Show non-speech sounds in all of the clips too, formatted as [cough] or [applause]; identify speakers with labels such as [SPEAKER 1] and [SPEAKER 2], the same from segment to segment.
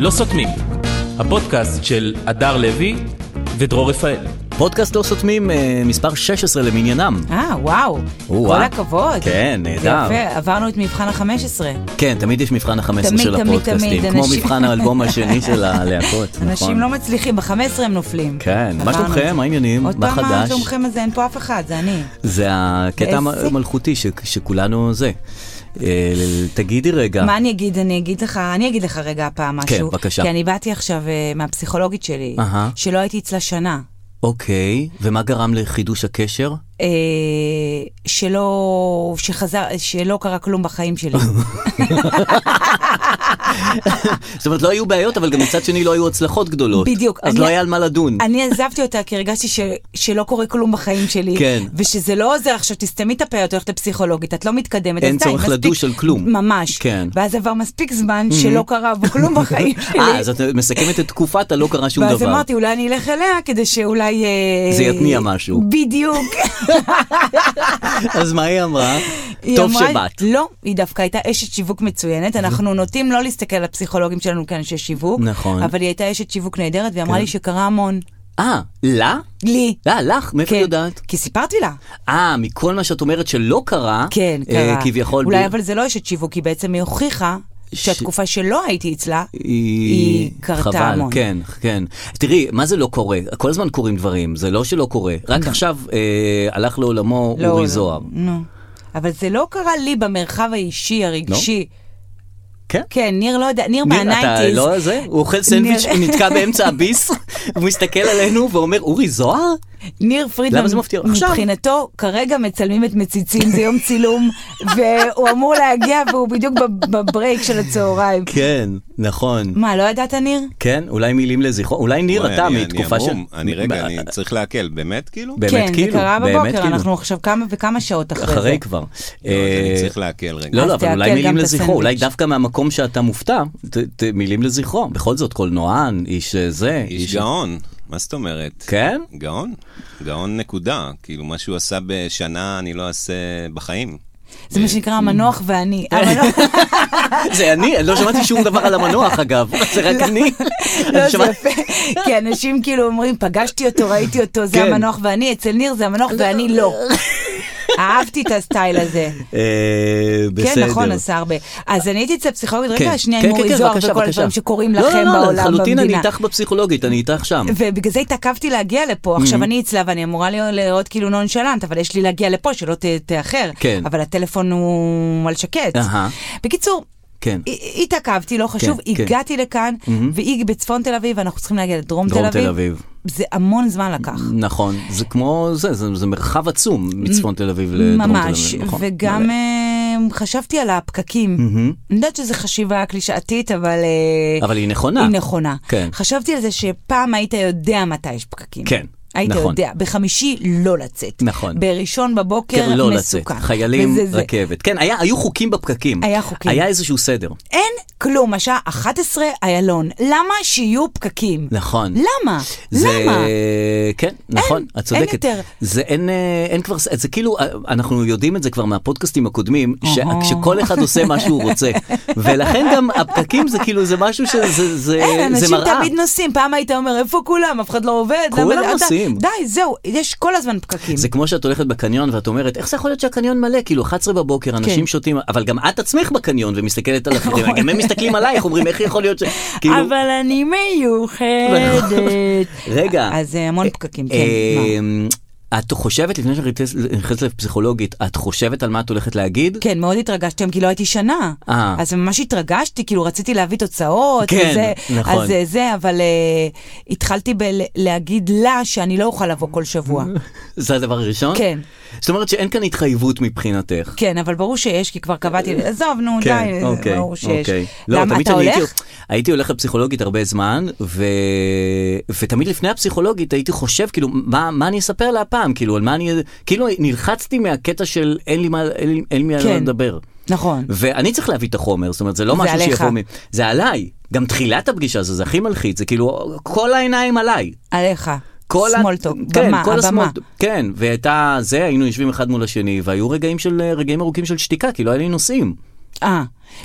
[SPEAKER 1] לא סותמים, הפודקאסט של הדר לוי ודרור רפאל.
[SPEAKER 2] פודקאסט לא סותמים אה, מספר 16 למניינם.
[SPEAKER 3] אה, וואו.
[SPEAKER 2] או-אה.
[SPEAKER 3] כל הכבוד.
[SPEAKER 2] כן,
[SPEAKER 3] זה
[SPEAKER 2] נהדר.
[SPEAKER 3] יפה, עברנו את מבחן ה-15.
[SPEAKER 2] כן, תמיד יש מבחן ה-15
[SPEAKER 3] תמיד,
[SPEAKER 2] של
[SPEAKER 3] תמיד,
[SPEAKER 2] הפודקאסטים.
[SPEAKER 3] תמיד,
[SPEAKER 2] כמו
[SPEAKER 3] אנשים-
[SPEAKER 2] מבחן האלבום
[SPEAKER 3] [laughs]
[SPEAKER 2] השני של הלהקות,
[SPEAKER 3] אנשים
[SPEAKER 2] נכון.
[SPEAKER 3] לא מצליחים, ב-15 הם נופלים.
[SPEAKER 2] כן, מה
[SPEAKER 3] עברנו
[SPEAKER 2] שלומכם?
[SPEAKER 3] את זה.
[SPEAKER 2] מה העניינים?
[SPEAKER 3] עוד
[SPEAKER 2] מה
[SPEAKER 3] פעם, מה
[SPEAKER 2] חדש?
[SPEAKER 3] שלומכם הזה? אין פה אף אחד, זה אני.
[SPEAKER 2] זה הקטע המ-
[SPEAKER 3] איזה-
[SPEAKER 2] המלכותי ש- שכולנו זה. אה, תגידי רגע,
[SPEAKER 3] מה אני אגיד? אני אגיד לך, אני אגיד לך רגע הפעם משהו.
[SPEAKER 2] אה. כן, בבקשה.
[SPEAKER 3] כי אני באתי עכשיו אה, מהפסיכולוגית שלי,
[SPEAKER 2] אהה.
[SPEAKER 3] שלא הייתי אצלה שנה.
[SPEAKER 2] אוקיי, ומה גרם לחידוש הקשר?
[SPEAKER 3] אה, שלא, שחזר, שלא קרה כלום
[SPEAKER 2] [laughs]
[SPEAKER 3] בחיים שלי.
[SPEAKER 2] זאת אומרת, לא היו בעיות, אבל גם מצד שני לא היו הצלחות גדולות.
[SPEAKER 3] בדיוק.
[SPEAKER 2] אז
[SPEAKER 3] אני-
[SPEAKER 2] לא היה על מה לדון.
[SPEAKER 3] אני עזבתי אותה כי הרגשתי ש, שלא קורה כלום בחיים שלי.
[SPEAKER 2] כן.
[SPEAKER 3] ושזה לא עוזר עכשיו, תסתמי את הפה, את הולכת לפסיכולוגית, את לא מתקדמת.
[SPEAKER 2] אין
[SPEAKER 3] אז די,
[SPEAKER 2] צורך
[SPEAKER 3] מספיק-
[SPEAKER 2] לדוש על כלום.
[SPEAKER 3] ממש.
[SPEAKER 2] כן.
[SPEAKER 3] ואז עבר מספיק זמן שלא קרה בו כלום בחיים שלי.
[SPEAKER 2] [laughs] אה, אז את מסכמת את תקופת הלא קרה שום
[SPEAKER 3] ואז
[SPEAKER 2] דבר.
[SPEAKER 3] אמרתי, אולי אני אלך אליה כדי שאולי... אה,
[SPEAKER 2] זה יתניע משהו. [laughs]
[SPEAKER 3] בדיוק.
[SPEAKER 2] אז מה היא אמרה?
[SPEAKER 3] היא
[SPEAKER 2] טוב
[SPEAKER 3] אמרה-
[SPEAKER 2] שבאת.
[SPEAKER 3] לא, היא דווקא הייתה אשת שיווק מצוינת. אנחנו נוטים לא להסתכל על הפסיכולוגים שלנו כאנשי שיווק.
[SPEAKER 2] נכון. כן.
[SPEAKER 3] אבל היא הייתה אשת שיווק נהדרת, והיא אמרה לי שקרה המון.
[SPEAKER 2] אה, לה?
[SPEAKER 3] לי.
[SPEAKER 2] אה, לך? מאיפה
[SPEAKER 3] כן.
[SPEAKER 2] היא יודעת?
[SPEAKER 3] כי סיפרתי לה.
[SPEAKER 2] אה, מכל מה שאת אומרת שלא קרה,
[SPEAKER 3] כן,
[SPEAKER 2] אה,
[SPEAKER 3] קרה.
[SPEAKER 2] כביכול,
[SPEAKER 3] אולי
[SPEAKER 2] ב-
[SPEAKER 3] אבל זה לא אשת שיווק, כי בעצם היא הוכיחה
[SPEAKER 2] ש-
[SPEAKER 3] שהתקופה שלא הייתי אצלה,
[SPEAKER 2] היא
[SPEAKER 3] היא קרתה
[SPEAKER 2] חבל,
[SPEAKER 3] המון.
[SPEAKER 2] כן, כן. תראי, מה זה לא קורה? כל הזמן קורים דברים, זה לא שלא קורה. רק עכשיו אה, הלך לעולמו
[SPEAKER 3] נכון. לא,
[SPEAKER 2] אורי
[SPEAKER 3] לא.
[SPEAKER 2] זוהר.
[SPEAKER 3] נו. אבל זה לא קרה לי במרחב האישי, הרגשי.
[SPEAKER 2] כן?
[SPEAKER 3] כן, ניר לא יודע, ניר
[SPEAKER 2] ניר, אתה
[SPEAKER 3] מהניינטיז.
[SPEAKER 2] לא זה? הוא
[SPEAKER 3] [laughs]
[SPEAKER 2] אוכל סנדוויץ',
[SPEAKER 3] ניר-
[SPEAKER 2] נתקע באמצע הביס, [laughs] הוא מסתכל עלינו ואומר, אורי זוהר?
[SPEAKER 3] ניר פרידמן,
[SPEAKER 2] למה זה מפתיע? עכשיו.
[SPEAKER 3] מבחינתו, כרגע מצלמים את מציצים, זה יום
[SPEAKER 2] [laughs]
[SPEAKER 3] צילום, והוא אמור להגיע, והוא בדיוק בב- בברייק של הצהריים.
[SPEAKER 2] כן, נכון.
[SPEAKER 3] מה, לא ידעת, ניר?
[SPEAKER 2] כן, אולי מילים לזכרו, אולי ניר,
[SPEAKER 4] וואי,
[SPEAKER 2] אתה
[SPEAKER 4] אני-
[SPEAKER 2] מתקופה של...
[SPEAKER 4] אני המום, אני רגע, אני צריך להקל, באמת כאילו?
[SPEAKER 2] באמת
[SPEAKER 3] כן,
[SPEAKER 2] כאילו,
[SPEAKER 3] זה קרה
[SPEAKER 2] באמת
[SPEAKER 3] בבוקר,
[SPEAKER 2] כאילו.
[SPEAKER 3] אנחנו עכשיו כמה וכמה שעות אחרי זה.
[SPEAKER 2] אחרי כבר.
[SPEAKER 4] לא, אז אני
[SPEAKER 2] אה,
[SPEAKER 4] צריך להקל רגע.
[SPEAKER 2] לא,
[SPEAKER 3] אז
[SPEAKER 2] לא, אבל
[SPEAKER 3] תעכל
[SPEAKER 2] אולי
[SPEAKER 3] גם
[SPEAKER 2] מילים
[SPEAKER 3] את
[SPEAKER 2] לזכרו,
[SPEAKER 3] הסנדוויץ'.
[SPEAKER 2] אולי דווקא מהמקום שאתה מופתע, ת- ת- מילים לזכרו. בכל זאת, קולנוען, איש אה, זה,
[SPEAKER 4] איש גאון, מה זאת אומרת?
[SPEAKER 2] כן?
[SPEAKER 4] גאון? גאון נקודה. כאילו, מה שהוא עשה בשנה, אני לא אעשה בחיים. [laughs]
[SPEAKER 3] זה מה שנקרא המנוח ואני.
[SPEAKER 2] [laughs]
[SPEAKER 3] המנוח-
[SPEAKER 2] זה אני, אני לא שמעתי שום דבר על המנוח
[SPEAKER 3] [laughs]
[SPEAKER 2] אגב, זה רק אני.
[SPEAKER 3] לא,
[SPEAKER 2] אני
[SPEAKER 3] זה
[SPEAKER 2] שמע-
[SPEAKER 3] יפה, כי אנשים כאילו אומרים, פגשתי אותו, ראיתי אותו, זה
[SPEAKER 2] כן.
[SPEAKER 3] המנוח ואני, אצל ניר זה המנוח ואני לא. אהבתי את הסטייל הזה.
[SPEAKER 2] אה, בסדר.
[SPEAKER 3] כן, נכון, עשה הרבה. אז אני הייתי אצל פסיכולוגית, רגע,
[SPEAKER 2] כן.
[SPEAKER 3] שנייה,
[SPEAKER 2] כן,
[SPEAKER 3] עם
[SPEAKER 2] כן,
[SPEAKER 3] אורי
[SPEAKER 2] כן,
[SPEAKER 3] זוהר
[SPEAKER 2] בבקשה,
[SPEAKER 3] וכל
[SPEAKER 2] בבקשה.
[SPEAKER 3] הדברים שקורים
[SPEAKER 2] לא, לא,
[SPEAKER 3] לכם
[SPEAKER 2] לא,
[SPEAKER 3] בעולם,
[SPEAKER 2] לחלוטין אני
[SPEAKER 3] במדינה.
[SPEAKER 2] איתך בפסיכולוגית, אני איתך שם.
[SPEAKER 3] ובגלל זה התעכבתי להגיע
[SPEAKER 2] Mm-hmm.
[SPEAKER 3] לפה, עכשיו אני אצלה ואני אמורה להיות- להיות כאילו נונשלנט, אבל יש לי להגיע לפה שלא ת- תאחר.
[SPEAKER 2] כן.
[SPEAKER 3] אבל הטלפון הוא על שקט.
[SPEAKER 2] אהה.
[SPEAKER 3] בקיצור,
[SPEAKER 2] כן.
[SPEAKER 3] ה- התעכבתי, לא חשוב,
[SPEAKER 2] כן. Mm-hmm.
[SPEAKER 3] הגעתי לכאן, והיא בצפון תל אביב, ואנחנו צריכים להגיע לדרום
[SPEAKER 2] דרום תל אביב.
[SPEAKER 3] זה המון זמן לקח.
[SPEAKER 2] נכון, זה כמו זה, זה, זה מרחב עצום מצפון תל אביב לדרום
[SPEAKER 3] ממש,
[SPEAKER 2] תל אביב. נכון,
[SPEAKER 3] וגם
[SPEAKER 2] מלא. Mm-hmm.
[SPEAKER 3] אה, חשבתי על הפקקים. אני יודעת שזו חשיבה קלישאתית, אבל... אה,
[SPEAKER 2] אבל היא נכונה.
[SPEAKER 3] היא נכונה.
[SPEAKER 2] כן.
[SPEAKER 3] חשבתי על זה שפעם היית יודע מתי יש פקקים.
[SPEAKER 2] כן,
[SPEAKER 3] היית
[SPEAKER 2] נכון.
[SPEAKER 3] יודע, בחמישי לא לצאת.
[SPEAKER 2] נכון.
[SPEAKER 3] בראשון בבוקר
[SPEAKER 2] כן,
[SPEAKER 3] מסוכן.
[SPEAKER 2] לא לצאת, חיילים,
[SPEAKER 3] וזה זה.
[SPEAKER 2] רכבת. כן, היה, היו חוקים בפקקים.
[SPEAKER 3] היה חוקים.
[SPEAKER 2] היה איזשהו סדר.
[SPEAKER 3] אין כלום, השעה 11, איילון. למה שיהיו פקקים?
[SPEAKER 2] נכון.
[SPEAKER 3] למה?
[SPEAKER 2] זה,
[SPEAKER 3] למה?
[SPEAKER 2] כן, נכון, את צודקת.
[SPEAKER 3] יותר.
[SPEAKER 2] זה אין, אה, אין כבר, זה כאילו, אה, אנחנו יודעים את זה כבר מהפודקאסטים הקודמים,
[SPEAKER 3] אוהו.
[SPEAKER 2] שכשכל אחד עושה מה שהוא
[SPEAKER 3] [laughs]
[SPEAKER 2] רוצה. ולכן גם הפקקים זה כאילו, זה משהו שזה, זה, זה,
[SPEAKER 3] אין,
[SPEAKER 2] זה
[SPEAKER 3] אנשים
[SPEAKER 2] מראה.
[SPEAKER 3] תמיד נוסעים, פעם היית אומר, איפה כולם? אף אחד לא עובד. למה-
[SPEAKER 2] כולם
[SPEAKER 3] אתה-
[SPEAKER 2] נוסעים.
[SPEAKER 3] די, זהו, יש כל הזמן פקקים.
[SPEAKER 2] זה כמו שאת הולכת בקניון ואת אומרת, איך זה יכול להיות שהקניון מלא? כאילו, 11 בבוקר, אנשים
[SPEAKER 3] כן.
[SPEAKER 2] שותים, אבל גם את עצמך בקניון ומסתכלת על אחרים, גם הם מסתכלים עלייך, אומרים, איך יכול להיות ש... כאילו,
[SPEAKER 3] נכון.
[SPEAKER 2] נכון.
[SPEAKER 3] אבל אני
[SPEAKER 2] [laughs]
[SPEAKER 3] מיוחדת.
[SPEAKER 2] רגע.
[SPEAKER 3] אז אה, המון פקקים, כן. מה?
[SPEAKER 2] אמ, את חושבת, לפני שאת נכנסת לפסיכולוגית, את חושבת על מה את הולכת להגיד?
[SPEAKER 3] כן, מאוד התרגשתי, היום, כי לא הייתי שנה.
[SPEAKER 2] אה.
[SPEAKER 3] אז ממש התרגשתי, כאילו רציתי להביא תוצאות.
[SPEAKER 2] כן,
[SPEAKER 3] וזה,
[SPEAKER 2] נכון.
[SPEAKER 3] אז אה, זה, אבל אה, התחלתי בלהגיד לה שאני לא אוכל לבוא כל
[SPEAKER 2] [laughs]
[SPEAKER 3] שבוע.
[SPEAKER 2] זה הדבר הראשון?
[SPEAKER 3] כן.
[SPEAKER 2] זאת אומרת שאין כאן התחייבות מבחינתך.
[SPEAKER 3] כן, אבל ברור שיש, כי כבר קבעתי, עזוב, נו, כן, די,
[SPEAKER 2] אה,
[SPEAKER 3] אה,
[SPEAKER 2] אוקיי,
[SPEAKER 3] ברור שיש.
[SPEAKER 2] אוקיי. לא,
[SPEAKER 3] למה,
[SPEAKER 2] תמיד
[SPEAKER 3] אתה
[SPEAKER 2] אני הייתי-
[SPEAKER 3] הולך?
[SPEAKER 2] הייתי הולך לפסיכולוגית הרבה זמן, ו... ותמיד לפני הפסיכולוגית הייתי חושב, כאילו, מה, מה אני אספר לה הפעם? כאילו, על מה אני... כאילו, נלחצתי מהקטע של אין לי מה, אין לי, אין לי מה
[SPEAKER 3] כן.
[SPEAKER 2] לדבר.
[SPEAKER 3] נכון.
[SPEAKER 2] ואני צריך להביא את החומר, זאת אומרת, זה לא
[SPEAKER 3] זה
[SPEAKER 2] משהו
[SPEAKER 3] עליך.
[SPEAKER 2] שיבוא מ... זה עליי. גם תחילת הפגישה הזו, זה הכי מלחיץ, זה כאילו, כל העיניים עליי.
[SPEAKER 3] עליך.
[SPEAKER 2] כל ה-
[SPEAKER 3] small talk,
[SPEAKER 2] כן,
[SPEAKER 3] במה,
[SPEAKER 2] כל
[SPEAKER 3] הבמה.
[SPEAKER 2] ה-small talk, כן, והייתה זה, היינו יושבים אחד מול השני, והיו רגעים של, אה, רגעים ארוכים של שתיקה, כי לא היה לי נושאים.
[SPEAKER 3] אה,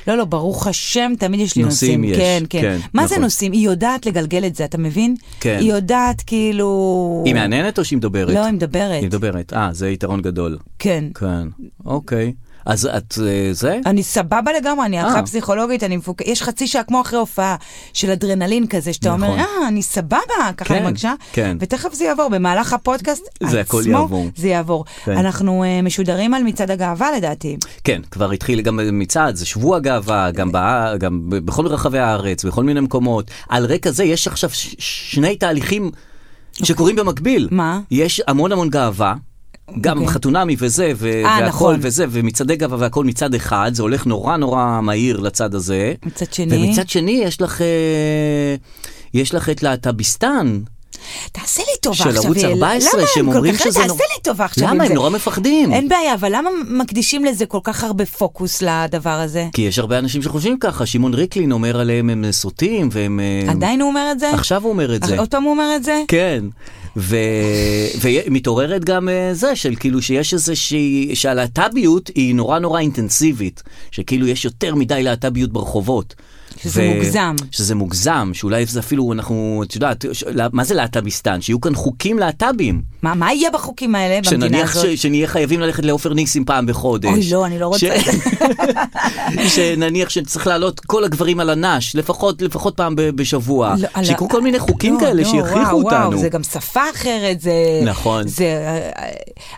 [SPEAKER 3] לא, לא, ברוך השם, תמיד יש לי
[SPEAKER 2] נושאים
[SPEAKER 3] נושאים.
[SPEAKER 2] יש,
[SPEAKER 3] כן, כן.
[SPEAKER 2] כן,
[SPEAKER 3] מה
[SPEAKER 2] נכון.
[SPEAKER 3] זה נושאים? היא יודעת לגלגל את זה, אתה מבין?
[SPEAKER 2] כן.
[SPEAKER 3] היא יודעת כאילו...
[SPEAKER 2] היא מהנהנת או שהיא מדברת?
[SPEAKER 3] לא, היא מדברת.
[SPEAKER 2] היא מדברת, אה, זה יתרון גדול.
[SPEAKER 3] כן.
[SPEAKER 2] כן, אוקיי. אז את אה, זה?
[SPEAKER 3] אני סבבה לגמרי, אני
[SPEAKER 2] אה.
[SPEAKER 3] אחרי פסיכולוגית, אני מפוק... יש חצי שעה כמו אחרי הופעה של אדרנלין כזה, שאתה
[SPEAKER 2] נכון.
[SPEAKER 3] אומר, אה, אני סבבה, ככה
[SPEAKER 2] כן,
[SPEAKER 3] אני מרגישה,
[SPEAKER 2] כן.
[SPEAKER 3] ותכף זה יעבור, במהלך הפודקאסט
[SPEAKER 2] זה הכל
[SPEAKER 3] עצמו,
[SPEAKER 2] יעבור.
[SPEAKER 3] זה יעבור.
[SPEAKER 2] כן.
[SPEAKER 3] אנחנו אה, משודרים על מצעד הגאווה לדעתי.
[SPEAKER 2] כן, כבר התחיל גם מצעד, זה שבוע הגאווה, גם, בא, גם ב- בכל רחבי הארץ, בכל מיני מקומות. על רקע זה יש עכשיו ש- שני תהליכים שקורים במקביל.
[SPEAKER 3] אוקיי. מה?
[SPEAKER 2] יש המון המון גאווה. גם okay.
[SPEAKER 3] אוקיי.
[SPEAKER 2] חתונמי וזה, ו-
[SPEAKER 3] אה,
[SPEAKER 2] והכל
[SPEAKER 3] נכון.
[SPEAKER 2] וזה, ומצעדי גאווה והכל מצד אחד, זה הולך נורא נורא מהיר לצד הזה.
[SPEAKER 3] מצד שני?
[SPEAKER 2] ומצד שני יש לך, אה, יש לך את להט"ביסטן.
[SPEAKER 3] תעשה לי טובה
[SPEAKER 2] של
[SPEAKER 3] עכשיו,
[SPEAKER 2] ערוץ
[SPEAKER 3] יעל.
[SPEAKER 2] 14,
[SPEAKER 3] למה הם
[SPEAKER 2] שהם
[SPEAKER 3] כל
[SPEAKER 2] אומרים
[SPEAKER 3] כך-
[SPEAKER 2] שזה
[SPEAKER 3] תעשה
[SPEAKER 2] נורא-
[SPEAKER 3] לי טובה עכשיו
[SPEAKER 2] למה?
[SPEAKER 3] עם
[SPEAKER 2] הם
[SPEAKER 3] זה.
[SPEAKER 2] נורא מפחדים.
[SPEAKER 3] אין בעיה, אבל למה מקדישים לזה כל כך הרבה פוקוס לדבר הזה?
[SPEAKER 2] כי יש הרבה אנשים שחושבים ככה, שמעון ריקלין אומר עליהם הם סוטים והם... אה,
[SPEAKER 3] עדיין הוא אומר את זה? אה,
[SPEAKER 2] עכשיו הוא אומר את זה.
[SPEAKER 3] עוד פעם הוא אומר את זה?
[SPEAKER 2] כן, ו- ומתעוררת גם אה, זה של כאילו שיש איזושהי, שהלהט"ביות היא נורא נורא אינטנסיבית, שכאילו יש יותר מדי להט"ביות ברחובות.
[SPEAKER 3] שזה מוגזם.
[SPEAKER 2] שזה מוגזם, שאולי זה אפילו אנחנו, את יודעת, ש- לה- מה זה להט"ביסטן? שיהיו כאן חוקים להט"בים.
[SPEAKER 3] מה, מה יהיה בחוקים האלה במדינה
[SPEAKER 2] שנניח
[SPEAKER 3] הזאת?
[SPEAKER 2] ש- שנהיה חייבים ללכת לעופר ניסים פעם בחודש.
[SPEAKER 3] אוי, לא, אני לא רוצה את
[SPEAKER 2] זה. [laughs] שנניח שצריך להעלות כל הגברים על הנש, לפחות, לפחות פעם ב- בשבוע.
[SPEAKER 3] לא, על
[SPEAKER 2] אה, שיקרו
[SPEAKER 3] ה-
[SPEAKER 2] כל מיני חוקים
[SPEAKER 3] לא,
[SPEAKER 2] כאלה
[SPEAKER 3] לא,
[SPEAKER 2] שיכריחו
[SPEAKER 3] וואו,
[SPEAKER 2] אותנו.
[SPEAKER 3] וואו, זה גם שפה אחרת, זה...
[SPEAKER 2] נכון.
[SPEAKER 3] זה, אה,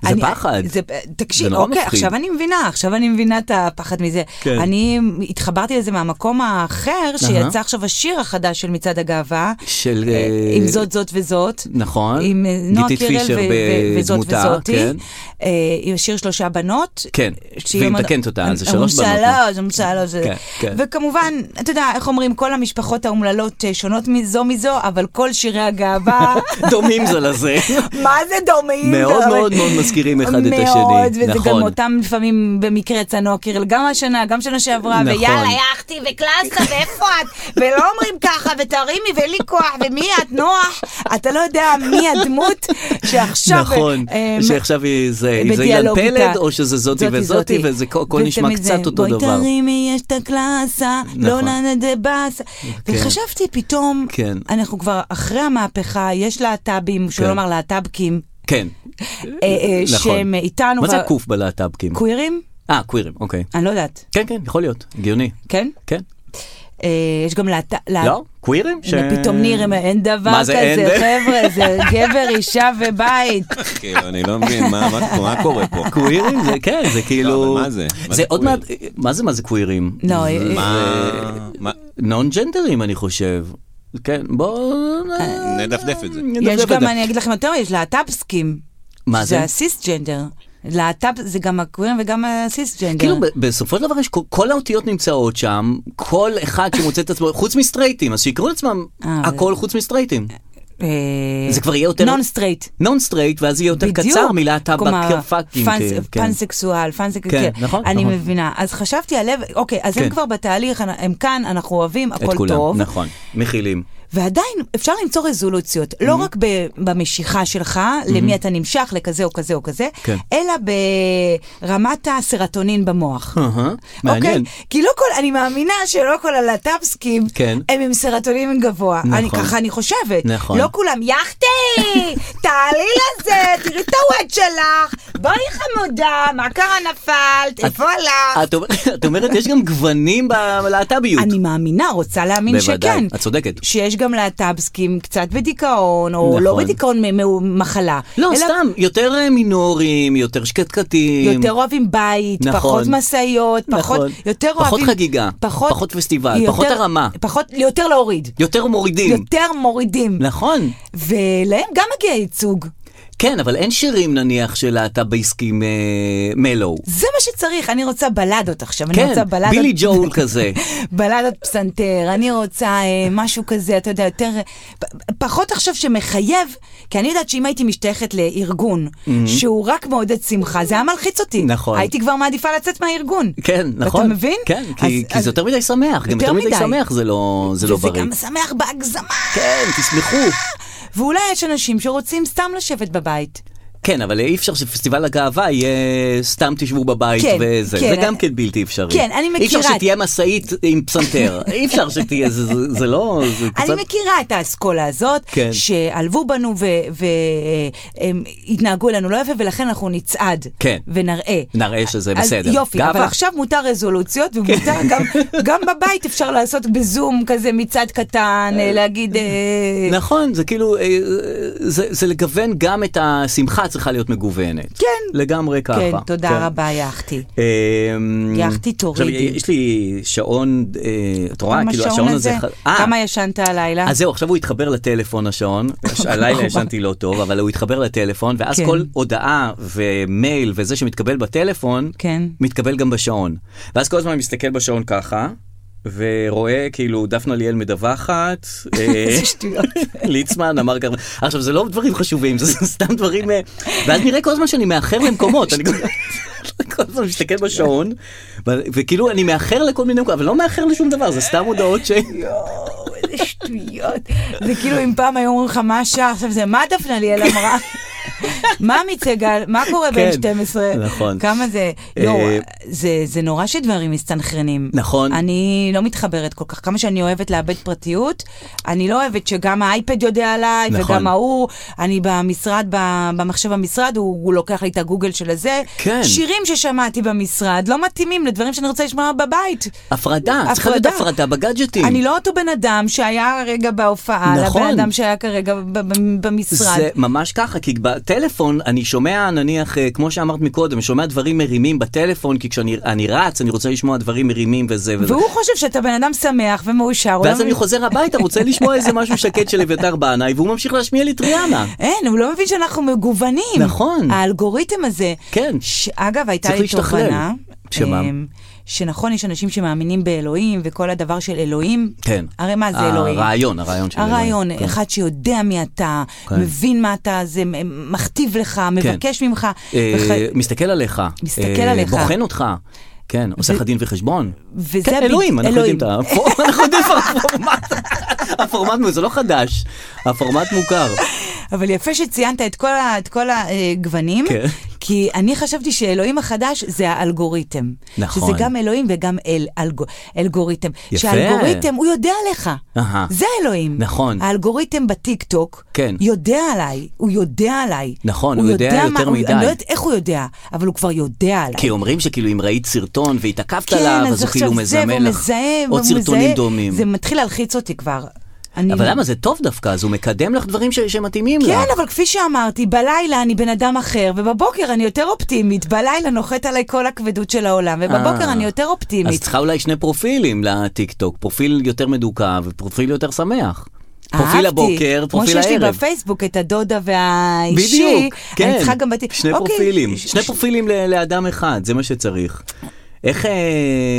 [SPEAKER 3] אה,
[SPEAKER 2] זה פחד.
[SPEAKER 3] זה, תקשיב,
[SPEAKER 2] זה נורא
[SPEAKER 3] אוקיי,
[SPEAKER 2] מפחיד.
[SPEAKER 3] עכשיו אני מבינה, עכשיו אני מבינה את הפחד מזה.
[SPEAKER 2] כן.
[SPEAKER 3] אני התחברתי לזה מהמקום האחר, שיצא עכשיו השיר החדש של מצעד הגאווה.
[SPEAKER 2] של...
[SPEAKER 3] אה,
[SPEAKER 2] אה,
[SPEAKER 3] עם זאת, זאת וזאת.
[SPEAKER 2] נכון.
[SPEAKER 3] עם אה, נועה
[SPEAKER 2] גיתית
[SPEAKER 3] קירל
[SPEAKER 2] פישר
[SPEAKER 3] ו- ו- וזאת
[SPEAKER 2] בדמותה,
[SPEAKER 3] וזאתי.
[SPEAKER 2] כן.
[SPEAKER 3] אה, עם השיר שלושה בנות.
[SPEAKER 2] כן,
[SPEAKER 3] שהיא
[SPEAKER 2] והיא
[SPEAKER 3] אומרת-
[SPEAKER 2] מתקנת אותה,
[SPEAKER 3] אה,
[SPEAKER 2] אז זה שלוש
[SPEAKER 3] אומרים
[SPEAKER 2] בנות.
[SPEAKER 3] שלוש, אומרים שלוש. זה-
[SPEAKER 2] כן, כן.
[SPEAKER 3] וכמובן, אתה יודע, איך אומרים, כל המשפחות האומללות אה, שונות מזו מזו, אבל כל שירי
[SPEAKER 2] [laughs]
[SPEAKER 3] הגאווה,
[SPEAKER 2] דומים זה
[SPEAKER 3] [laughs]
[SPEAKER 2] לזה.
[SPEAKER 3] מה זה דומים?
[SPEAKER 2] מאוד
[SPEAKER 3] אבל-
[SPEAKER 2] מאוד מאוד מזכירים אחד את השני.
[SPEAKER 3] מאוד, וזה גם
[SPEAKER 2] נכון.
[SPEAKER 3] אותם לפעמים במקרה יצא נועה קירל, גם השנה, גם שנה שעברה,
[SPEAKER 2] נכון.
[SPEAKER 3] ויאללה, יאכטי וקלאסה, ואיפה את? ולא אומרים ככה, ותרימי, ואין לי כוח, ומי את, נוח? אתה לא יודע מי הדמות שעכשיו...
[SPEAKER 2] נכון,
[SPEAKER 3] אה,
[SPEAKER 2] שעכשיו היא- זה אם זה אילן
[SPEAKER 3] בדיאלוג
[SPEAKER 2] פלד
[SPEAKER 3] איתה.
[SPEAKER 2] או שזה זאתי וזאתי, וזה כל- הכל נשמע
[SPEAKER 3] ותמיד זה,
[SPEAKER 2] קצת אותו
[SPEAKER 3] בואי
[SPEAKER 2] דבר.
[SPEAKER 3] תרימי, יש את הקלאסה, לא
[SPEAKER 2] נכון.
[SPEAKER 3] ננה דה באסה.
[SPEAKER 2] כן.
[SPEAKER 3] וחשבתי פתאום,
[SPEAKER 2] כן.
[SPEAKER 3] אנחנו כבר אחרי המהפכה, יש להט"בים, שלא
[SPEAKER 2] כן.
[SPEAKER 3] לומר להט"בקים,
[SPEAKER 2] כן,
[SPEAKER 3] אה, אה,
[SPEAKER 2] נכון.
[SPEAKER 3] שהם איתנו.
[SPEAKER 2] מה זה
[SPEAKER 3] ו-
[SPEAKER 2] הקוף בלהט"בקים?
[SPEAKER 3] קווירים?
[SPEAKER 2] אה, קווירים, אוקיי.
[SPEAKER 3] אני לא יודעת.
[SPEAKER 2] כן, כן, יכול להיות, הגיוני.
[SPEAKER 3] כן?
[SPEAKER 2] כן.
[SPEAKER 3] אה, יש גם להט... לה-
[SPEAKER 2] לא? קווירים? ש-
[SPEAKER 3] פתאום ניר, הם- אין דבר
[SPEAKER 2] מה זה אין?
[SPEAKER 3] כזה, חבר'ה, זה
[SPEAKER 2] [laughs]
[SPEAKER 3] גבר, אישה ובית.
[SPEAKER 4] כאילו, אני לא מבין, מה- מה- מה קורה
[SPEAKER 2] [laughs]
[SPEAKER 4] פה?
[SPEAKER 2] קווירים? זה כן, זה כאילו...
[SPEAKER 4] אבל מה זה? מה
[SPEAKER 2] זה
[SPEAKER 4] זה
[SPEAKER 2] עוד
[SPEAKER 4] קוויר?
[SPEAKER 2] מעט... מה זה מה זה קווירים?
[SPEAKER 3] לא, אה,
[SPEAKER 4] מה- מה-
[SPEAKER 2] נון ג'נדרים, אני חושב. כן, בואו...
[SPEAKER 4] נדפדף את זה.
[SPEAKER 3] אה, יש
[SPEAKER 2] נדפדף את
[SPEAKER 3] גם,
[SPEAKER 2] זה.
[SPEAKER 3] אני אגיד לכם יותר, יש להט"בסקים.
[SPEAKER 2] מה זה?
[SPEAKER 3] זה הסיסג'נדר. להט"ב זה גם הקווירים וגם הסיסג'נדר.
[SPEAKER 2] כאילו ב- בסופו של דבר יש כל- כל האותיות נמצאות שם, כל אחד שמוצא את עצמו, חוץ מסטרייטים, אז שיקראו לעצמם
[SPEAKER 3] אה,
[SPEAKER 2] הכל חוץ מסטרייטים.
[SPEAKER 3] אה,
[SPEAKER 2] זה כבר יהיה יותר-
[SPEAKER 3] נון סטרייט.
[SPEAKER 2] נון סטרייט, ואז יהיה יותר
[SPEAKER 3] בדיוק.
[SPEAKER 2] קצר מלהט"ב
[SPEAKER 3] כלומר,
[SPEAKER 2] פאקינג.
[SPEAKER 3] פאנס-
[SPEAKER 2] כן, כן.
[SPEAKER 3] פאנסקסואל, פאנסק...
[SPEAKER 2] כן, נכון,
[SPEAKER 3] אני
[SPEAKER 2] נכון.
[SPEAKER 3] מבינה. אז חשבתי עליו, אוקיי, אז
[SPEAKER 2] כן.
[SPEAKER 3] הם כבר בתהליך, הם כאן, אנחנו אוהבים,
[SPEAKER 2] את
[SPEAKER 3] הכל
[SPEAKER 2] כולם,
[SPEAKER 3] טוב.
[SPEAKER 2] נכון, מכילים.
[SPEAKER 3] ועדיין אפשר למצוא רזולוציות, לא
[SPEAKER 2] Mm-hmm.
[SPEAKER 3] רק ב- במשיכה שלך, למי אתה נמשך, לכזה או כזה או כזה,
[SPEAKER 2] כן.
[SPEAKER 3] אלא ברמת
[SPEAKER 2] [laughs]
[SPEAKER 3] הסרטונין במוח.
[SPEAKER 2] אהה, מעניין.
[SPEAKER 3] אוקיי? כי לא כל, אני מאמינה שלא כל הלהט"בסקים,
[SPEAKER 2] כן.
[SPEAKER 3] הם עם סרטונין גבוה.
[SPEAKER 2] נכון.
[SPEAKER 3] אני, ככה אני חושבת.
[SPEAKER 2] נכון.
[SPEAKER 3] לא כולם,
[SPEAKER 2] [laughs]
[SPEAKER 3] יאכטי, תעלי לזה, תראי את הוואט שלך, בואי חמודה, מה קרה נפלת, איפה הלכת?
[SPEAKER 2] את אומר- את אומרת, [laughs] יש גם גוונים בלהט"ביות.
[SPEAKER 3] אני מאמינה, רוצה להאמין
[SPEAKER 2] בוודאי,
[SPEAKER 3] שכן.
[SPEAKER 2] את צודקת.
[SPEAKER 3] שיש גם להט"בסקים קצת בדיכאון, או
[SPEAKER 2] נכון.
[SPEAKER 3] לא בדיכאון מ- מ- מחלה.
[SPEAKER 2] לא,
[SPEAKER 3] אלא
[SPEAKER 2] סתם, יותר אה, מינורים, יותר שקטקטים.
[SPEAKER 3] יותר אוהבים בית,
[SPEAKER 2] נכון.
[SPEAKER 3] פחות משאיות, פחות,
[SPEAKER 2] נכון.
[SPEAKER 3] יותר
[SPEAKER 2] פחות
[SPEAKER 3] אוהבים...
[SPEAKER 2] חגיגה, פחות פסטיבל, פחות הרמה.
[SPEAKER 3] פחות, יותר להוריד,
[SPEAKER 2] יותר מורידים.
[SPEAKER 3] יותר מורידים.
[SPEAKER 2] נכון.
[SPEAKER 3] ולהם גם מגיע ייצוג.
[SPEAKER 2] כן, אבל אין שירים נניח של להט"ביסקים אה, מלואו.
[SPEAKER 3] זה מה שצריך, אני רוצה בלדות עכשיו, אני
[SPEAKER 2] כן,
[SPEAKER 3] רוצה בלדות...
[SPEAKER 2] בילי ג'ול כזה.
[SPEAKER 3] בלדת פסנתר, אני רוצה אה, משהו כזה, אתה יודע, יותר... פ- פחות עכשיו שמחייב, כי אני יודעת שאם הייתי משתייכת לארגון שהוא רק מעודד שמחה, זה היה מלחיץ אותי.
[SPEAKER 2] נכון.
[SPEAKER 3] הייתי כבר מעדיפה לצאת מהארגון.
[SPEAKER 2] כן, נכון.
[SPEAKER 3] אתה מבין?
[SPEAKER 2] כן, כי,
[SPEAKER 3] אז-
[SPEAKER 2] כי
[SPEAKER 3] אז-
[SPEAKER 2] זה יותר מדי שמח, גם
[SPEAKER 3] יותר
[SPEAKER 2] יותר מדי
[SPEAKER 3] מדי.
[SPEAKER 2] שמח זה לא, זה לא
[SPEAKER 3] וזה
[SPEAKER 2] בריא.
[SPEAKER 3] גם שמח בהגזמה.
[SPEAKER 2] כן, תסמכו.
[SPEAKER 3] ואולי יש אנשים שרוצים סתם לשבת בבית.
[SPEAKER 2] כן, אבל אי אפשר שפסטיבל הגאווה יהיה סתם תשבו בבית
[SPEAKER 3] כן,
[SPEAKER 2] וזה.
[SPEAKER 3] כן.
[SPEAKER 2] זה גם כן בלתי אפשרי.
[SPEAKER 3] כן, אני
[SPEAKER 2] אי אפשר
[SPEAKER 3] מכירה.
[SPEAKER 2] שתהיה משאית עם פסנתר. אי אפשר שתהיה, זה- זה זה לא... זה קצת-
[SPEAKER 3] אני מכירה את האסכולה הזאת,
[SPEAKER 2] כן.
[SPEAKER 3] שעלבו בנו והתנהגו אלינו לא יפה, ולכן אנחנו נצעד.
[SPEAKER 2] כן.
[SPEAKER 3] ונראה.
[SPEAKER 2] נראה שזה
[SPEAKER 3] אז
[SPEAKER 2] בסדר. כן.
[SPEAKER 3] יופי, אבל
[SPEAKER 2] גאווה.
[SPEAKER 3] עכשיו מותר רזולוציות, ומותר גם, גם בבית אפשר לעשות בזום כזה מצעד קטן, אה, להגיד... אה,
[SPEAKER 2] נכון, זה כאילו, אה, זה, זה לגוון גם את השמחה צריכה להיות מגוונת.
[SPEAKER 3] כן.
[SPEAKER 2] לגמרי ככה.
[SPEAKER 3] כן, תודה
[SPEAKER 2] כן.
[SPEAKER 3] רבה, יאכטי.
[SPEAKER 2] אמ,
[SPEAKER 3] יאכטי, תורידי.
[SPEAKER 2] עכשיו, יש לי שעון, אה, את רואה,
[SPEAKER 3] גם
[SPEAKER 2] כאילו
[SPEAKER 3] השעון
[SPEAKER 2] השעון הזה... ח- אה,
[SPEAKER 3] כמה ישנת הלילה? נכון.
[SPEAKER 2] אז זהו, עכשיו הוא התחבר לטלפון
[SPEAKER 3] [laughs]
[SPEAKER 2] השעון, הש- הלילה ישנתי לא טוב, אבל הוא התחבר לטלפון, ואז
[SPEAKER 3] כן.
[SPEAKER 2] כל הודעה ומייל וזה שמתקבל בטלפון,
[SPEAKER 3] כן.
[SPEAKER 2] מתקבל גם בשעון. ואז כל הזמן אני מסתכל בשעון ככה, ורואה כאילו דפנה ליאל
[SPEAKER 3] [laughs]
[SPEAKER 2] מדווחת, אה,
[SPEAKER 3] איזה שטויות.
[SPEAKER 2] ליצמן אמר ככה, עכשיו זה לא דברים חשובים, זה [laughs] סתם דברים, אה, ואז נראה כל הזמן שאני מאחר למקומות, אני כל הזמן מסתכל בשעון, ו- וכאילו אני מאחר לכל מיני מקומות, אבל לא מאחר לשום דבר, זה סתם הודעות ש...
[SPEAKER 3] יואו, איזה שטויות. זה כאילו אם פעם היו אומרים לך מה השעה, עכשיו זה מה דפנה ליאל אמרה? מה עמית סגל? מה קורה בין
[SPEAKER 2] כן,
[SPEAKER 3] 12?
[SPEAKER 2] נכון.
[SPEAKER 3] כמה זה... יואו,
[SPEAKER 2] אה,
[SPEAKER 3] זה- זה נורא שדברים מסתנכרנים.
[SPEAKER 2] נכון.
[SPEAKER 3] אני לא מתחברת כל כך. כמה שאני אוהבת לאבד פרטיות, אני לא אוהבת שגם האייפד יודע עליי,
[SPEAKER 2] נכון.
[SPEAKER 3] וגם ההוא, אני במשרד, ב- במחשב המשרד, הוא הוא לוקח לי את הגוגל של הזה.
[SPEAKER 2] כן.
[SPEAKER 3] שירים ששמעתי במשרד לא מתאימים לדברים שאני רוצה לשמוע בבית.
[SPEAKER 2] הפרדה, צריכה להיות
[SPEAKER 3] הפרדה.
[SPEAKER 2] הפרדה בגאדג'טים.
[SPEAKER 3] אני לא אותו בן אדם שהיה הרגע בהופעה, נכון.
[SPEAKER 2] נכון.
[SPEAKER 3] לבן אדם שהיה כרגע ב- ב- במשרד.
[SPEAKER 2] זה ממש ככה, כי בטלפון אני שומע, נניח, אה, כמו שאמרת מקודם, שומע דברים מרימים בטלפון, כי כשאני אני רץ, אני רוצה לשמוע דברים מרימים וזה וזה.
[SPEAKER 3] והוא חושב שאתה בן אדם שמח ומאושר. הוא
[SPEAKER 2] ואז אני
[SPEAKER 3] לא מבין-
[SPEAKER 2] חוזר הביתה, רוצה לשמוע איזה
[SPEAKER 3] [laughs]
[SPEAKER 2] משהו שקט של אביתר בנאי, והוא ממשיך להשמיע לי טריאנה.
[SPEAKER 3] אין, הוא לא מבין שאנחנו מגוונים.
[SPEAKER 2] נכון.
[SPEAKER 3] האלגוריתם הזה.
[SPEAKER 2] כן.
[SPEAKER 3] שאגב, הייתה
[SPEAKER 2] צריך
[SPEAKER 3] לי
[SPEAKER 2] להשתכלל.
[SPEAKER 3] תובנה.
[SPEAKER 2] שמה?
[SPEAKER 3] אמ, שנכון, יש אנשים שמאמינים באלוהים, וכל הדבר של אלוהים.
[SPEAKER 2] כן.
[SPEAKER 3] הרי מה זה אלוהים?
[SPEAKER 2] הרעיון, הרעיון של אלוהים.
[SPEAKER 3] הרעיון,
[SPEAKER 2] כן.
[SPEAKER 3] אחד שיודע מי אתה,
[SPEAKER 2] כן.
[SPEAKER 3] מבין מה אתה, זה מ- מכתיב לך, מבקש ממך.
[SPEAKER 2] אה,
[SPEAKER 3] וכ-
[SPEAKER 2] מסתכל עליך.
[SPEAKER 3] מסתכל
[SPEAKER 2] אה,
[SPEAKER 3] עליך.
[SPEAKER 2] בוחן אותך. כן, עושה לך דין וחשבון.
[SPEAKER 3] וזה
[SPEAKER 2] כן,
[SPEAKER 3] בדיוק-
[SPEAKER 2] אלוהים, אנחנו
[SPEAKER 3] אלוהים.
[SPEAKER 2] יודעים את הפורמט, [laughs] אנחנו יודעים כבר הפורמט, הפורמט, זה לא חדש, הפורמט מוכר.
[SPEAKER 3] אבל יפה שציינת את כל, ה, את כל הגוונים,
[SPEAKER 2] כן.
[SPEAKER 3] כי אני חשבתי שאלוהים החדש זה האלגוריתם.
[SPEAKER 2] נכון.
[SPEAKER 3] שזה גם אלוהים וגם אל, אלגו, אלגוריתם.
[SPEAKER 2] יפה.
[SPEAKER 3] שהאלגוריתם, הוא יודע עליך.
[SPEAKER 2] אהה.
[SPEAKER 3] זה אלוהים.
[SPEAKER 2] נכון.
[SPEAKER 3] האלגוריתם בטיקטוק,
[SPEAKER 2] כן.
[SPEAKER 3] יודע עליי, הוא יודע עליי.
[SPEAKER 2] נכון, הוא יודע
[SPEAKER 3] מה-
[SPEAKER 2] יותר
[SPEAKER 3] הוא-
[SPEAKER 2] מדי.
[SPEAKER 3] אני לא יודעת איך הוא יודע, אבל הוא כבר יודע עליי.
[SPEAKER 2] כי אומרים שכאילו אם ראית סרטון והתעכבת
[SPEAKER 3] כן,
[SPEAKER 2] עליו,
[SPEAKER 3] אז
[SPEAKER 2] אז הוא כאילו
[SPEAKER 3] עכשיו זה, והוא
[SPEAKER 2] מזמן לך
[SPEAKER 3] מזהה,
[SPEAKER 2] עוד
[SPEAKER 3] והוא מזהה.
[SPEAKER 2] סרטונים דומים.
[SPEAKER 3] זה מתחיל להלחיץ אותי כבר. אני
[SPEAKER 2] אבל
[SPEAKER 3] לא-
[SPEAKER 2] למה זה טוב דווקא, אז הוא מקדם לך דברים ש- שמתאימים לך.
[SPEAKER 3] כן, אבל כפי שאמרתי, בלילה אני בן אדם אחר, ובבוקר אני יותר אופטימית. בלילה נוחת עליי כל הכבדות של העולם, ובבוקר
[SPEAKER 2] אה.
[SPEAKER 3] אני יותר
[SPEAKER 2] אז
[SPEAKER 3] אופטימית.
[SPEAKER 2] צריכה אולי שני פרופילים לטיק טוק, פרופיל יותר מדוכא ופרופיל יותר שמח.
[SPEAKER 3] אהבתי.
[SPEAKER 2] פרופיל הבוקר, פרופיל
[SPEAKER 3] כמו שיש לי
[SPEAKER 2] הערב.
[SPEAKER 3] בפייסבוק את הדודה והאישי,
[SPEAKER 2] בדיוק, כן.
[SPEAKER 3] אני צריכה גם בתי...
[SPEAKER 2] שני
[SPEAKER 3] אוקיי,
[SPEAKER 2] פרופילים,
[SPEAKER 3] ש-
[SPEAKER 2] שני
[SPEAKER 3] ש-
[SPEAKER 2] פרופילים ל- לאדם אחד, זה מה שצריך. איך אה,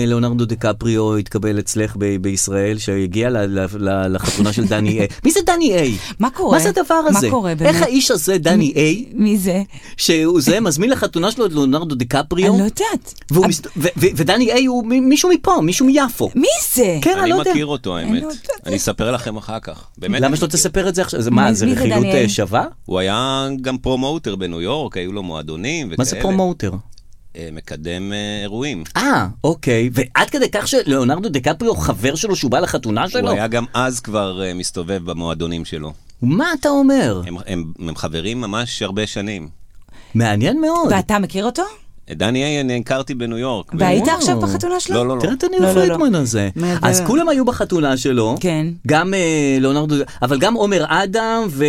[SPEAKER 2] ליאונרדו דקפריו התקבל אצלך ב- בישראל, שהגיע ל- ל- ל- לחתונה של דני איי? מי זה דני איי?
[SPEAKER 3] מה קורה?
[SPEAKER 2] מה זה הדבר
[SPEAKER 3] מה
[SPEAKER 2] הזה?
[SPEAKER 3] קורה, באמת?
[SPEAKER 2] איך האיש הזה, דני איי,
[SPEAKER 3] מי זה?
[SPEAKER 2] שהוא זה, מזמין לחתונה שלו את ליאונרדו דקפריו?
[SPEAKER 3] אני לא יודעת.
[SPEAKER 2] והוא
[SPEAKER 3] אבל-
[SPEAKER 2] מסת- ו- ו- ודני איי הוא מ- מישהו מפה, מישהו מיפו.
[SPEAKER 3] מי זה?
[SPEAKER 2] כן, אני
[SPEAKER 4] אני
[SPEAKER 2] לא יודע.
[SPEAKER 4] מכיר אותו, האמת.
[SPEAKER 3] לא יודעת.
[SPEAKER 4] אני אספר לכם אחר כך. באמת.
[SPEAKER 2] למה
[SPEAKER 4] אני
[SPEAKER 2] שלא
[SPEAKER 4] מכיר.
[SPEAKER 2] תספר את זה עכשיו? זה
[SPEAKER 3] מי-
[SPEAKER 2] מה, זה
[SPEAKER 3] מי זה
[SPEAKER 2] רכילות
[SPEAKER 3] דני איי?
[SPEAKER 2] אה, שווה?
[SPEAKER 4] הוא היה גם פרומוטר בניו יורק, היו לו מועדונים וכאלה.
[SPEAKER 2] מה זה פרומוטר?
[SPEAKER 4] אה, מקדם אה, אירועים.
[SPEAKER 2] אה, אוקיי. ועד כדי כך שלאונרדו דקפריו חבר שלו שהוא בא לחתונה שלו?
[SPEAKER 4] הוא היה גם אז כבר אה, מסתובב במועדונים שלו.
[SPEAKER 2] מה אתה אומר?
[SPEAKER 4] הם- הם הם חברים ממש הרבה שנים.
[SPEAKER 3] כן.
[SPEAKER 2] מעניין מאוד.
[SPEAKER 3] ואתה מכיר אותו?
[SPEAKER 4] את דני איי אני הכרתי בניו יורק.
[SPEAKER 3] והיית
[SPEAKER 2] וואו.
[SPEAKER 3] עכשיו בחתונה שלו?
[SPEAKER 4] לא, לא, לא.
[SPEAKER 2] תראה את
[SPEAKER 3] לא,
[SPEAKER 2] הניר
[SPEAKER 3] לא, לא.
[SPEAKER 2] פרידמן הזה.
[SPEAKER 3] מה,
[SPEAKER 2] אז
[SPEAKER 3] זה-
[SPEAKER 2] כולם היו בחתונה שלו.
[SPEAKER 3] כן.
[SPEAKER 2] גם אה, לאונרדו, אבל גם עומר אדם ו-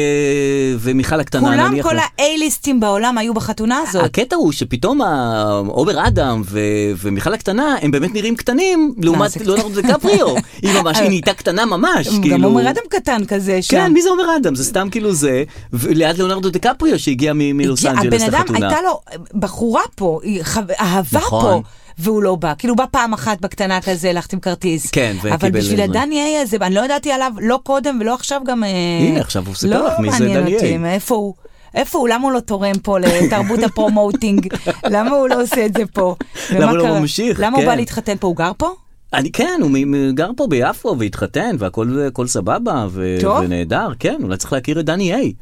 [SPEAKER 2] ומיכל הקטנה
[SPEAKER 3] כולם,
[SPEAKER 2] נניח.
[SPEAKER 3] כל ה-A-ליסטים בעולם היו בחתונה הזאת.
[SPEAKER 2] הקטע הוא שפתאום ה- עומר אדם ו... ומיכל הקטנה הם באמת נראים קטנים לעומת
[SPEAKER 3] זה קטן?
[SPEAKER 2] ליאונרדו
[SPEAKER 3] [laughs]
[SPEAKER 2] דקפריו. היא ממש, היא נהייתה קטנה ממש.
[SPEAKER 3] גם
[SPEAKER 2] כאילו.
[SPEAKER 3] עומר אדם קטן כזה שם.
[SPEAKER 2] כן, מי זה עומר אדם? זה סתם כאילו זה, ו- ליד ליאונרדו דקפריו שהגיע מ- מלוס
[SPEAKER 3] הגיע-
[SPEAKER 2] אנג'לס
[SPEAKER 3] הבן אדם,
[SPEAKER 2] לחתונה.
[SPEAKER 3] הייתה לו בחורה פה, היא חב- אהבה פה.
[SPEAKER 2] נכון.
[SPEAKER 3] והוא לא בא, כאילו הוא בא פעם אחת בקטנה כזה, הלכתי עם כרטיס.
[SPEAKER 2] כן, וקיבל
[SPEAKER 3] אבל בשביל
[SPEAKER 2] איזה-
[SPEAKER 3] הדניאל הזה, אני לא ידעתי עליו, לא קודם ולא עכשיו גם... אה,
[SPEAKER 2] הנה, עכשיו הוא סיפר לך מי זה
[SPEAKER 3] לא מעניין אותי,
[SPEAKER 2] דניאל.
[SPEAKER 3] מה- איפה הוא? איפה הוא? למה הוא לא תורם פה לתרבות
[SPEAKER 2] [laughs]
[SPEAKER 3] הפרומוטינג? למה הוא לא עושה את זה פה?
[SPEAKER 2] למה
[SPEAKER 3] ומה
[SPEAKER 2] הוא לא
[SPEAKER 3] קרה?
[SPEAKER 2] ממשיך?
[SPEAKER 3] למה הוא
[SPEAKER 2] כן.
[SPEAKER 3] בא להתחתן פה? הוא גר פה?
[SPEAKER 2] אני כן, הוא מ- מ- גר פה ביפו והתחתן והכל הכל סבבה ו-
[SPEAKER 3] טוב.
[SPEAKER 2] ונהדר, כן, אולי צריך להכיר את דני איי.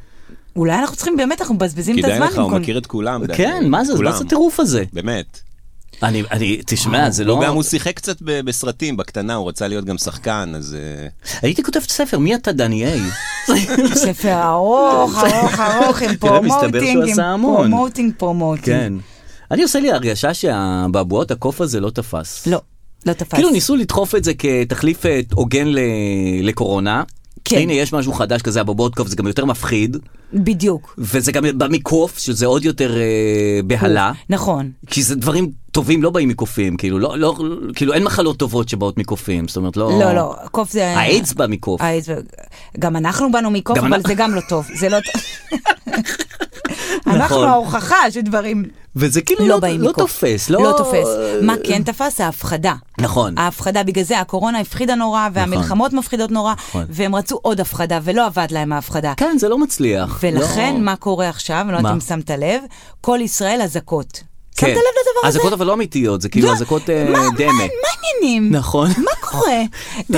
[SPEAKER 3] אולי אנחנו צריכים, באמת, אנחנו מבזבזים את
[SPEAKER 4] כדאי
[SPEAKER 3] הזמן.
[SPEAKER 4] לך, הוא
[SPEAKER 3] במקום-
[SPEAKER 4] מכיר את כולם. דני.
[SPEAKER 2] כן, מה זה, מה
[SPEAKER 4] כולם.
[SPEAKER 2] זה הטירוף הזה?
[SPEAKER 4] באמת.
[SPEAKER 2] אני, אני, תשמע, זה לא...
[SPEAKER 4] הוא גם, הוא שיחק קצת ב- בסרטים, בקטנה, הוא רצה להיות גם שחקן, אז... אה,
[SPEAKER 2] הייתי כותבת ספר, מי אתה דני
[SPEAKER 4] [laughs]
[SPEAKER 2] איי?
[SPEAKER 3] ספר ארוך, ארוך, ארוך, עם
[SPEAKER 2] [laughs] תראה, מסתבר שהוא
[SPEAKER 3] פרומוטינג,
[SPEAKER 2] עשה
[SPEAKER 3] עם
[SPEAKER 2] המון.
[SPEAKER 3] פרומוטינג, פרומוטינג.
[SPEAKER 2] כן. אני עושה לי הרגשה שהבעבועות הקוף הזה לא תפס.
[SPEAKER 3] לא, לא תפס.
[SPEAKER 2] כאילו ניסו לדחוף את זה כתחליף אה, הוגן ל... לקורונה.
[SPEAKER 3] כן.
[SPEAKER 2] הנה יש משהו חדש כזה, הבבואות קוף זה גם יותר מפחיד,
[SPEAKER 3] בדיוק.
[SPEAKER 2] וזה גם בא מקוף, שזה עוד יותר אה, בהלה.
[SPEAKER 3] נכון.
[SPEAKER 2] כי זה דברים טובים לא באים מקופים, כאילו, לא, לא, כאילו אין מחלות טובות שבאות מקופים, זאת אומרת, לא...
[SPEAKER 3] לא, אה, לא, קוף זה...
[SPEAKER 2] האיידס בא מקוף.
[SPEAKER 3] האיידס בא- גם אנחנו באנו מקוף,
[SPEAKER 2] גם
[SPEAKER 3] אבל
[SPEAKER 2] אנחנו-
[SPEAKER 3] זה גם לא טוב. זה לא...
[SPEAKER 2] [laughs]
[SPEAKER 3] אנחנו
[SPEAKER 2] נכון.
[SPEAKER 3] ההוכחה שדברים
[SPEAKER 2] וזה כאילו
[SPEAKER 3] לא
[SPEAKER 2] לא,
[SPEAKER 3] באים
[SPEAKER 2] לא
[SPEAKER 3] מקוף.
[SPEAKER 2] תופס, לא...
[SPEAKER 3] לא תופס. מה כן תפס? ההפחדה.
[SPEAKER 2] נכון.
[SPEAKER 3] ההפחדה, בגלל זה הקורונה הפחידה נורא, והמלחמות מפחידות נורא,
[SPEAKER 2] נכון.
[SPEAKER 3] והם רצו עוד הפחדה, ולא עבד להם ההפחדה.
[SPEAKER 2] כן, זה לא מצליח.
[SPEAKER 3] ולכן,
[SPEAKER 2] לא.
[SPEAKER 3] מה קורה עכשיו, אני לא יודעת
[SPEAKER 2] מה?
[SPEAKER 3] אם שמת לב, כל ישראל אזעקות. שמת
[SPEAKER 2] כן.
[SPEAKER 3] לב לדבר הזה?
[SPEAKER 2] אזעקות אבל לא אמיתיות, זה כאילו
[SPEAKER 3] לא,
[SPEAKER 2] אזעקות אה,
[SPEAKER 3] מה- מה
[SPEAKER 2] דמה.
[SPEAKER 3] מה העניינים?
[SPEAKER 2] נכון.
[SPEAKER 3] מה קורה? תקשיב,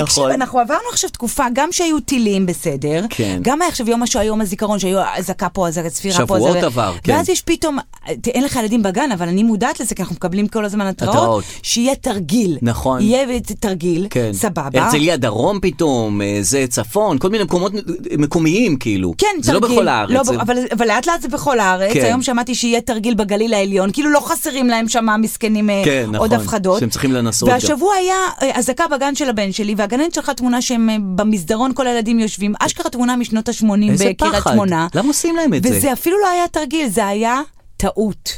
[SPEAKER 2] [laughs] נכון.
[SPEAKER 3] אנחנו עברנו עכשיו תקופה, גם שהיו טילים בסדר,
[SPEAKER 2] כן.
[SPEAKER 3] גם היה עכשיו יום השואה, יום הזיכרון, שהיו אזעקה פה, אזעקת ספירה פה,
[SPEAKER 2] שבועות
[SPEAKER 3] אזעקה-
[SPEAKER 2] עבר,
[SPEAKER 3] ואז
[SPEAKER 2] כן.
[SPEAKER 3] יש פתאום, ת- אין לך ילדים בגן, אבל אני מודעת לזה, כי אנחנו מקבלים כל הזמן התראות,
[SPEAKER 2] התראות.
[SPEAKER 3] שיהיה תרגיל.
[SPEAKER 2] נכון.
[SPEAKER 3] יהיה ת- תרגיל,
[SPEAKER 2] כן.
[SPEAKER 3] סבבה.
[SPEAKER 2] הרצליה דרום פתאום, אה, זה צפון, כל מיני מקומות מקומיים כאילו.
[SPEAKER 3] כן,
[SPEAKER 2] זה
[SPEAKER 3] תרגיל.
[SPEAKER 2] לא בכל הארץ.
[SPEAKER 3] לא,
[SPEAKER 2] זה...
[SPEAKER 3] ב- אבל, אבל לאט לאט זה בכל הארץ.
[SPEAKER 2] כן.
[SPEAKER 3] היום שמעתי שיהיה תרגיל בגליל העליון, כאילו לא חסרים להם שם המסכנים אה,
[SPEAKER 2] כן, נכון,
[SPEAKER 3] עוד הפחדות.
[SPEAKER 2] שהם צריכים לנסות גם.
[SPEAKER 3] והשבוע היה אה, אזעקה בגן של הבן שלי, והגננת שלחה תמונה שהם אה, במסדרון, כל הילדים יושבים. אשכרה תמונה משנות ה-80
[SPEAKER 2] איזה
[SPEAKER 3] בקריית
[SPEAKER 2] פחד.
[SPEAKER 3] שמונה.
[SPEAKER 2] למה עושים להם את זה?
[SPEAKER 3] וזה אפילו לא היה תרגיל, זה היה טעות.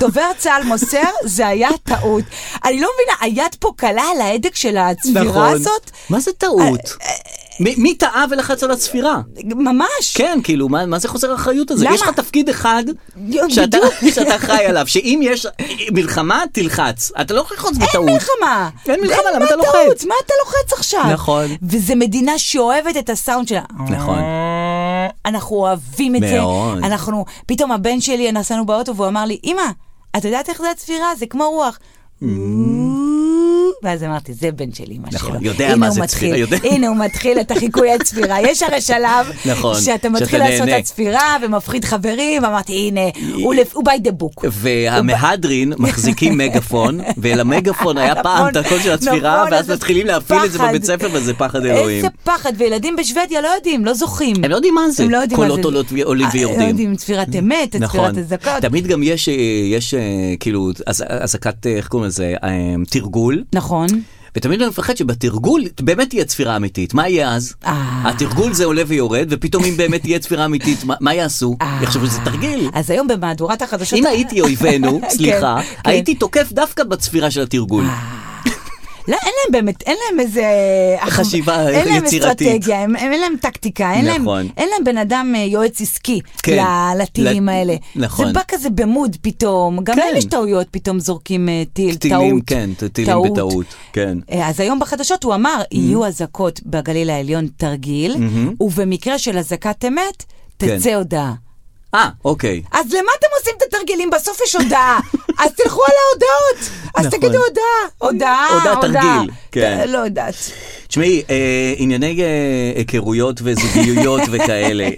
[SPEAKER 3] דובר צה"ל מוסר, זה היה טעות. אני לא מבינה, היד פה קלה על ההדק של הצבירה
[SPEAKER 2] נכון.
[SPEAKER 3] הזאת?
[SPEAKER 2] מה זה טעות?
[SPEAKER 3] אה,
[SPEAKER 2] מ- מי טעה ולחץ על הצפירה?
[SPEAKER 3] ממש.
[SPEAKER 2] כן, כאילו, מה, מה זה חוסר האחריות הזה?
[SPEAKER 3] למה?
[SPEAKER 2] יש לך תפקיד אחד
[SPEAKER 3] יו,
[SPEAKER 2] שאתה, [laughs]
[SPEAKER 3] בדיוק.
[SPEAKER 2] שאתה אחראי עליו, שאם יש מלחמה, תלחץ. אתה לא יכול ללחוץ בטעות.
[SPEAKER 3] אין מלחמה.
[SPEAKER 2] אין מלחמה, למה
[SPEAKER 3] מה
[SPEAKER 2] אתה לוחץ?
[SPEAKER 3] טעות? מה אתה לוחץ עכשיו?
[SPEAKER 2] נכון.
[SPEAKER 3] וזו מדינה שאוהבת את הסאונד שלה.
[SPEAKER 2] נכון.
[SPEAKER 3] אנחנו אוהבים את זה.
[SPEAKER 2] מאוד.
[SPEAKER 3] אנחנו, פתאום הבן שלי, נסענו באוטו והוא אמר לי, אמא, את יודעת איך זה הצפירה? זה כמו רוח.
[SPEAKER 2] Mm.
[SPEAKER 3] ואז אמרתי, זה בן של אמא שלו.
[SPEAKER 2] נכון, יודע
[SPEAKER 3] הנה
[SPEAKER 2] מה
[SPEAKER 3] הוא
[SPEAKER 2] זה
[SPEAKER 3] מתחיל,
[SPEAKER 2] צפירה, יודע.
[SPEAKER 3] הנה הוא מתחיל את החיקוי הצפירה. יש הרי שלב,
[SPEAKER 2] נכון,
[SPEAKER 3] שאתה
[SPEAKER 2] שאתה
[SPEAKER 3] מתחיל לעשות
[SPEAKER 2] נהנה.
[SPEAKER 3] את הצפירה ומפחיד חברים, אמרתי, הנה, הוא לפ- הוא by the book. [laughs]
[SPEAKER 2] והמהדרין מחזיקים מגפון, ולמגפון היה פעם את הקול של הצפירה,
[SPEAKER 3] נכון,
[SPEAKER 2] ואז
[SPEAKER 3] איזה
[SPEAKER 2] מתחילים להפעיל את זה
[SPEAKER 3] פחד.
[SPEAKER 2] בבית ספר, וזה פחד אלוהים.
[SPEAKER 3] איזה פחד, וילדים בשוודיה לא יודעים, לא זוכים.
[SPEAKER 2] הם לא יודעים מה זה.
[SPEAKER 3] הם לא יודעים מה זה.
[SPEAKER 2] קולות עולות ו- עולים
[SPEAKER 3] אה, לא
[SPEAKER 2] ויורדים. נכון.
[SPEAKER 3] יודעים, צפירת אמת, צפירת אזעקות.
[SPEAKER 2] תמיד גם יש, אה, יש אה, כאילו, אז- אזעקת, אה, איך קוראים לזה, אה, תרגול.
[SPEAKER 3] נכון.
[SPEAKER 2] ותמיד אני מפחד שבתרגול באמת תהיה צפירה אמיתית, מה יהיה אז?
[SPEAKER 3] אה.
[SPEAKER 2] התרגול זה עולה ויורד, ופתאום אם באמת תהיה צפירה אמיתית, מה- מה יעשו?
[SPEAKER 3] אה.
[SPEAKER 2] יחשבו שזה תרגיל.
[SPEAKER 3] אז היום במהדורת החדשות...
[SPEAKER 2] אם הייתי
[SPEAKER 3] [laughs]
[SPEAKER 2] אויבינו,
[SPEAKER 3] כן,
[SPEAKER 2] סליחה,
[SPEAKER 3] כן. אה,
[SPEAKER 2] הייתי תוקף דווקא בצפירה של התרגול.
[SPEAKER 3] לא, אין להם באמת, אין להם איזה... אח-
[SPEAKER 2] חשיבה
[SPEAKER 3] אין להם
[SPEAKER 2] יצירתית.
[SPEAKER 3] אסטרטגיה, הם- הם- אין להם טקטיקה, אין להם-
[SPEAKER 2] נכון.
[SPEAKER 3] אין להם בן אדם אה, יועץ עסקי
[SPEAKER 2] כן.
[SPEAKER 3] ל- לטילים
[SPEAKER 2] ל-
[SPEAKER 3] האלה.
[SPEAKER 2] נכון.
[SPEAKER 3] זה בא כזה במוד פתאום, גם
[SPEAKER 2] כן.
[SPEAKER 3] להם יש טעויות, פתאום זורקים אה, טיל,
[SPEAKER 2] טילים,
[SPEAKER 3] טעות.
[SPEAKER 2] כן, טילים בטעות, כן. Mm-hmm.
[SPEAKER 3] אה, אז היום בחדשות הוא אמר, יהיו אזעקות בגליל העליון תרגיל, ובמקרה של אזעקת אמת, תצא
[SPEAKER 2] כן.
[SPEAKER 3] הודעה.
[SPEAKER 2] אה, אוקיי.
[SPEAKER 3] אז למה אתם עושים את התרגילים? בסוף יש
[SPEAKER 2] [laughs]
[SPEAKER 3] הודעה. אז תלכו על ההודעות. אז
[SPEAKER 2] נכון.
[SPEAKER 3] תגידו הודעה. הודעה,
[SPEAKER 2] הודעה, תרגיל, כן.
[SPEAKER 3] ת- לא יודעת.
[SPEAKER 2] תשמעי, אה, ענייני אה, היכרויות
[SPEAKER 3] [laughs]
[SPEAKER 2] וזוגיות וכאלה.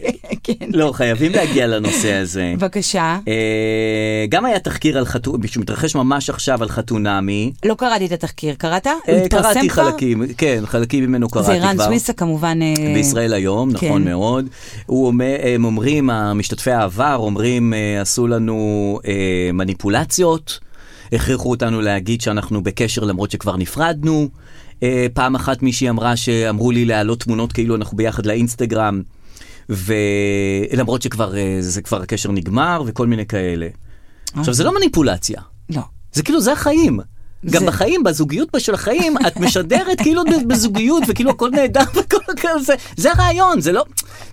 [SPEAKER 3] כן.
[SPEAKER 2] לא, חייבים להגיע לנושא הזה.
[SPEAKER 3] בבקשה.
[SPEAKER 2] אה, גם היה תחקיר על חתונמי, שמתרחש ממש עכשיו על חתונמי.
[SPEAKER 3] לא קראתי את התחקיר, קראת? הוא
[SPEAKER 2] אה,
[SPEAKER 3] התפרסם
[SPEAKER 2] קראתי
[SPEAKER 3] כבר?
[SPEAKER 2] חלקים, כן, חלקים ממנו קראתי
[SPEAKER 3] זה
[SPEAKER 2] כבר.
[SPEAKER 3] ערן סוויסה כמובן. אה,
[SPEAKER 2] בישראל היום, נכון
[SPEAKER 3] כן.
[SPEAKER 2] מאוד. הוא אומר, הם אומרים, משתתפי העבר אומרים, אה, עשו לנו אה, מניפולציות, הכריחו אותנו להגיד שאנחנו בקשר למרות שכבר נפרדנו. אה, פעם אחת מישהי אמרה שאמרו לי להעלות תמונות כאילו אנחנו ביחד לאינסטגרם, ולמרות שכבר, אה, זה כבר הקשר נגמר וכל מיני כאלה. עכשיו,
[SPEAKER 3] אה.
[SPEAKER 2] זה לא מניפולציה.
[SPEAKER 3] לא.
[SPEAKER 2] זה כאילו, זה החיים. גם
[SPEAKER 3] זה-
[SPEAKER 2] בחיים, בזוגיות של החיים,
[SPEAKER 3] [laughs]
[SPEAKER 2] את משדרת כאילו את בזוגיות, וכאילו הכל נהדר [laughs] וכל כזה, זה הרעיון, זה לא,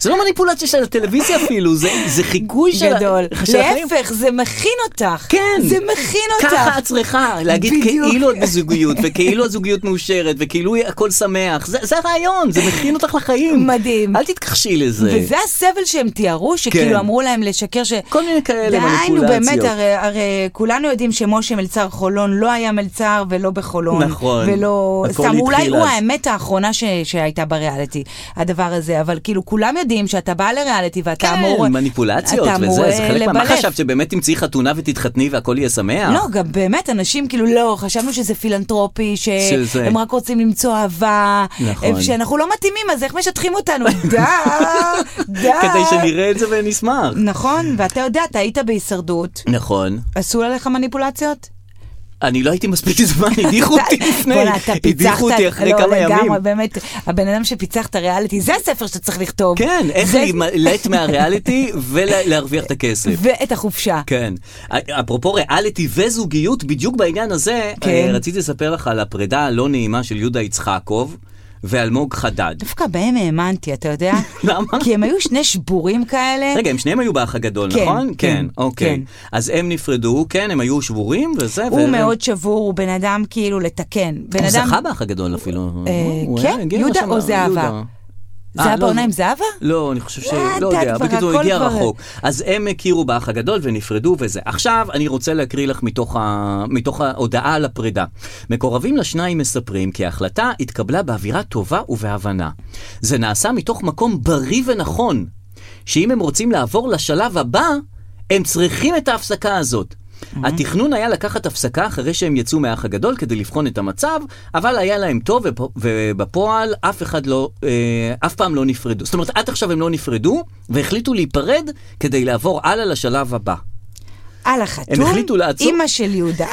[SPEAKER 2] זה לא מניפולציה של הטלוויזיה אפילו, זה, זה חיקוי של, ה-
[SPEAKER 3] גדול.
[SPEAKER 2] של החיים.
[SPEAKER 3] להפך, זה מכין אותך.
[SPEAKER 2] כן.
[SPEAKER 3] זה מכין אותך.
[SPEAKER 2] ככה את צריכה להגיד
[SPEAKER 3] בדיוק.
[SPEAKER 2] כאילו את בזוגיות, וכאילו הזוגיות מאושרת, וכאילו הכל שמח, זה, זה הרעיון, זה מכין אותך לחיים.
[SPEAKER 3] מדהים.
[SPEAKER 2] אל תתכחשי לזה.
[SPEAKER 3] וזה הסבל שהם תיארו, שכאילו
[SPEAKER 2] כן.
[SPEAKER 3] אמרו להם לשקר ש...
[SPEAKER 2] כל מיני כאלה
[SPEAKER 3] דהיינו,
[SPEAKER 2] מניפולציות.
[SPEAKER 3] באמת, הרי, הרי כולנו יודעים שמשה מלצר חולון לא היה מלצר יצר ולא בחולון.
[SPEAKER 2] נכון.
[SPEAKER 3] ולא...
[SPEAKER 2] הכל
[SPEAKER 3] סתם, אולי
[SPEAKER 2] התחיל
[SPEAKER 3] הוא
[SPEAKER 2] אז.
[SPEAKER 3] האמת האחרונה ש... שהייתה בריאליטי, הדבר הזה, אבל כאילו כולם יודעים שאתה בא לריאליטי ואתה
[SPEAKER 2] כן,
[SPEAKER 3] אמור...
[SPEAKER 2] מניפולציות
[SPEAKER 3] אתה אמור,
[SPEAKER 2] וזה, זה
[SPEAKER 3] אה,
[SPEAKER 2] חלק מה... אה. מה
[SPEAKER 3] לבלף.
[SPEAKER 2] חשבת, שבאמת תמצאי חתונה ותתחתני והכל יהיה שמח?
[SPEAKER 3] לא, גם באמת, אנשים כאילו, לא, חשבנו שזה פילנטרופי,
[SPEAKER 2] שזה-
[SPEAKER 3] שהם רק רוצים למצוא אהבה,
[SPEAKER 2] נכון.
[SPEAKER 3] שאנחנו לא מתאימים, אז איך
[SPEAKER 2] [laughs]
[SPEAKER 3] משטחים אותנו? די, די.
[SPEAKER 2] כדי שנראה את זה ונשמח.
[SPEAKER 3] נכון, ואתה יודע, אתה היית בהישרדות,
[SPEAKER 2] נכון.
[SPEAKER 3] עשו עליך מניפולציות?
[SPEAKER 2] אני לא הייתי מספיק
[SPEAKER 3] [laughs]
[SPEAKER 2] זמן, הדיחו אותי לפני.
[SPEAKER 3] בוא'נה, אתה פיצחת,
[SPEAKER 2] הדיחו אותי אחרי
[SPEAKER 3] לא,
[SPEAKER 2] כמה ימים.
[SPEAKER 3] לגמרי, באמת, הבן אדם שפיצח את הריאליטי, זה הספר שאתה צריך לכתוב.
[SPEAKER 2] כן, איך
[SPEAKER 3] זה-
[SPEAKER 2] להימלט מהריאליטי ולהרוויח את הכסף.
[SPEAKER 3] ואת החופשה.
[SPEAKER 2] כן. אפרופו ריאליטי וזוגיות, בדיוק בעניין הזה,
[SPEAKER 3] כן.
[SPEAKER 2] אה, רציתי לספר לך על הפרידה הלא נעימה של יהודה יצחקוב ואלמוג חדד.
[SPEAKER 3] דווקא בהם האמנתי, אתה יודע?
[SPEAKER 2] [laughs] למה?
[SPEAKER 3] כי הם היו שני שבורים כאלה.
[SPEAKER 2] רגע, הם שניהם היו באח הגדול,
[SPEAKER 3] כן,
[SPEAKER 2] נכון?
[SPEAKER 3] כן,
[SPEAKER 2] אוקיי.
[SPEAKER 3] כן.
[SPEAKER 2] אז הם נפרדו, כן, הם היו שבורים וזה.
[SPEAKER 3] הוא
[SPEAKER 2] ו-
[SPEAKER 3] מאוד שבור, הוא בן אדם כאילו לתקן. בן
[SPEAKER 2] הוא
[SPEAKER 3] אדם...
[SPEAKER 2] זכה באח הגדול אפילו.
[SPEAKER 3] אה,
[SPEAKER 2] הוא
[SPEAKER 3] כן,
[SPEAKER 2] היה- הגיע
[SPEAKER 3] יהודה
[SPEAKER 2] לשם,
[SPEAKER 3] או זהבה?
[SPEAKER 2] יהודה.
[SPEAKER 3] זה
[SPEAKER 2] אה,
[SPEAKER 3] היה
[SPEAKER 2] לא,
[SPEAKER 3] בעונה
[SPEAKER 2] זה-
[SPEAKER 3] עם זהבה?
[SPEAKER 2] לא, אני חושב ש...
[SPEAKER 3] אה,
[SPEAKER 2] לא
[SPEAKER 3] די,
[SPEAKER 2] יודע,
[SPEAKER 3] כבר
[SPEAKER 2] בקיצור,
[SPEAKER 3] הכל
[SPEAKER 2] הגיע
[SPEAKER 3] כבר-
[SPEAKER 2] רחוק. אז הם הכירו באח הגדול ונפרדו וזה. עכשיו אני רוצה להקריא לך מתוך, ה... מתוך ההודעה על הפרידה. מקורבים לשניים מספרים כי ההחלטה התקבלה באווירה טובה ובהבנה. זה נעשה מתוך מקום בריא ונכון, שאם הם רוצים לעבור לשלב הבא, הם צריכים את ההפסקה הזאת. Mm-hmm. התכנון היה לקחת הפסקה אחרי שהם יצאו מהאח הגדול כדי לבחון את המצב, אבל היה להם טוב, ופ- ובפועל אף אחד לא, אה, אף פעם לא נפרדו. זאת אומרת, עד עכשיו הם לא נפרדו, והחליטו להיפרד כדי לעבור הלאה לשלב הבא.
[SPEAKER 3] על החתום?
[SPEAKER 2] הם החליטו לעצור.
[SPEAKER 3] אימא
[SPEAKER 2] [laughs]
[SPEAKER 3] של יהודה.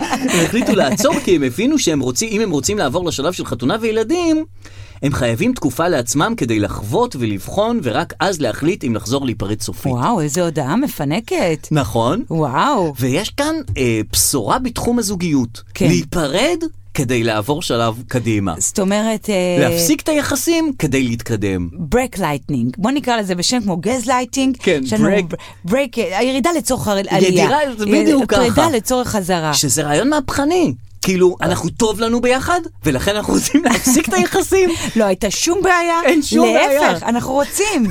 [SPEAKER 2] הם החליטו לעצור כי הם הבינו שהם רוצים, אם הם רוצים לעבור לשלב של חתונה וילדים, הם חייבים תקופה לעצמם כדי לחוות ולבחון, ורק אז להחליט אם לחזור להיפרד סופית.
[SPEAKER 3] וואו, איזו הודעה מפנקת.
[SPEAKER 2] נכון?
[SPEAKER 3] וואו.
[SPEAKER 2] ויש כאן אה, בשורה בתחום הזוגיות.
[SPEAKER 3] כן.
[SPEAKER 2] להיפרד כדי לעבור שלב קדימה.
[SPEAKER 3] זאת אומרת... אה,
[SPEAKER 2] להפסיק את היחסים כדי להתקדם.
[SPEAKER 3] ברק לייטנינג, בוא נקרא לזה בשם כמו גז לייטינג,
[SPEAKER 2] כן, ברק.
[SPEAKER 3] ברק, הירידה לצורך הר- עלייה,
[SPEAKER 2] ידירה, זה בדיוק
[SPEAKER 3] אה, פרידה
[SPEAKER 2] ככה.
[SPEAKER 3] לצורך חזרה,
[SPEAKER 2] שזה רעיון מהפכני. כאילו, אנחנו טוב לנו ביחד, ולכן אנחנו רוצים להפסיק את
[SPEAKER 3] [laughs]
[SPEAKER 2] היחסים.
[SPEAKER 3] לא הייתה שום בעיה,
[SPEAKER 2] אין שום בעיה.
[SPEAKER 3] להפך, אנחנו רוצים,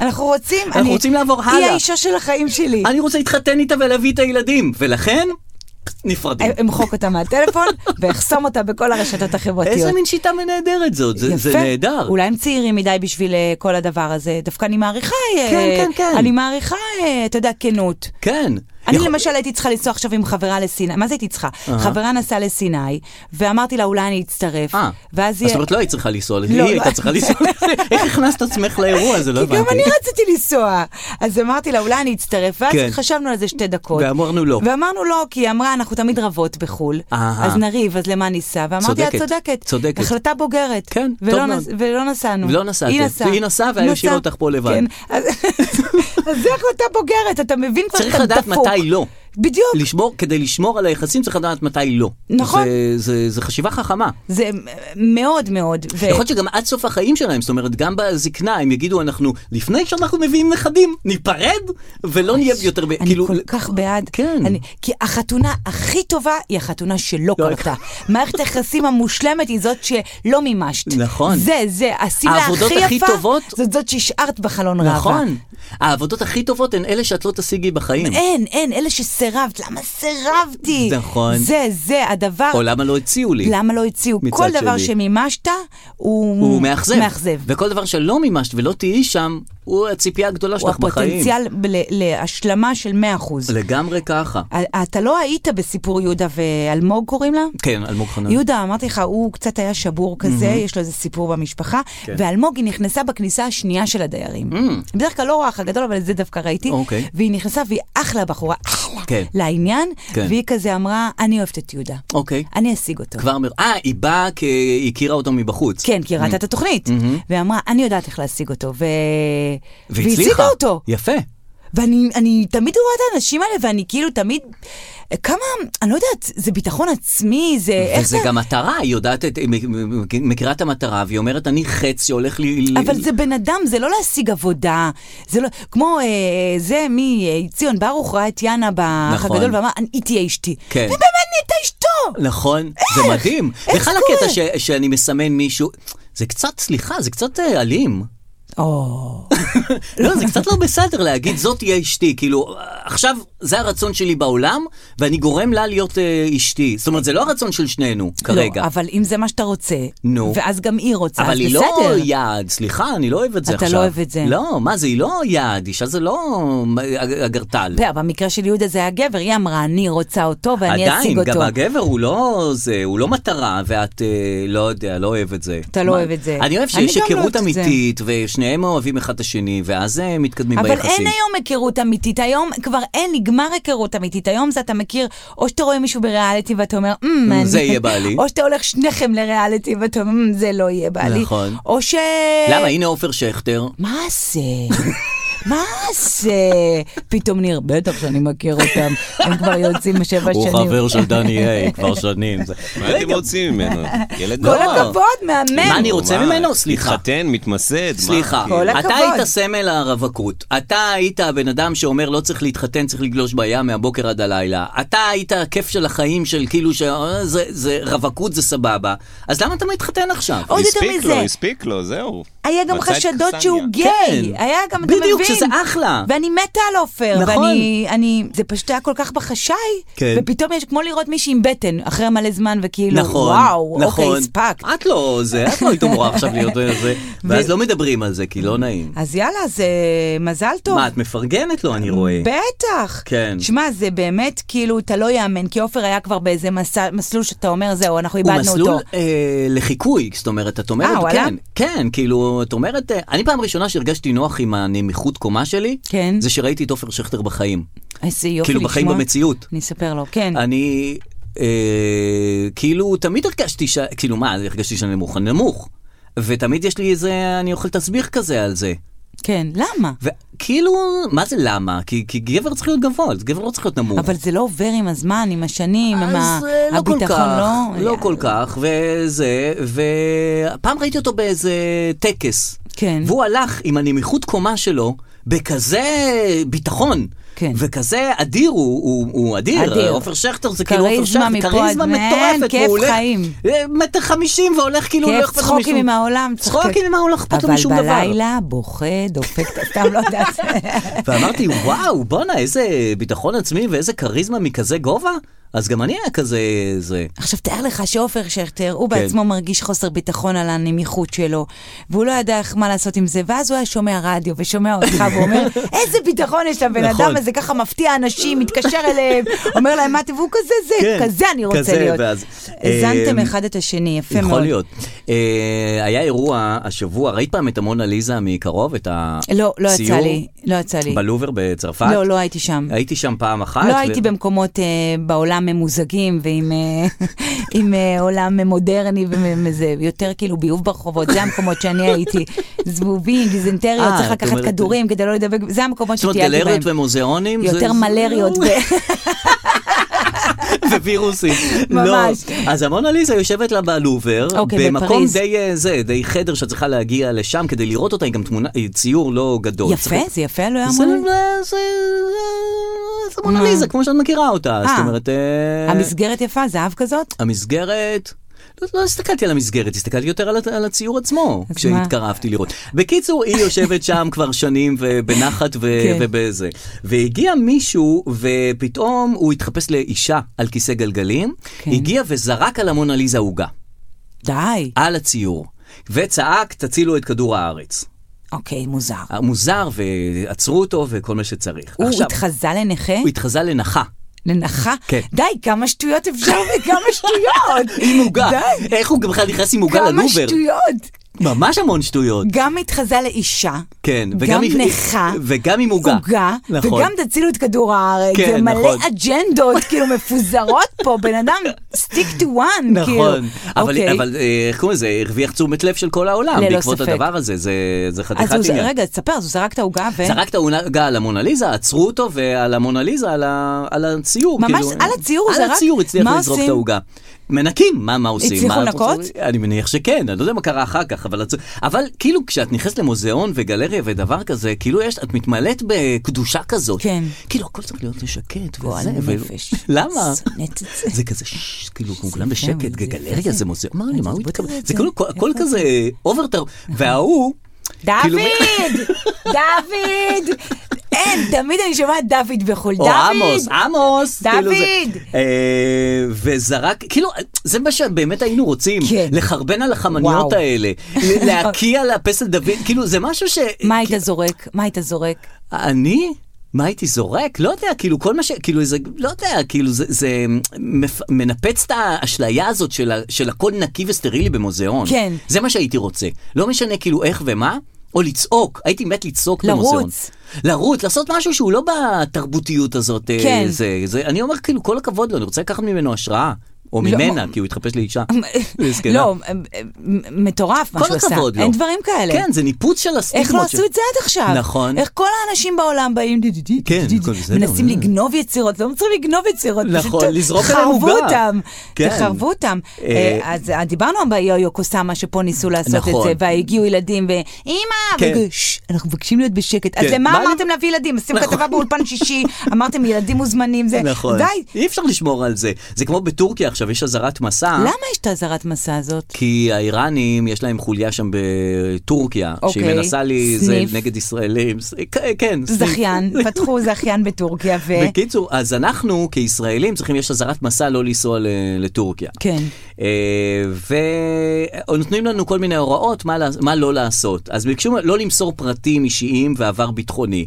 [SPEAKER 3] אנחנו רוצים,
[SPEAKER 2] אנחנו
[SPEAKER 3] אני-
[SPEAKER 2] רוצים לעבור הלאה.
[SPEAKER 3] היא האישה של החיים שלי,
[SPEAKER 2] אני רוצה להתחתן איתה ולהביא את הילדים, ולכן נפרדים.
[SPEAKER 3] אה, אמחוק אותה מהטלפון [laughs] ואחסום אותה בכל הרשתות החברתיות.
[SPEAKER 2] איזה מין שיטה נהדרת זאת, זה- זה
[SPEAKER 3] אה, יפה.
[SPEAKER 2] נהדר.
[SPEAKER 3] אולי הם צעירים מדי בשביל אה, כל הדבר הזה. דווקא אני מעריכה... אה,
[SPEAKER 2] כן, כן, כן.
[SPEAKER 3] אני מעריכה, אה, אתה יודע, כנות.
[SPEAKER 2] כן.
[SPEAKER 3] אני
[SPEAKER 2] יכול-
[SPEAKER 3] למשל הייתי צריכה לנסוע עכשיו עם חברה לסיני, מה זה הייתי צריכה? חברה נסעה לסיני, ואמרתי לה אולי אני אצטרף,
[SPEAKER 2] אה,
[SPEAKER 3] ואז
[SPEAKER 2] אז זאת אומרת, לא היית צריכה לנסוע לזה,
[SPEAKER 3] לא,
[SPEAKER 2] היא
[SPEAKER 3] לא.
[SPEAKER 2] הייתה צריכה לנסוע לזה.
[SPEAKER 3] [laughs]
[SPEAKER 2] איך הכנסת את עצמך לאירוע הזה? לא
[SPEAKER 3] כי
[SPEAKER 2] הבנתי.
[SPEAKER 3] גם אני רציתי לנסוע. אז אמרתי לה, אולי אני אצטרף, ואז
[SPEAKER 2] כן.
[SPEAKER 3] חשבנו על זה שתי דקות.
[SPEAKER 2] ואמרנו לא.
[SPEAKER 3] ואמרנו לא, כי היא אמרה, אנחנו תמיד רבות בחו"ל,
[SPEAKER 2] אהה.
[SPEAKER 3] אז נריב, אז למה ניסע? ואמרתי, את
[SPEAKER 2] צודקת,
[SPEAKER 3] צודקת.
[SPEAKER 2] צודקת.
[SPEAKER 3] החלטה בוגרת.
[SPEAKER 2] כן,
[SPEAKER 3] ולא
[SPEAKER 2] טוב
[SPEAKER 3] נס-
[SPEAKER 2] מאוד.
[SPEAKER 3] ולא נסענו.
[SPEAKER 2] ולא נסעתם.
[SPEAKER 3] היא נסעה.
[SPEAKER 2] והיא נסעה והיא
[SPEAKER 3] נסעה.
[SPEAKER 2] השאירה אותך פה לבד.
[SPEAKER 3] כן, אז [laughs] אז זו החלטה בוגרת, אתה מבין כבר
[SPEAKER 2] צריך
[SPEAKER 3] שאתה
[SPEAKER 2] לדעת
[SPEAKER 3] דפוק.
[SPEAKER 2] מתי לא.
[SPEAKER 3] בדיוק.
[SPEAKER 2] לשמור, כדי לשמור על היחסים צריך לדעת מתי לא.
[SPEAKER 3] נכון.
[SPEAKER 2] זה, זה, זה חשיבה חכמה.
[SPEAKER 3] זה מאוד מאוד. ו-
[SPEAKER 2] יכול להיות שגם עד סוף החיים שלהם, זאת אומרת, גם בזקנה הם יגידו, אנחנו, לפני שאנחנו מביאים נכדים, ניפרד, ולא נהיה יותר, ב-
[SPEAKER 3] אני
[SPEAKER 2] כאילו,
[SPEAKER 3] כל כך בעד.
[SPEAKER 2] כן.
[SPEAKER 3] אני, כי החתונה הכי טובה היא החתונה שלא
[SPEAKER 2] לא,
[SPEAKER 3] קלטה. מערכת היחסים המושלמת היא זאת שלא מימשת.
[SPEAKER 2] נכון.
[SPEAKER 3] זה, זה, השמלה הכי
[SPEAKER 2] העבודות
[SPEAKER 3] יפה,
[SPEAKER 2] הכי טובות-
[SPEAKER 3] זאת זאת שהשארת בחלון ראווה.
[SPEAKER 2] נכון. העבודות הכי טובות הן אלה שאת לא תשיגי בחיים.
[SPEAKER 3] אין, אין, אלה שסירבת, למה סירבתי?
[SPEAKER 2] נכון.
[SPEAKER 3] זה, זה, הדבר...
[SPEAKER 2] או למה לא הציעו לי.
[SPEAKER 3] למה לא הציעו?
[SPEAKER 2] מצד
[SPEAKER 3] כל דבר
[SPEAKER 2] שני.
[SPEAKER 3] שמימשת הוא...
[SPEAKER 2] הוא מאכזב.
[SPEAKER 3] מאכזב.
[SPEAKER 2] וכל דבר שלא מימשת ולא תהיי שם, הוא הציפייה הגדולה
[SPEAKER 3] הוא
[SPEAKER 2] שלך בחיים.
[SPEAKER 3] הפוטנציאל ל- להשלמה של 100%.
[SPEAKER 2] לגמרי ככה.
[SPEAKER 3] ה- אתה לא היית בסיפור יהודה ואלמוג קוראים לה?
[SPEAKER 2] כן, אלמוג חנן.
[SPEAKER 3] יהודה, אמרתי לך, הוא קצת היה שבור כזה, יש לו איזה סיפור במשפחה,
[SPEAKER 2] כן.
[SPEAKER 3] ואלמוג, היא נכנסה בכניסה השנייה של הדיירים. בדרך כלל לא רואה אח הגדול, אבל את זה דווקא ראיתי.
[SPEAKER 2] Mm. אוקיי.
[SPEAKER 3] והיא נכנסה והיא אחלה בחורה, אחלה,
[SPEAKER 2] כן.
[SPEAKER 3] לעניין,
[SPEAKER 2] כן.
[SPEAKER 3] והיא כזה אמרה, אני אוהבת את יהודה.
[SPEAKER 2] אוקיי.
[SPEAKER 3] אני אשיג אותו.
[SPEAKER 2] כבר מר... אה, היא באה כי היא הכירה אותו מבחוץ.
[SPEAKER 3] כן, כי היא ראתה את התוכנית. והיא אמרה, אני יודעת איך להשיג אותו, ו...
[SPEAKER 2] והצליחה.
[SPEAKER 3] והשיגה אותו.
[SPEAKER 2] יפה.
[SPEAKER 3] ואני אני תמיד רואה את האנשים האלה, ואני כאילו תמיד... כמה, אני לא יודעת, זה ביטחון עצמי, זה... איך
[SPEAKER 2] וזה גם מטרה, היא יודעת, את, היא מכירה את המטרה, והיא אומרת, אני חץ שהולך לי...
[SPEAKER 3] אבל זה בן אדם, זה לא להשיג עבודה. זה לא, כמו אה, זה, מי, אה, ציון ברוך ראה את יאנה באח
[SPEAKER 2] נכון.
[SPEAKER 3] הגדול ואמר, "אני- היא תהיה אשתי.
[SPEAKER 2] כן.
[SPEAKER 3] ובאמת נהייתה אשתו!
[SPEAKER 2] נכון, זה מדהים.
[SPEAKER 3] איך
[SPEAKER 2] בכלל
[SPEAKER 3] זה
[SPEAKER 2] הקטע
[SPEAKER 3] קורה?
[SPEAKER 2] ש, שאני מסמן מישהו, זה קצת, סליחה, זה קצת אה, אלים.
[SPEAKER 3] או,
[SPEAKER 2] לא, זה קצת לא בסדר להגיד, זאת תהיה אשתי. כאילו, עכשיו זה הרצון שלי בעולם, ואני גורם לה להיות אה, אשתי. זאת אומרת, זה לא הרצון של שנינו כרגע.
[SPEAKER 3] לא, אבל אם זה מה שאתה רוצה,
[SPEAKER 2] נו.
[SPEAKER 3] ואז גם היא רוצה,
[SPEAKER 2] אבל
[SPEAKER 3] אז
[SPEAKER 2] היא
[SPEAKER 3] בסדר.
[SPEAKER 2] לא יעד, סליחה, אני לא אוהב את זה
[SPEAKER 3] אתה
[SPEAKER 2] עכשיו.
[SPEAKER 3] לא אוהב את זה.
[SPEAKER 2] לא, מה זה, היא לא יעד, אישה זה לא אה, אגרטל.
[SPEAKER 3] אתה יודע, במקרה של יהודה זה הגבר, היא אמרה, אני רוצה אותו ואני
[SPEAKER 2] עדיין,
[SPEAKER 3] אשיג אותו.
[SPEAKER 2] גם הגבר הוא לא זה, הוא לא מטרה, ואת אה, לא יודע, לא אוהב את זה.
[SPEAKER 3] אתה לא אוהב את זה.
[SPEAKER 2] אני אוהב
[SPEAKER 3] אני
[SPEAKER 2] שיש
[SPEAKER 3] גם לא
[SPEAKER 2] היכרות
[SPEAKER 3] אוהבת את זה.
[SPEAKER 2] אמיתית, ושניהם אוהבים אחד את השני, ואז אה, מתקדמים
[SPEAKER 3] אבל
[SPEAKER 2] ביחסים.
[SPEAKER 3] אין היום היכרות אמיתית, היום כבר אין, נגמר היכרות אמיתית, היום זה אתה מכיר, או שאתה רואה מישהו בריאליטי ואתה אומר, "אמ, מעניין."
[SPEAKER 2] זה יהיה בעלי.
[SPEAKER 3] [laughs] או שאתה הולך שניכם לריאליטי ואתה אומר, "אמ, זה לא יהיה בעלי.
[SPEAKER 2] נכון.
[SPEAKER 3] או ש... אה,
[SPEAKER 2] למה, הנה עופר שכטר.
[SPEAKER 3] מה זה? [laughs] מה זה? פתאום ניר, בטח שאני מכיר
[SPEAKER 2] [laughs]
[SPEAKER 3] אותם, הם כבר יוצאים שבע שנים.
[SPEAKER 2] של
[SPEAKER 3] [laughs]
[SPEAKER 2] דני איי כבר שנים. זה-
[SPEAKER 4] מה אתם
[SPEAKER 2] [laughs]
[SPEAKER 4] רוצים ממנו? ילד
[SPEAKER 3] כל
[SPEAKER 4] נורא.
[SPEAKER 3] הכבוד, מהמם.
[SPEAKER 2] מה אני רוצה
[SPEAKER 4] מה?
[SPEAKER 2] ממנו? סליחה.
[SPEAKER 4] מתחתן, מתמסד. מה?
[SPEAKER 2] סליחה,
[SPEAKER 3] כל הכבוד.
[SPEAKER 2] אתה היית סמל הרווקות, אתה היית הבן אדם שאומר לא צריך להתחתן, צריך לגלוש בים מהבוקר עד הלילה, אתה היית הכיף של החיים של כאילו ש... אה, זה, זה, רווקות זה סבבה, אז למה אתה מתחתן עכשיו?
[SPEAKER 3] עוד יותר
[SPEAKER 4] הספיק
[SPEAKER 3] מזה.
[SPEAKER 4] לו, הספיק לו, זהו.
[SPEAKER 3] היה גם
[SPEAKER 4] מצא את
[SPEAKER 3] חשדות
[SPEAKER 4] קסניה.
[SPEAKER 3] שהוא גיי, כן, היה גם, אתה מבין?
[SPEAKER 2] כן, בדיוק, שזה אחלה.
[SPEAKER 3] ואני מתה על עופר,
[SPEAKER 2] נכון.
[SPEAKER 3] ואני, אני, זה פשוט היה כל כך בחשאי,
[SPEAKER 2] כן.
[SPEAKER 3] ופתאום יש כמו לראות מישהי עם בטן, אחרי מלא זמן, וכאילו,
[SPEAKER 2] נכון,
[SPEAKER 3] לא, וואו,
[SPEAKER 2] נכון.
[SPEAKER 3] אוקיי, הספקת.
[SPEAKER 2] את לא זה, את לא היית אמורה עכשיו
[SPEAKER 3] [laughs]
[SPEAKER 2] להיות זה, ואז לא מדברים על זה, כי לא נעים.
[SPEAKER 3] אז יאללה, זה מזל טוב.
[SPEAKER 2] מה, את מפרגנת לו, אני רואה.
[SPEAKER 3] בטח.
[SPEAKER 2] כן.
[SPEAKER 3] שמע, זה באמת, כאילו, אתה לא יאמן, כי עופר היה כבר באיזה מסע- מסלול שאתה אומר, זהו, אנחנו
[SPEAKER 2] הוא
[SPEAKER 3] איבדנו אותו.
[SPEAKER 2] מסלול אה, לחיקוי, זאת אומרת, את
[SPEAKER 3] אה, הוא
[SPEAKER 2] אומרת,
[SPEAKER 3] עלה?
[SPEAKER 2] כן, כן, כאילו, את אומרת, אה, אני פעם ראשונה שהרגשתי נוח עם הנמיכות קומה שלי,
[SPEAKER 3] כן.
[SPEAKER 2] זה שראיתי את עופר שכטר בחיים,
[SPEAKER 3] איזה יופי
[SPEAKER 2] כאילו בחיים
[SPEAKER 3] לשמוע.
[SPEAKER 2] במציאות.
[SPEAKER 3] אני אספר לו, כן.
[SPEAKER 2] אני, אה, כאילו, תמיד הרגשתי, ש... כאילו, מה, הרגשתי שאני נמוך, אני נמוך, ותמיד יש לי איזה, אני אוכל תסביך כזה על זה.
[SPEAKER 3] כן, למה?
[SPEAKER 2] וכאילו, מה זה למה? כי, כי גבר צריך להיות גבוה, אז גבר לא צריך להיות נמוך.
[SPEAKER 3] אבל זה לא עובר עם הזמן, עם השנים, עם ה-
[SPEAKER 2] אז אה, לא כל
[SPEAKER 3] הביטחון,
[SPEAKER 2] כך,
[SPEAKER 3] לא?
[SPEAKER 2] לא כל כך, וזה, ופעם ראיתי אותו באיזה טקס.
[SPEAKER 3] כן.
[SPEAKER 2] והוא הלך עם הנמיכות קומה שלו. בכזה ביטחון,
[SPEAKER 3] כן.
[SPEAKER 2] וכזה אדיר, הוא, הוא, הוא אדיר,
[SPEAKER 3] אדיר.
[SPEAKER 2] עופר שכטר זה כאילו עופר
[SPEAKER 3] כריזמה
[SPEAKER 2] שכטר,
[SPEAKER 3] מפה עד
[SPEAKER 2] כריזמה
[SPEAKER 3] מהן,
[SPEAKER 2] מטורפת,
[SPEAKER 3] כיף
[SPEAKER 2] והוא הולך,
[SPEAKER 3] חיים.
[SPEAKER 2] אה, מטר חמישים והולך כאילו, לא
[SPEAKER 3] כיף,
[SPEAKER 2] אכפת לו
[SPEAKER 3] צחוקים
[SPEAKER 2] משום-
[SPEAKER 3] עם העולם. צחוק-
[SPEAKER 2] צחוקים עם העולם, לא אכפת לו משום
[SPEAKER 3] אבל
[SPEAKER 2] דבר.
[SPEAKER 3] בלילה בוכה, דופק, [laughs] סתם לא יודעת.
[SPEAKER 2] ואמרתי, וואו, בואנה, איזה ביטחון עצמי ואיזה כריזמה מכזה גובה, אז גם אני היה כזה, זה.
[SPEAKER 3] עכשיו תאר לך שעופר שכטר, הוא
[SPEAKER 2] כן.
[SPEAKER 3] בעצמו מרגיש חוסר ביטחון על הנמיכות שלו, והוא לא ידע איך מה לעשות עם זה, ואז הוא היה שומע רדיו ושומע
[SPEAKER 2] [laughs]
[SPEAKER 3] אותך ואומר, איזה ביטחון יש לבן
[SPEAKER 2] נכון.
[SPEAKER 3] אדם הזה, ככה מפתיע אנשים, מתקשר אליהם, אומר להם מה אתם, והוא כזה זה,
[SPEAKER 2] כן,
[SPEAKER 3] כזה אני רוצה
[SPEAKER 2] כזה,
[SPEAKER 3] להיות.
[SPEAKER 2] ואז-
[SPEAKER 3] האזנתם
[SPEAKER 2] אה,
[SPEAKER 3] אחד את השני, יפה מאוד.
[SPEAKER 2] יכול להיות. אה, היה אירוע השבוע, ראית פעם את המונה ליזה מקרוב, את הסיור?
[SPEAKER 3] לא, לא יצא לי, לא יצא לי.
[SPEAKER 2] בלובר בצרפת?
[SPEAKER 3] לא, לא הייתי שם.
[SPEAKER 2] הייתי שם פעם אחת.
[SPEAKER 3] לא
[SPEAKER 2] ו-
[SPEAKER 3] הייתי במקומות אה, בעולם ממוזגים ועם אה, [laughs] עם, אה, עולם מודרני וזה, יותר כאילו ביוב ברחובות, זה המקומות שאני
[SPEAKER 2] [laughs]
[SPEAKER 3] הייתי. זבובים, גיזנטריות,
[SPEAKER 2] אה, את
[SPEAKER 3] צריך לקחת
[SPEAKER 2] אומרת-
[SPEAKER 3] כדורים כדי לא לדבק, זה המקומות
[SPEAKER 2] זאת אומרת,
[SPEAKER 3] שטיילתי בהם.
[SPEAKER 2] גלריות ומוזיאונים? זה-
[SPEAKER 3] יותר
[SPEAKER 2] זה- [laughs]
[SPEAKER 3] מלריות. ו- [laughs]
[SPEAKER 2] ווירוסים.
[SPEAKER 3] ממש.
[SPEAKER 2] לא. אז המונה ליזה יושבת לה בלובר,
[SPEAKER 3] אוקיי,
[SPEAKER 2] במקום
[SPEAKER 3] בפריז.
[SPEAKER 2] די אה, זה, די חדר שאת צריכה להגיע לשם כדי לראות אותה, היא גם תמונה, היא ציור לא גדול.
[SPEAKER 3] יפה,
[SPEAKER 2] צריך-
[SPEAKER 3] זה יפה, לא היה
[SPEAKER 2] זה-
[SPEAKER 3] מונה.
[SPEAKER 2] זה- זה- זה מונה ליזה, כמו שאת מכירה אותה.
[SPEAKER 3] אה.
[SPEAKER 2] זאת אומרת... אה,
[SPEAKER 3] המסגרת יפה, זהב כזאת?
[SPEAKER 2] המסגרת... לא, לא הסתכלתי על המסגרת, הסתכלתי יותר על, הת- על הציור עצמו,
[SPEAKER 3] אז
[SPEAKER 2] כשהתקרבתי לראות. בקיצור, היא יושבת
[SPEAKER 3] [laughs]
[SPEAKER 2] שם כבר שנים ובנחת ו-
[SPEAKER 3] כן.
[SPEAKER 2] ובזה. והגיע מישהו, ופתאום הוא התחפש לאישה על כיסא גלגלים,
[SPEAKER 3] כן.
[SPEAKER 2] הגיע וזרק על המונליזה עוגה,
[SPEAKER 3] די.
[SPEAKER 2] על הציור, וצעק, תצילו את כדור הארץ.
[SPEAKER 3] אוקיי, מוזר.
[SPEAKER 2] מוזר, ועצרו אותו וכל מה שצריך.
[SPEAKER 3] הוא
[SPEAKER 2] אה, עכשיו,
[SPEAKER 3] התחזה לנכה?
[SPEAKER 2] הוא התחזה לנחה.
[SPEAKER 3] לנחה?
[SPEAKER 2] כן.
[SPEAKER 3] די, כמה שטויות אפשר וכמה
[SPEAKER 2] [laughs]
[SPEAKER 3] שטויות.
[SPEAKER 2] עם עוגה.
[SPEAKER 3] די,
[SPEAKER 2] איך הוא בכלל נכנס עם עוגה
[SPEAKER 3] כמה
[SPEAKER 2] ללובר?
[SPEAKER 3] שטויות.
[SPEAKER 2] ממש המון שטויות.
[SPEAKER 3] גם התחזה לאישה,
[SPEAKER 2] כן,
[SPEAKER 3] גם
[SPEAKER 2] עם-
[SPEAKER 3] נכה,
[SPEAKER 2] וגם עם עוגה.
[SPEAKER 3] עוגה,
[SPEAKER 2] נכון.
[SPEAKER 3] וגם תצילו את כדור הארץ,
[SPEAKER 2] כן,
[SPEAKER 3] זה מלא
[SPEAKER 2] נכון.
[SPEAKER 3] אג'נדות, [laughs] כאילו מפוזרות פה, בן אדם, stick to one, כאילו.
[SPEAKER 2] נכון, אבל,
[SPEAKER 3] אוקיי.
[SPEAKER 2] אבל אה, איך קוראים לזה, הרוויח תשומת לב של כל העולם
[SPEAKER 3] ללא
[SPEAKER 2] בעקבות
[SPEAKER 3] ספק.
[SPEAKER 2] הדבר הזה, זה, זה חתיכת
[SPEAKER 3] אוקיי. אז הוא, ז-
[SPEAKER 2] עניין.
[SPEAKER 3] רגע, תספר, אז הוא זרק את העוגה ו...
[SPEAKER 2] זרק את ההונגה על המונליזה, עצרו אותו, ועל המונליזה, על, ה, על הציור.
[SPEAKER 3] ממש
[SPEAKER 2] כאילו,
[SPEAKER 3] על הציור
[SPEAKER 2] על
[SPEAKER 3] זרק?
[SPEAKER 2] הציור הצליח
[SPEAKER 3] מה
[SPEAKER 2] לזרוק את
[SPEAKER 3] עושים?
[SPEAKER 2] העוגה. מנקים, מה, מה עושים?
[SPEAKER 3] הצליחו
[SPEAKER 2] מה, את רוצה-
[SPEAKER 3] לנקות?
[SPEAKER 2] אני מניח שכן, אני לא יודע מה קרה אחר כך, אבל, הצ- אבל כאילו כשאת נכנסת למוזיאון וגלריה ודבר כזה, כאילו יש, את מתמלאת בקדושה כזאת.
[SPEAKER 3] כן.
[SPEAKER 2] כאילו הכל צריך להיות שקט
[SPEAKER 3] גועל
[SPEAKER 2] וזה. ו-
[SPEAKER 3] נפש.
[SPEAKER 2] [laughs] למה?
[SPEAKER 3] שונאת את זה.
[SPEAKER 2] זה כזה, ששש, כאילו,
[SPEAKER 3] זה
[SPEAKER 2] כולם
[SPEAKER 3] יפה,
[SPEAKER 2] בשקט,
[SPEAKER 3] אבל זה
[SPEAKER 2] גלריה
[SPEAKER 3] יפה.
[SPEAKER 2] זה כאילו מוזיאון, מה, למה הוא
[SPEAKER 3] בוא
[SPEAKER 2] התכוון?
[SPEAKER 3] תראה את
[SPEAKER 2] זה
[SPEAKER 3] זה.
[SPEAKER 2] כאילו, הכל
[SPEAKER 3] איפה
[SPEAKER 2] כזה אוברטר, וההוא... כאילו,
[SPEAKER 3] דוד! דוד! אין, תמיד אני שומעת דוד בחו"ל.
[SPEAKER 2] או
[SPEAKER 3] דוד!
[SPEAKER 2] עמוס, עמוס. כאילו זה-
[SPEAKER 3] דוד!
[SPEAKER 2] אה, וזרק, כאילו, זה מה שבאמת היינו רוצים,
[SPEAKER 3] כן.
[SPEAKER 2] לחרבן על החמניות
[SPEAKER 3] וואו.
[SPEAKER 2] האלה, להקיא על הפסל דוד, כאילו, זה משהו ש...
[SPEAKER 3] מה היית זורק? מה היית זורק?
[SPEAKER 2] אני? מה הייתי זורק? לא יודע, כאילו כל מה ש... כאילו איזה... לא יודע, כאילו זה, זה מפ... מנפץ את האשליה הזאת של, ה... של הכל נקי וסטרילי במוזיאון.
[SPEAKER 3] כן.
[SPEAKER 2] זה מה שהייתי רוצה. לא משנה כאילו איך ומה, או לצעוק. הייתי מת לצעוק
[SPEAKER 3] לרוץ.
[SPEAKER 2] במוזיאון. לרוץ. לעשות משהו שהוא לא בתרבותיות הזאת. אה,
[SPEAKER 3] כן.
[SPEAKER 2] זה, זה... אני אומר כאילו כל הכבוד לו, אני רוצה לקחת ממנו השראה. או ממנה, כי הוא התחפש לאישה. מסכנה.
[SPEAKER 3] לא, מ- מ- מטורף מה
[SPEAKER 2] כל
[SPEAKER 3] שהוא עשה.
[SPEAKER 2] הכבוד לו.
[SPEAKER 3] אין דברים כאלה.
[SPEAKER 2] כן, זה ניפוץ של הסטיגמות.
[SPEAKER 3] איך לא
[SPEAKER 2] ש-
[SPEAKER 3] עשו את זה עד עכשיו?
[SPEAKER 2] נכון.
[SPEAKER 3] איך כל האנשים בעולם באים, די, די, די, די,
[SPEAKER 2] כן,
[SPEAKER 3] די,
[SPEAKER 2] הכל
[SPEAKER 3] די,
[SPEAKER 2] בסדר,
[SPEAKER 3] מנסים
[SPEAKER 2] אה.
[SPEAKER 3] לגנוב יצירות, לא מצליחים לגנוב יצירות,
[SPEAKER 2] נכון,
[SPEAKER 3] פשוט
[SPEAKER 2] לזרוק עליהם
[SPEAKER 3] חרבו
[SPEAKER 2] עוגה.
[SPEAKER 3] אותם,
[SPEAKER 2] כן.
[SPEAKER 3] תחרבו אותם.
[SPEAKER 2] אה,
[SPEAKER 3] אה, אז אה, דיברנו ביו-יו קוסאמה שפה ניסו לעשות את
[SPEAKER 2] נכון.
[SPEAKER 3] זה, והגיעו ילדים,
[SPEAKER 2] כן.
[SPEAKER 3] ואימא, אנחנו מבקשים להיות בשקט. אז
[SPEAKER 2] כן,
[SPEAKER 3] למה
[SPEAKER 2] מה-
[SPEAKER 3] אמרתם להביא ילדים? עשיתם
[SPEAKER 2] נכון.
[SPEAKER 3] כתבה
[SPEAKER 2] [laughs]
[SPEAKER 3] באולפן שישי, אמרתם ילדים מוזמנים, זה,
[SPEAKER 2] נכון.
[SPEAKER 3] די,
[SPEAKER 2] אי אפשר לשמור על זה. זה כמו בטורקיה עכשיו, יש אזהרת מסע.
[SPEAKER 3] למה יש את האזהרת מסע הזאת?
[SPEAKER 2] כי האיראנים, יש להם חוליה שם בטורקיה, שהיא
[SPEAKER 3] אוקיי.
[SPEAKER 2] מנסה לי, זה
[SPEAKER 3] סניף.
[SPEAKER 2] נגד ישראלים. ס- כ- כן, סניף. [laughs]
[SPEAKER 3] זכיין, פתחו זכיין בטורקיה, ו...
[SPEAKER 2] בקיצור, אז אנחנו כישראלים צריכים, יש אזהרת מסע לא לנסוע ל- לטורקיה.
[SPEAKER 3] כן.
[SPEAKER 2] אה, ונותנים לנו כל מיני הוראות מה, לעש- מה לא לעשות. אז ביקשו לא למסור פרטים אישיים ועבר ביטחוני.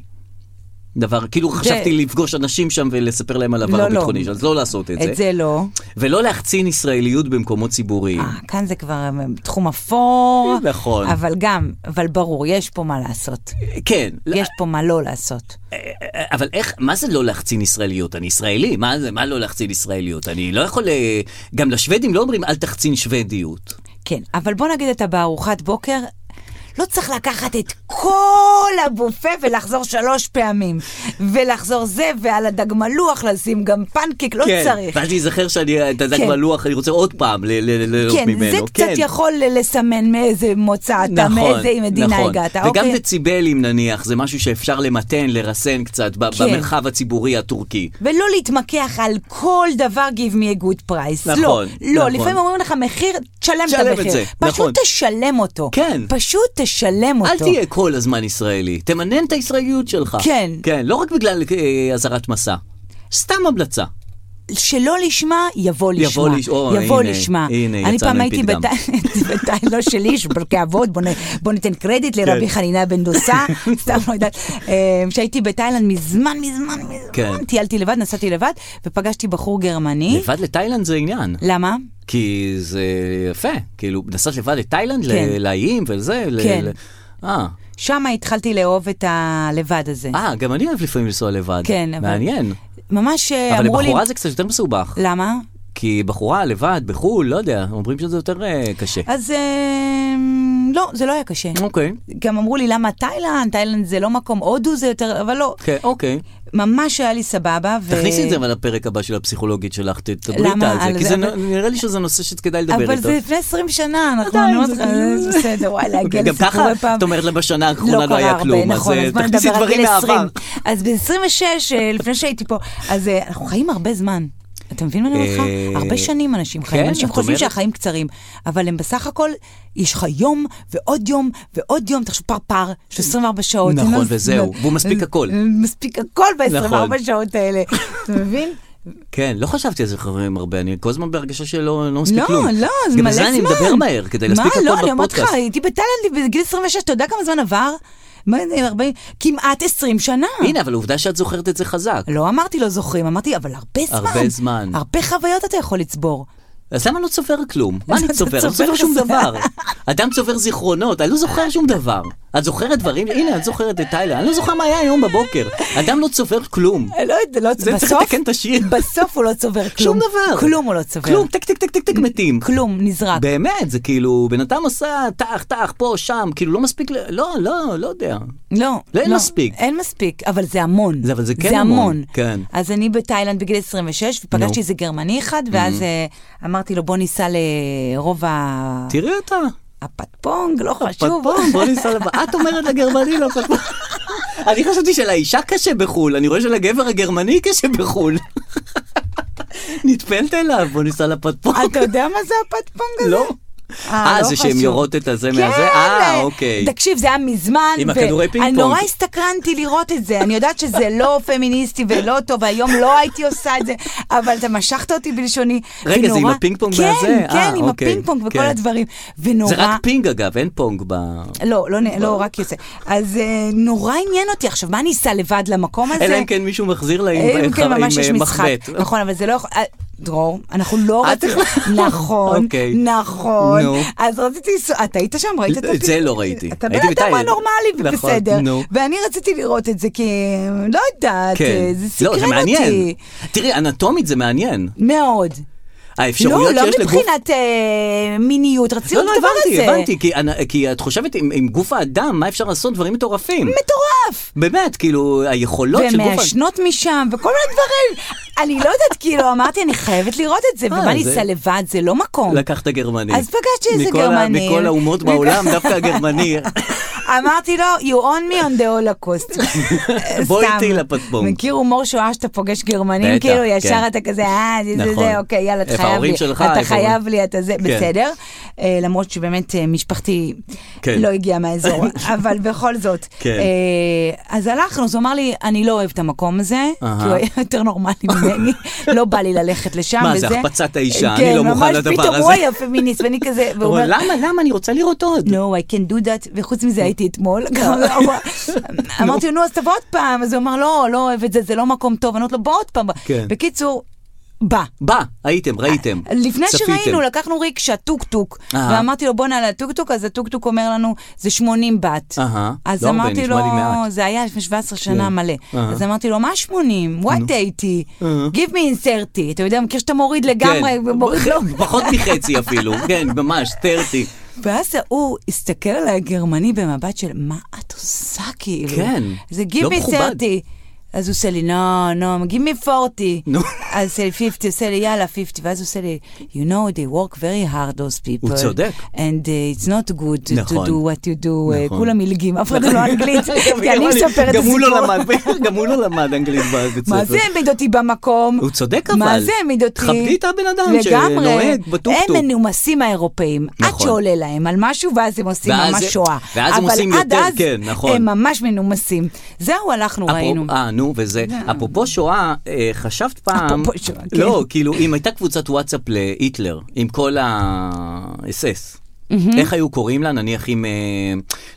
[SPEAKER 2] דבר, כאילו חשבתי לפגוש אנשים שם ולספר להם על עבר
[SPEAKER 3] לא, לא.
[SPEAKER 2] הביטחוני, אז לא לעשות את,
[SPEAKER 3] את זה לא.
[SPEAKER 2] ולא להחצין ישראליות במקומות ציבוריים.
[SPEAKER 3] אה, כאן זה כבר אה, תחום אפור.
[SPEAKER 2] נכון.
[SPEAKER 3] אבל גם, אבל ברור, יש פה מה לעשות.
[SPEAKER 2] כן, לא- אה,
[SPEAKER 3] יש פה מה לא לעשות.
[SPEAKER 2] אבל איך, מה זה לא להחצין ישראליות? אני ישראלי, מה זה, מה לא להחצין ישראליות? אני לא יכול, אה, גם לשוודים לא אומרים אל תחצין שוודיות.
[SPEAKER 3] כן, אבל בוא נגיד אתה בארוחת בוקר. לא צריך לקחת את כל הבופה ולחזור שלוש פעמים. ולחזור זה, ועל הדג מלוח לשים גם פנקק, לא
[SPEAKER 2] כן,
[SPEAKER 3] צריך.
[SPEAKER 2] ואז להיזכר שאני, אה, אתה יודע,
[SPEAKER 3] כן.
[SPEAKER 2] כבר לוח, אני רוצה עוד פעם ל- ל- ל- ליהנות
[SPEAKER 3] כן,
[SPEAKER 2] ממנו.
[SPEAKER 3] זה קצת יכול לסמן מאיזה מוצא אתה, מאיזה מדינה
[SPEAKER 2] נכון.
[SPEAKER 3] הגעת.
[SPEAKER 2] וגם
[SPEAKER 3] אוקיי.
[SPEAKER 2] דציבלים נניח, זה משהו שאפשר למתן, לרסן קצת ב-
[SPEAKER 3] כן.
[SPEAKER 2] במרחב הציבורי הטורקי.
[SPEAKER 3] ולא להתמקח על כל דבר give me a good price.
[SPEAKER 2] נכון,
[SPEAKER 3] לא, לא,
[SPEAKER 2] נכון.
[SPEAKER 3] לפעמים אומרים לך מחיר, תשלם את
[SPEAKER 2] תשלם את
[SPEAKER 3] המחיר.
[SPEAKER 2] זה,
[SPEAKER 3] פשוט
[SPEAKER 2] נכון.
[SPEAKER 3] תשלם אותו.
[SPEAKER 2] כן.
[SPEAKER 3] פשוט תשלם אותו.
[SPEAKER 2] אל תהיה כל הזמן ישראלי, תמנן את הישראליות שלך.
[SPEAKER 3] כן.
[SPEAKER 2] כן, לא רק בגלל אה, אזהרת מסע. סתם המלצה.
[SPEAKER 3] אה? שלא לשמה, יבוא לשמה.
[SPEAKER 2] יבוא לש- או,
[SPEAKER 3] יבוא
[SPEAKER 2] הנה,
[SPEAKER 3] לשמה.
[SPEAKER 2] הנה,
[SPEAKER 3] אני
[SPEAKER 2] יצאנו
[SPEAKER 3] פעם
[SPEAKER 2] עם
[SPEAKER 3] [laughs] הייתי
[SPEAKER 2] פתגם.
[SPEAKER 3] בתא- בתא לא שלי, של פרקי אבות, בוא נ- בוא ניתן קרדיט לרבי
[SPEAKER 2] כן.
[SPEAKER 3] חנינה
[SPEAKER 2] [laughs]
[SPEAKER 3] בן דוסה, סתם לא יודעת. אה, כשהייתי בתאילנד מזמן, מזמן,
[SPEAKER 2] כן.
[SPEAKER 3] מזמן, טיילתי לבד, נסעתי לבד, ופגשתי בחור גרמני.
[SPEAKER 2] לבד לתאילנד זה עניין.
[SPEAKER 3] למה?
[SPEAKER 2] כי זה יפה, כאילו, נסעת לבד לתאילנד, ל-
[SPEAKER 3] כן.
[SPEAKER 2] לאיים וזה, ל-
[SPEAKER 3] כן.
[SPEAKER 2] ל- אה,
[SPEAKER 3] שם התחלתי לאהוב את הלבד הזה.
[SPEAKER 2] אה, גם אני אוהב לפעמים לנסוע לבד.
[SPEAKER 3] כן, אבל-
[SPEAKER 2] מעניין.
[SPEAKER 3] ממש אה,
[SPEAKER 2] אבל
[SPEAKER 3] אמרו לי...
[SPEAKER 2] לבחורה זה קצת יותר מסובך.
[SPEAKER 3] למה?
[SPEAKER 2] כי בחורה לבד, בחו"ל, לא יודע, אומרים שזה יותר אה, קשה.
[SPEAKER 3] אז אמ, לא, זה לא היה קשה.
[SPEAKER 2] אוקיי,
[SPEAKER 3] גם אמרו לי, למה תאילנד? תאילנד זה לא מקום, הודו זה יותר, אבל לא.
[SPEAKER 2] כן, אוקיי.
[SPEAKER 3] ממש היה לי סבבה. ו-
[SPEAKER 2] תכניסי את זה אבל לפרק הבא של הפסיכולוגית שלך, ת- דברי
[SPEAKER 3] אה, למה
[SPEAKER 2] איתה על
[SPEAKER 3] על
[SPEAKER 2] זה, כי
[SPEAKER 3] זה?
[SPEAKER 2] זה
[SPEAKER 3] אבל-
[SPEAKER 2] נ- נראה לי שזה נושא שכדאי לדבר איתו.
[SPEAKER 3] אבל זה לפני 20 שנה, אנחנו...
[SPEAKER 2] עדיין,
[SPEAKER 3] אני אומרת
[SPEAKER 2] זה
[SPEAKER 3] לך,
[SPEAKER 2] כאילו-
[SPEAKER 3] זה בסדר, וואי, להגיע
[SPEAKER 2] גם ככה,
[SPEAKER 3] לסיפורי פעם.
[SPEAKER 2] את אומרת לה בשנה האחרונה לא
[SPEAKER 3] קרה
[SPEAKER 2] היה
[SPEAKER 3] הרבה,
[SPEAKER 2] כלום, אז
[SPEAKER 3] נכון,
[SPEAKER 2] אה,
[SPEAKER 3] בוא
[SPEAKER 2] תכניסי
[SPEAKER 3] נדבר על
[SPEAKER 2] דברים
[SPEAKER 3] גיל
[SPEAKER 2] מהעבר.
[SPEAKER 3] 20. אז ב-26, לפני שהייתי פה, אז אה, אנחנו חיים הרבה זמן. אתה מבין מה אני אומרת לך?
[SPEAKER 2] אה,
[SPEAKER 3] הרבה שנים אנשים חיים,
[SPEAKER 2] כן,
[SPEAKER 3] אנשים
[SPEAKER 2] את
[SPEAKER 3] חושבים
[SPEAKER 2] אומרת.
[SPEAKER 3] שהחיים קצרים, אבל הם בסך הכל, יש לך יום ועוד יום ועוד יום, תחשוב פרפר, יש 24 שעות. זה
[SPEAKER 2] נכון,
[SPEAKER 3] לא-
[SPEAKER 2] וזהו, והוא מספיק הכל.
[SPEAKER 3] מספיק הכל
[SPEAKER 2] נכון.
[SPEAKER 3] ב-24 שעות האלה, אתה מבין?
[SPEAKER 2] [laughs] כן, לא חשבתי על זה חברים הרבה, אני כל הזמן בהרגשה שלא לא מספיק
[SPEAKER 3] לא,
[SPEAKER 2] כלום.
[SPEAKER 3] לא, זה
[SPEAKER 2] גם
[SPEAKER 3] מלא
[SPEAKER 2] בזה אני
[SPEAKER 3] זמן.
[SPEAKER 2] מדבר מהר, כדי להספיק הכל
[SPEAKER 3] מה,
[SPEAKER 2] בפודקאסט.
[SPEAKER 3] לא, אני אומרת לך, הייתי בתאילנד בגיל 26, אתה יודע כמה זמן עבר? מה, זה, 40 כמעט 20 שנה.
[SPEAKER 2] הנה, אבל עובדה שאת זוכרת את זה חזק.
[SPEAKER 3] לא אמרתי לא זוכרים, אמרתי, אבל הרבה זמן.
[SPEAKER 2] הרבה זמן.
[SPEAKER 3] הרבה חוויות אתה יכול לצבור.
[SPEAKER 2] אז למה אני לא צובר כלום? מה אני
[SPEAKER 3] אתה
[SPEAKER 2] צובר? אני לא
[SPEAKER 3] צובר
[SPEAKER 2] צובר שום
[SPEAKER 3] זה.
[SPEAKER 2] דבר. אדם צובר זיכרונות, אני לא זוכר שום דבר. את זוכרת דברים? הנה, את זוכרת את תאילנד, אני לא זוכר מה היה היום בבוקר. אדם לא צובר כלום.
[SPEAKER 3] לא, יודע, לא,
[SPEAKER 2] זה צריך
[SPEAKER 3] בסוף-
[SPEAKER 2] לתקן את השיר.
[SPEAKER 3] בסוף הוא לא
[SPEAKER 2] [laughs]
[SPEAKER 3] צובר
[SPEAKER 2] שום
[SPEAKER 3] כלום.
[SPEAKER 2] דבר.
[SPEAKER 3] כלום הוא לא צובר.
[SPEAKER 2] כלום, טק טק טק טק טק מתים.
[SPEAKER 3] כלום, נזרק.
[SPEAKER 2] באמת, זה כאילו, בן אדם עושה טח טח פה, שם, כאילו לא מספיק, ל- לא, לא, לא יודע.
[SPEAKER 3] לא,
[SPEAKER 2] לא, אין מספיק.
[SPEAKER 3] אין מספיק, אבל זה המון.
[SPEAKER 2] זה- אבל זה כן
[SPEAKER 3] זה המון.
[SPEAKER 2] המון, כן.
[SPEAKER 3] אז אני בתאילנד בגיל 26, ופגשתי
[SPEAKER 2] נו. Mm-hmm.
[SPEAKER 3] איזה גרמני אחד, ואז אה, אמרתי לו, בוא ניסע לרוב ה-
[SPEAKER 2] תראי אותה.
[SPEAKER 3] הפטפונג, לא חשוב.
[SPEAKER 2] פטפון, [laughs] בוא ניסע לבא. את אומרת לגרמני לא פטפון. [laughs] אני חשבתי שלאישה קשה בחו"ל, אני רואה שלגבר הגרמני קשה בחו"ל. [laughs] נטפלת אליו, בוא ניסע לפטפון.
[SPEAKER 3] אתה יודע מה זה הפטפונג הזה?
[SPEAKER 2] לא.
[SPEAKER 3] אה,
[SPEAKER 2] אה,
[SPEAKER 3] לא
[SPEAKER 2] זה שהן
[SPEAKER 3] חשוב.
[SPEAKER 2] יורות את הזה מהזה?
[SPEAKER 3] כן,
[SPEAKER 2] אה, אוקיי.
[SPEAKER 3] תקשיב, זה היה מזמן.
[SPEAKER 2] עם
[SPEAKER 3] ו-
[SPEAKER 2] הכדורי פינג
[SPEAKER 3] אני
[SPEAKER 2] פונג.
[SPEAKER 3] נורא הסתקרנתי לראות את זה. אני יודעת שזה לא [laughs] פמיניסטי ולא טוב, היום לא הייתי עושה את זה, אבל אתה משכת אותי בלשוני.
[SPEAKER 2] רגע, זה עם
[SPEAKER 3] ונורא-
[SPEAKER 2] הפינג פונג
[SPEAKER 3] כן,
[SPEAKER 2] והזה?
[SPEAKER 3] כן,
[SPEAKER 2] אה,
[SPEAKER 3] עם
[SPEAKER 2] אוקיי,
[SPEAKER 3] הפינג פונג וכל
[SPEAKER 2] כן.
[SPEAKER 3] הדברים. ונורא...
[SPEAKER 2] זה רק פינג אגב, אין פונג ב...
[SPEAKER 3] לא, לא, נ- לא רק יוצא. אז אה, נורא עניין אותי. עכשיו, מה אני אסע לבד למקום הזה?
[SPEAKER 2] אלא אם כן מישהו מחזיר לה עם
[SPEAKER 3] אם כן,
[SPEAKER 2] עם,
[SPEAKER 3] ממש יש
[SPEAKER 2] אה,
[SPEAKER 3] משחק.
[SPEAKER 2] מחבט. אה,
[SPEAKER 3] נכון, אבל זה לא יכול... אה, דרור, אנחנו לא
[SPEAKER 2] את
[SPEAKER 3] רצינו...
[SPEAKER 2] יכולה-
[SPEAKER 3] [laughs] נכון,
[SPEAKER 2] אוקיי.
[SPEAKER 3] נכון.
[SPEAKER 2] נו.
[SPEAKER 3] אז רציתי... לנסוע- אתה היית שם? ראית את
[SPEAKER 2] את
[SPEAKER 3] הטיול?
[SPEAKER 2] זה לא ראיתי.
[SPEAKER 3] אתה בן
[SPEAKER 2] הייתי
[SPEAKER 3] אדם
[SPEAKER 2] בתאילנד.
[SPEAKER 3] נורמלי
[SPEAKER 2] נכון,
[SPEAKER 3] ובסדר.
[SPEAKER 2] נו.
[SPEAKER 3] ואני רציתי לראות את זה, כי... לא יודעת, אה, זה סקרן
[SPEAKER 2] לא,
[SPEAKER 3] אותי.
[SPEAKER 2] זה מעניין. תראי, אנטומית זה מעניין.
[SPEAKER 3] מאוד. לא,
[SPEAKER 2] האפשרויות
[SPEAKER 3] לא
[SPEAKER 2] שיש לגוף...
[SPEAKER 3] מבחינת אה, מיניות, רציתי
[SPEAKER 2] לא,
[SPEAKER 3] לראות
[SPEAKER 2] לא,
[SPEAKER 3] את הדבר הזה.
[SPEAKER 2] הבנתי, הבנתי, כי אנ- כי את חושבת עם עם גוף האדם, מה אפשר לעשות? דברים מטורפים.
[SPEAKER 3] מטורף.
[SPEAKER 2] באמת, כאילו, היכולות של גוף... האדם-
[SPEAKER 3] ומעשנות משם, וכל מיני דברים. אני לא יודעת, כאילו, אמרתי, אני חייבת לראות את זה,
[SPEAKER 2] אה,
[SPEAKER 3] ומה
[SPEAKER 2] זה-
[SPEAKER 3] ניסע לבד, זה לא מקום.
[SPEAKER 2] לקחת גרמני.
[SPEAKER 3] אז פגשתי איזה
[SPEAKER 2] מכל ה-
[SPEAKER 3] גרמני.
[SPEAKER 2] מכל האומות
[SPEAKER 3] מכל-
[SPEAKER 2] בעולם, דווקא
[SPEAKER 3] [laughs]
[SPEAKER 2] הגרמני.
[SPEAKER 3] אמרתי לו, you on me on the holocaust.
[SPEAKER 2] [laughs] בוא
[SPEAKER 3] סתם.
[SPEAKER 2] איתי לפטפום.
[SPEAKER 3] מכיר הומור שואה שאתה פוגש גרמנים,
[SPEAKER 2] בטח,
[SPEAKER 3] כאילו
[SPEAKER 2] כן.
[SPEAKER 3] ישר אתה כזה, אה, זה זה
[SPEAKER 2] נכון.
[SPEAKER 3] זה, אוקיי, יאללה, אתה
[SPEAKER 2] איפה
[SPEAKER 3] חייב
[SPEAKER 2] ההורים
[SPEAKER 3] לי,
[SPEAKER 2] שלך,
[SPEAKER 3] אתה
[SPEAKER 2] איפה-
[SPEAKER 3] חייב לי, אתה זה,
[SPEAKER 2] כן.
[SPEAKER 3] בסדר. אה, למרות שבאמת אה, משפחתי
[SPEAKER 2] כן.
[SPEAKER 3] לא הגיעה
[SPEAKER 2] [laughs]
[SPEAKER 3] מהאזור, אבל בכל זאת.
[SPEAKER 2] כן.
[SPEAKER 3] אה, אז הלכנו, אז הוא אמר לי, אני לא אוהב את המקום הזה, כי
[SPEAKER 2] אהה.
[SPEAKER 3] הוא היה יותר נורמלי ממני, לא בא לי ללכת לשם
[SPEAKER 2] מה,
[SPEAKER 3] וזה.
[SPEAKER 2] זה החפצת האישה,
[SPEAKER 3] כן,
[SPEAKER 2] אני לא מוכן
[SPEAKER 3] ממש,
[SPEAKER 2] לדבר
[SPEAKER 3] פתאום
[SPEAKER 2] הזה.
[SPEAKER 3] הוא היה פמיניסט, ואני כזה, והוא
[SPEAKER 2] הוא
[SPEAKER 3] אומר, לא.
[SPEAKER 2] אומר, למה, למה, אני רוצה לראות עוד.
[SPEAKER 3] No, I can do that, וחוץ מזה
[SPEAKER 2] לא.
[SPEAKER 3] הייתי אתמול,
[SPEAKER 2] [laughs]
[SPEAKER 3] גם הוא אמר- אמרתי לו, נו, אז תבוא עוד פעם, אז הוא אמר, לא, לא אוהב את זה, זה לא מקום טוב, אני אומרת לו, בוא עוד פעם.
[SPEAKER 2] כן.
[SPEAKER 3] בקיצור, בא.
[SPEAKER 2] בא, הייתם, ראיתם.
[SPEAKER 3] אה, לפני
[SPEAKER 2] צפיתם.
[SPEAKER 3] שראינו, לא, לקחנו ריקשה, טוקטוק,
[SPEAKER 2] אה.
[SPEAKER 3] ואמרתי לו, בוא נעלה לטוקטוק, אז הטוקטוק אומר לנו, זה 80 בת.
[SPEAKER 2] אהה.
[SPEAKER 3] אז
[SPEAKER 2] לא הרבה,
[SPEAKER 3] אמרתי
[SPEAKER 2] נשמע
[SPEAKER 3] לו,
[SPEAKER 2] לי מעט.
[SPEAKER 3] זה היה לפני 17 שנה
[SPEAKER 2] כן.
[SPEAKER 3] מלא.
[SPEAKER 2] אהה.
[SPEAKER 3] אז אמרתי לו, מה 80? What 80? Give me inserty. אתה יודע, מכיר שאתה מוריד לגמרי, לא.
[SPEAKER 2] כן. [laughs]
[SPEAKER 3] ומוריד לו.
[SPEAKER 2] פחות מחצי
[SPEAKER 3] [laughs]
[SPEAKER 2] אפילו, כן, ממש, 30.
[SPEAKER 3] ואז ההוא הסתכל על הגרמני במבט של, מה את עושה כאילו?
[SPEAKER 2] כן,
[SPEAKER 3] זה give
[SPEAKER 2] לא
[SPEAKER 3] me
[SPEAKER 2] מכובד.
[SPEAKER 3] 30. אז הוא עושה לי, no, no, give me 40.
[SPEAKER 2] נו.
[SPEAKER 3] אז עושה לי 50, עושה לי, יאללה, 50. ואז הוא עושה לי, you know, they work very hard, those people.
[SPEAKER 2] הוא צודק.
[SPEAKER 3] And uh, it's not good to- to
[SPEAKER 2] נכון.
[SPEAKER 3] do what you do. Uh,
[SPEAKER 2] נכון.
[SPEAKER 3] כולם מלגים, אף אחד לא
[SPEAKER 2] [laughs]
[SPEAKER 3] אנגלית,
[SPEAKER 2] גם-
[SPEAKER 3] כי אני
[SPEAKER 2] גם
[SPEAKER 3] מספרת את
[SPEAKER 2] גם הוא
[SPEAKER 3] הסיפור.
[SPEAKER 2] לא למד, גם הוא לא למד אנגלית בבית ספר.
[SPEAKER 3] מה זה העמיד אותי במקום?
[SPEAKER 2] הוא צודק אבל.
[SPEAKER 3] מה זה העמיד אותי?
[SPEAKER 2] תכבדי את הבן אדם
[SPEAKER 3] לגמרי.
[SPEAKER 2] שנוהג בטוקטוק.
[SPEAKER 3] הם מנומסים האירופאים, עד
[SPEAKER 2] נכון.
[SPEAKER 3] שעולה להם על משהו, ואז הם עושים
[SPEAKER 2] ואז-
[SPEAKER 3] ממש שואה.
[SPEAKER 2] ואז הם עושים
[SPEAKER 3] אבל עד
[SPEAKER 2] יותר,
[SPEAKER 3] אז
[SPEAKER 2] כן, נכון.
[SPEAKER 3] הם ממש מנומסים. זהו, הלכנו,
[SPEAKER 2] אפרופ-
[SPEAKER 3] ראינו.
[SPEAKER 2] אה, נו, וזה, אפרופו שואה, אה, חשבת פעם,
[SPEAKER 3] אפרופו שואה, כן.
[SPEAKER 2] לא, כאילו, אם הייתה קבוצת וואטסאפ להיטלר, עם כל האס-אס. איך היו קוראים לה, נניח אם... אה,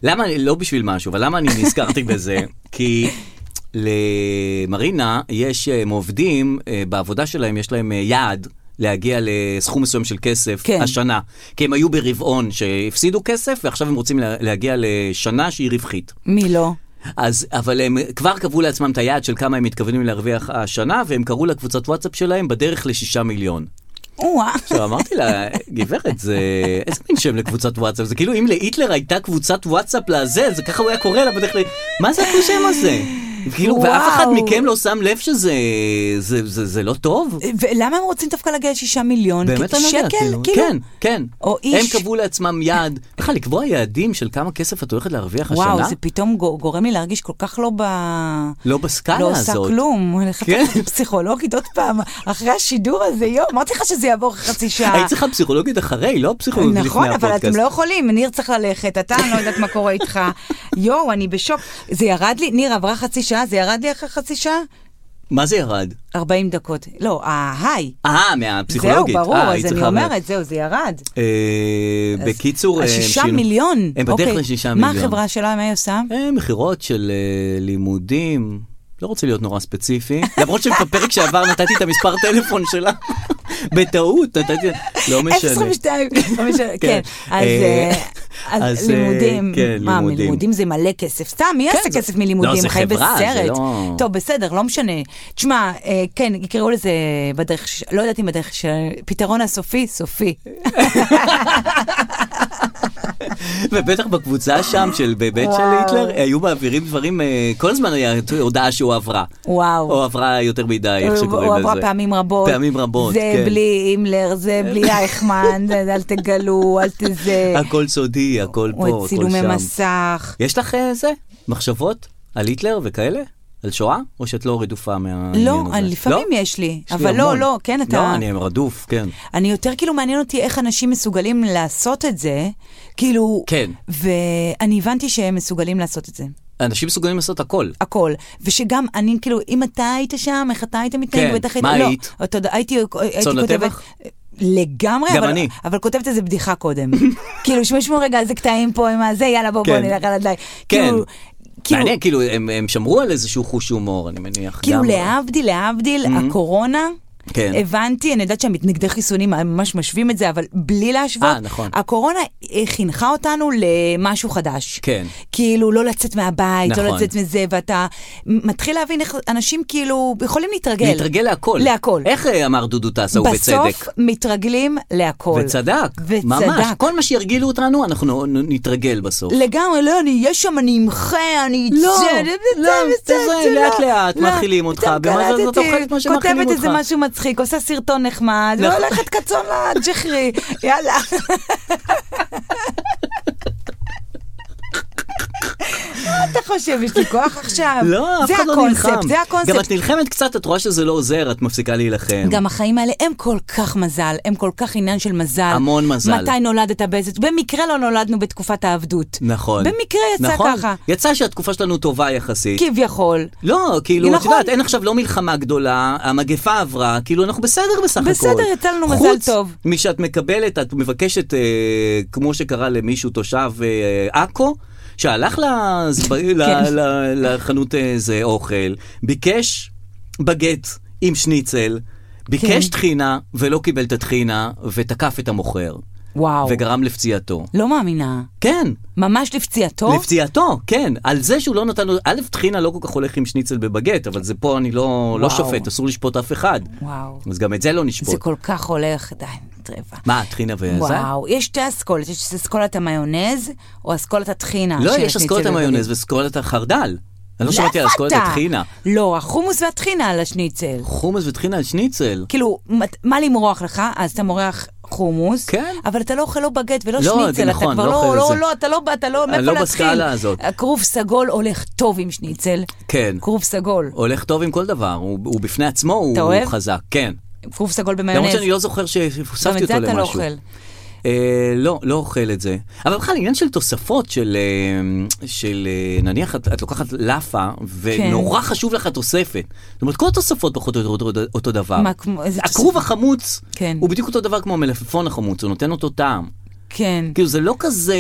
[SPEAKER 2] למה, לא בשביל משהו, אבל למה אני
[SPEAKER 3] [laughs]
[SPEAKER 2] נזכרתי בזה? כי למרינה יש אה, הם עובדים, אה, בעבודה שלהם יש להם אה, יעד. להגיע לסכום מסוים של כסף
[SPEAKER 3] כן.
[SPEAKER 2] השנה, כי הם היו ברבעון שהפסידו כסף ועכשיו הם רוצים לה- להגיע לשנה שהיא רווחית.
[SPEAKER 3] מי לא?
[SPEAKER 2] אז, אבל הם כבר קבעו לעצמם את היעד של כמה הם מתכוונים להרוויח השנה, והם קראו לקבוצת וואטסאפ שלהם בדרך לשישה מיליון.
[SPEAKER 3] או-אה.
[SPEAKER 2] עכשיו אמרתי לה, "אה, גברת, זה... איזה מין שם לקבוצת וואטסאפ? זה כאילו אם להיטלר הייתה קבוצת וואטסאפ לזה, זה ככה הוא היה קורא לה בדרך ל... מה זה השם הזה? כאילו, ואף אחד
[SPEAKER 3] וואו.
[SPEAKER 2] מכם לא שם לב שזה... זה, זה, זה לא טוב?
[SPEAKER 3] [laughs] ולמה הם רוצים דווקא להגיע לשישה מיליון?
[SPEAKER 2] באמת
[SPEAKER 3] כי
[SPEAKER 2] אני לא יודע,
[SPEAKER 3] אה, שקל,
[SPEAKER 2] כאילו.
[SPEAKER 3] כאילו?
[SPEAKER 2] כן, כן.
[SPEAKER 3] או איש.
[SPEAKER 2] הם קבעו לעצמם יעד. בכלל, לקבוע יעדים של כמה כסף את הולכת להרוויח השנה?
[SPEAKER 3] וואו, זה פתאום גו- גורם לי להרגיש כל כך לא ב...
[SPEAKER 2] לא בסקאלה
[SPEAKER 3] לא
[SPEAKER 2] הזאת.
[SPEAKER 3] עושה כלום, אני
[SPEAKER 2] כן.
[SPEAKER 3] חושבת פסיכולוגית עוד פעם, אחרי השידור הזה, יום, אמרתי לך שזה יעבור חצי שעה.
[SPEAKER 2] [laughs] היית צריכה פסיכולוגית אחרי, לא פסיכולוגית לפני
[SPEAKER 3] נכון,
[SPEAKER 2] הפודקאסט.
[SPEAKER 3] אבל אתם לא יכולים, ניר צריך ללכת, אתה, אני לא יודעת מה
[SPEAKER 2] [laughs]
[SPEAKER 3] קורה איתך. יואו, אני בשוק. זה ירד לי, ניר, עברה חצי שעה, זה ירד לי אחרי חצי שעה?
[SPEAKER 2] מה זה ירד?
[SPEAKER 3] 40 דקות. לא, ההיי.
[SPEAKER 2] אה, מהפסיכולוגית.
[SPEAKER 3] זהו, ברור,
[SPEAKER 2] אה,
[SPEAKER 3] אז
[SPEAKER 2] היית
[SPEAKER 3] אני
[SPEAKER 2] צריכה-
[SPEAKER 3] אומרת, זהו, זה ירד.
[SPEAKER 2] אה, בקיצור, הם
[SPEAKER 3] השישה
[SPEAKER 2] שינו-
[SPEAKER 3] מיליון.
[SPEAKER 2] הם בדרך
[SPEAKER 3] אוקיי.
[SPEAKER 2] לשישה מיליון.
[SPEAKER 3] מה החברה שלה, מה היא עושה?
[SPEAKER 2] אה, מכירות של אה, לימודים. לא רוצה להיות נורא ספציפי, [laughs] למרות שבפרק שעבר נתתי את המספר טלפון שלה, [laughs] בטעות נתתי,
[SPEAKER 3] [laughs]
[SPEAKER 2] לא משנה.
[SPEAKER 3] 022, לא משנה, כן.
[SPEAKER 2] כן.
[SPEAKER 3] אז,
[SPEAKER 2] אה,
[SPEAKER 3] אה, אז
[SPEAKER 2] אז, אה,
[SPEAKER 3] לימודים,
[SPEAKER 2] כן,
[SPEAKER 3] מה,
[SPEAKER 2] לימודים.
[SPEAKER 3] מלימודים זה מלא כסף. סתם, מי יעשה
[SPEAKER 2] זה-
[SPEAKER 3] כסף מלימודים?
[SPEAKER 2] לא, זה
[SPEAKER 3] חיים
[SPEAKER 2] חברה, זה
[SPEAKER 3] בסרט.
[SPEAKER 2] לא-
[SPEAKER 3] טוב, בסדר, לא משנה. תשמע, אה, כן, יקראו לזה בדרך, ש- לא יודעת אם בדרך, ש- פתרון הסופי, סופי.
[SPEAKER 2] ובטח בקבוצה שם של בבית של
[SPEAKER 3] וואו.
[SPEAKER 2] היטלר, אה, היו מעבירים דברים, אה, כל הזמן היה הודעה שהוא עברה.
[SPEAKER 3] וואו.
[SPEAKER 2] או עברה יותר מדי, איך שקוראים לזה.
[SPEAKER 3] הוא עברה פעמים רבות.
[SPEAKER 2] פעמים רבות,
[SPEAKER 3] זה
[SPEAKER 2] כן.
[SPEAKER 3] בלי הימלר, זה בלי אייכמן, זה- אל תגלו, אל תזה.
[SPEAKER 2] [laughs] הכל סודי, הכל פה,
[SPEAKER 3] או
[SPEAKER 2] הכל
[SPEAKER 3] צילומי
[SPEAKER 2] שם.
[SPEAKER 3] מסך.
[SPEAKER 2] יש לך אה, זה? מחשבות על היטלר וכאלה? על שואה? או שאת לא רדופה מה...
[SPEAKER 3] לא, אני- לפעמים יש לי,
[SPEAKER 2] לי
[SPEAKER 3] אבל לא,
[SPEAKER 2] המון.
[SPEAKER 3] לא, כן, אתה...
[SPEAKER 2] לא, אני רדוף, כן.
[SPEAKER 3] אני יותר כאילו מעניין אותי איך אנשים מסוגלים לעשות את זה, כאילו...
[SPEAKER 2] כן.
[SPEAKER 3] ואני הבנתי שהם מסוגלים לעשות את זה,
[SPEAKER 2] אנשים מסוגלים לעשות הכל.
[SPEAKER 3] הכל. ושגם אני, כאילו, אם אתה היית שם, איך אתה היית מתנהג,
[SPEAKER 2] כן,
[SPEAKER 3] בטח היית...
[SPEAKER 2] מה
[SPEAKER 3] לא,
[SPEAKER 2] היית?
[SPEAKER 3] אתה יודע, הייתי, הייתי
[SPEAKER 2] צאן
[SPEAKER 3] כותבת...
[SPEAKER 2] לטבח?
[SPEAKER 3] לגמרי,
[SPEAKER 2] גם
[SPEAKER 3] אבל,
[SPEAKER 2] אני.
[SPEAKER 3] אבל כותבת איזה בדיחה
[SPEAKER 2] [laughs]
[SPEAKER 3] קודם. כאילו, שמשמעו רגע איזה קטעים פה עם הזה, יאללה בוא, בוא
[SPEAKER 2] כן.
[SPEAKER 3] נלך על הדלי.
[SPEAKER 2] כן.
[SPEAKER 3] כאילו, כאילו,
[SPEAKER 2] מעניין, כאילו, הם הם שמרו על איזשהו חוש הומור, אני מניח.
[SPEAKER 3] כאילו
[SPEAKER 2] גם.
[SPEAKER 3] להבדיל, להבדיל, הקורונה,
[SPEAKER 2] Mm-hmm. כן.
[SPEAKER 3] הבנתי, אני יודעת שהמתנגדי חיסונים ממש משווים את זה, אבל בלי להשוות,
[SPEAKER 2] אה, נכון.
[SPEAKER 3] הקורונה אה, חינכה אותנו למשהו חדש.
[SPEAKER 2] כן.
[SPEAKER 3] כאילו, לא לצאת מהבית, לא
[SPEAKER 2] נכון.
[SPEAKER 3] לצאת מזה, ואתה מ- מתחיל להבין איך אנשים כאילו יכולים להתרגל.
[SPEAKER 2] להתרגל להכל.
[SPEAKER 3] להכל.
[SPEAKER 2] איך אה, אמר דודו טסה, ובצדק?
[SPEAKER 3] בסוף מתרגלים להכל.
[SPEAKER 2] וצדק,
[SPEAKER 3] וצדק.
[SPEAKER 2] ממש, כל מה שירגילו אותנו, אנחנו נ- נתרגל בסוף.
[SPEAKER 3] לגמרי, לא, אני אהיה שם, אני אמחה, אני
[SPEAKER 2] לא,
[SPEAKER 3] אצא,
[SPEAKER 2] לא,
[SPEAKER 3] אצא,
[SPEAKER 2] תזרום,
[SPEAKER 3] אצא,
[SPEAKER 2] לאט
[SPEAKER 3] לא,
[SPEAKER 2] לאט,
[SPEAKER 3] לא.
[SPEAKER 2] מאכילים אותך,
[SPEAKER 3] פתאום
[SPEAKER 2] במה אוקיי, זה- אתה
[SPEAKER 3] קלטתי,
[SPEAKER 2] אוכל את מה שמאכילים
[SPEAKER 3] כותבת איזה
[SPEAKER 2] אותך.
[SPEAKER 3] משהו מצחיק, עושה סרטון נחמד,
[SPEAKER 2] נכון.
[SPEAKER 3] והולכת כצאן
[SPEAKER 2] [laughs]
[SPEAKER 3] לג'חרי, יאללה. מה אתה חושב, יש לי כוח עכשיו?
[SPEAKER 2] לא, אף
[SPEAKER 3] זה
[SPEAKER 2] אחד לא
[SPEAKER 3] הקונספט,
[SPEAKER 2] נלחם.
[SPEAKER 3] זה
[SPEAKER 2] גם
[SPEAKER 3] הקונספט.
[SPEAKER 2] את נלחמת קצת, את רואה שזה לא עוזר, את מפסיקה להילחם.
[SPEAKER 3] גם החיים האלה הם כל כך מזל, הם כל כך עניין של מזל.
[SPEAKER 2] המון מזל.
[SPEAKER 3] מתי נולדת באיזה... במקרה לא נולדנו בתקופת העבדות.
[SPEAKER 2] נכון.
[SPEAKER 3] במקרה יצא
[SPEAKER 2] נכון.
[SPEAKER 3] ככה.
[SPEAKER 2] יצא שהתקופה שלנו טובה יחסית.
[SPEAKER 3] כביכול.
[SPEAKER 2] לא, כאילו, את
[SPEAKER 3] נכון.
[SPEAKER 2] יודעת, אין עכשיו לא מלחמה גדולה, המגפה עברה, כאילו, אנחנו בסדר בסך הכל.
[SPEAKER 3] בסדר, יצא לנו מזל טוב.
[SPEAKER 2] חוץ משאת מקבלת, את מבקשת, אה, כמו שקרה למישהו, תושב אה, עכו, שהלך לזב... ל...
[SPEAKER 3] [laughs] כן.
[SPEAKER 2] ל... לחנות איזה אוכל, ביקש בגט עם שניצל, ביקש
[SPEAKER 3] כן.
[SPEAKER 2] טחינה, ולא קיבל את הטחינה, ותקף את המוכר,
[SPEAKER 3] וואו.
[SPEAKER 2] וגרם לפציעתו.
[SPEAKER 3] לא מאמינה.
[SPEAKER 2] כן.
[SPEAKER 3] ממש לפציעתו?
[SPEAKER 2] לפציעתו, כן. על זה שהוא לא נתן לו... א', טחינה לא כל כך הולך עם שניצל בבגט, אבל זה פה אני לא, לא
[SPEAKER 3] וואו.
[SPEAKER 2] שופט, אסור לשפוט אף אחד.
[SPEAKER 3] וואו.
[SPEAKER 2] אז גם את זה לא
[SPEAKER 3] זה
[SPEAKER 2] נשפוט.
[SPEAKER 3] כל כך הולך, די, טרפה.
[SPEAKER 2] מה, טחינה וזה?
[SPEAKER 3] וואו, יש שתי אסכולות, יש אסכולת המיונז או אסכולת הטחינה.
[SPEAKER 2] לא,
[SPEAKER 3] של
[SPEAKER 2] יש אסכולת
[SPEAKER 3] השניצל
[SPEAKER 2] המיונז
[SPEAKER 3] בבגט.
[SPEAKER 2] ואסכולת החרדל. אני לא
[SPEAKER 3] לאיפה
[SPEAKER 2] שמעתי על אסכולת
[SPEAKER 3] אתה?
[SPEAKER 2] הטחינה.
[SPEAKER 3] לא, החומוס והטחינה על השניצל.
[SPEAKER 2] חומוס וטחינה על שניצל.
[SPEAKER 3] כאילו, מת- מה למרוח לך? אז אתה מורח חומוס,
[SPEAKER 2] כן.
[SPEAKER 3] אבל אתה לא אוכל לא בגט ולא
[SPEAKER 2] לא, זה
[SPEAKER 3] שניצל, אתה
[SPEAKER 2] נכון,
[SPEAKER 3] כבר
[SPEAKER 2] לא
[SPEAKER 3] לא,
[SPEAKER 2] אוכל
[SPEAKER 3] לא,
[SPEAKER 2] זה.
[SPEAKER 3] לא, אתה לא, אתה לא, מאיפה
[SPEAKER 2] לא
[SPEAKER 3] להתחיל?
[SPEAKER 2] בסקאלה הזאת.
[SPEAKER 3] הכרוב סגול הולך טוב עם שניצל.
[SPEAKER 2] כן.
[SPEAKER 3] כרוב סגול.
[SPEAKER 2] הולך טוב עם כל דבר, הוא, הוא בפני עצמו, הוא,
[SPEAKER 3] אתה
[SPEAKER 2] הוא
[SPEAKER 3] אוהב?
[SPEAKER 2] חזק. כן.
[SPEAKER 3] כרוב סגול
[SPEAKER 2] למרות
[SPEAKER 3] במיונז.
[SPEAKER 2] שאני לא זוכר
[SPEAKER 3] גם
[SPEAKER 2] שהוספתי
[SPEAKER 3] את זה
[SPEAKER 2] אותו
[SPEAKER 3] אתה
[SPEAKER 2] למשהו.
[SPEAKER 3] לא אוכל.
[SPEAKER 2] אה, לא, לא אוכל את זה. אבל בכלל, עניין של תוספות, של, אה, של אה, נניח את, את לוקחת לאפה,
[SPEAKER 3] כן.
[SPEAKER 2] ונורא חשוב לך תוספת. זאת אומרת, כל התוספות פחות או יותר אותו, אותו, אותו דבר.
[SPEAKER 3] מה, כמו- איזה תוס-
[SPEAKER 2] הכרוב החמוץ,
[SPEAKER 3] כן.
[SPEAKER 2] הוא בדיוק אותו דבר כמו המלפפון החמוץ, הוא נותן אותו טעם.
[SPEAKER 3] כן.
[SPEAKER 2] כאילו, זה לא כזה...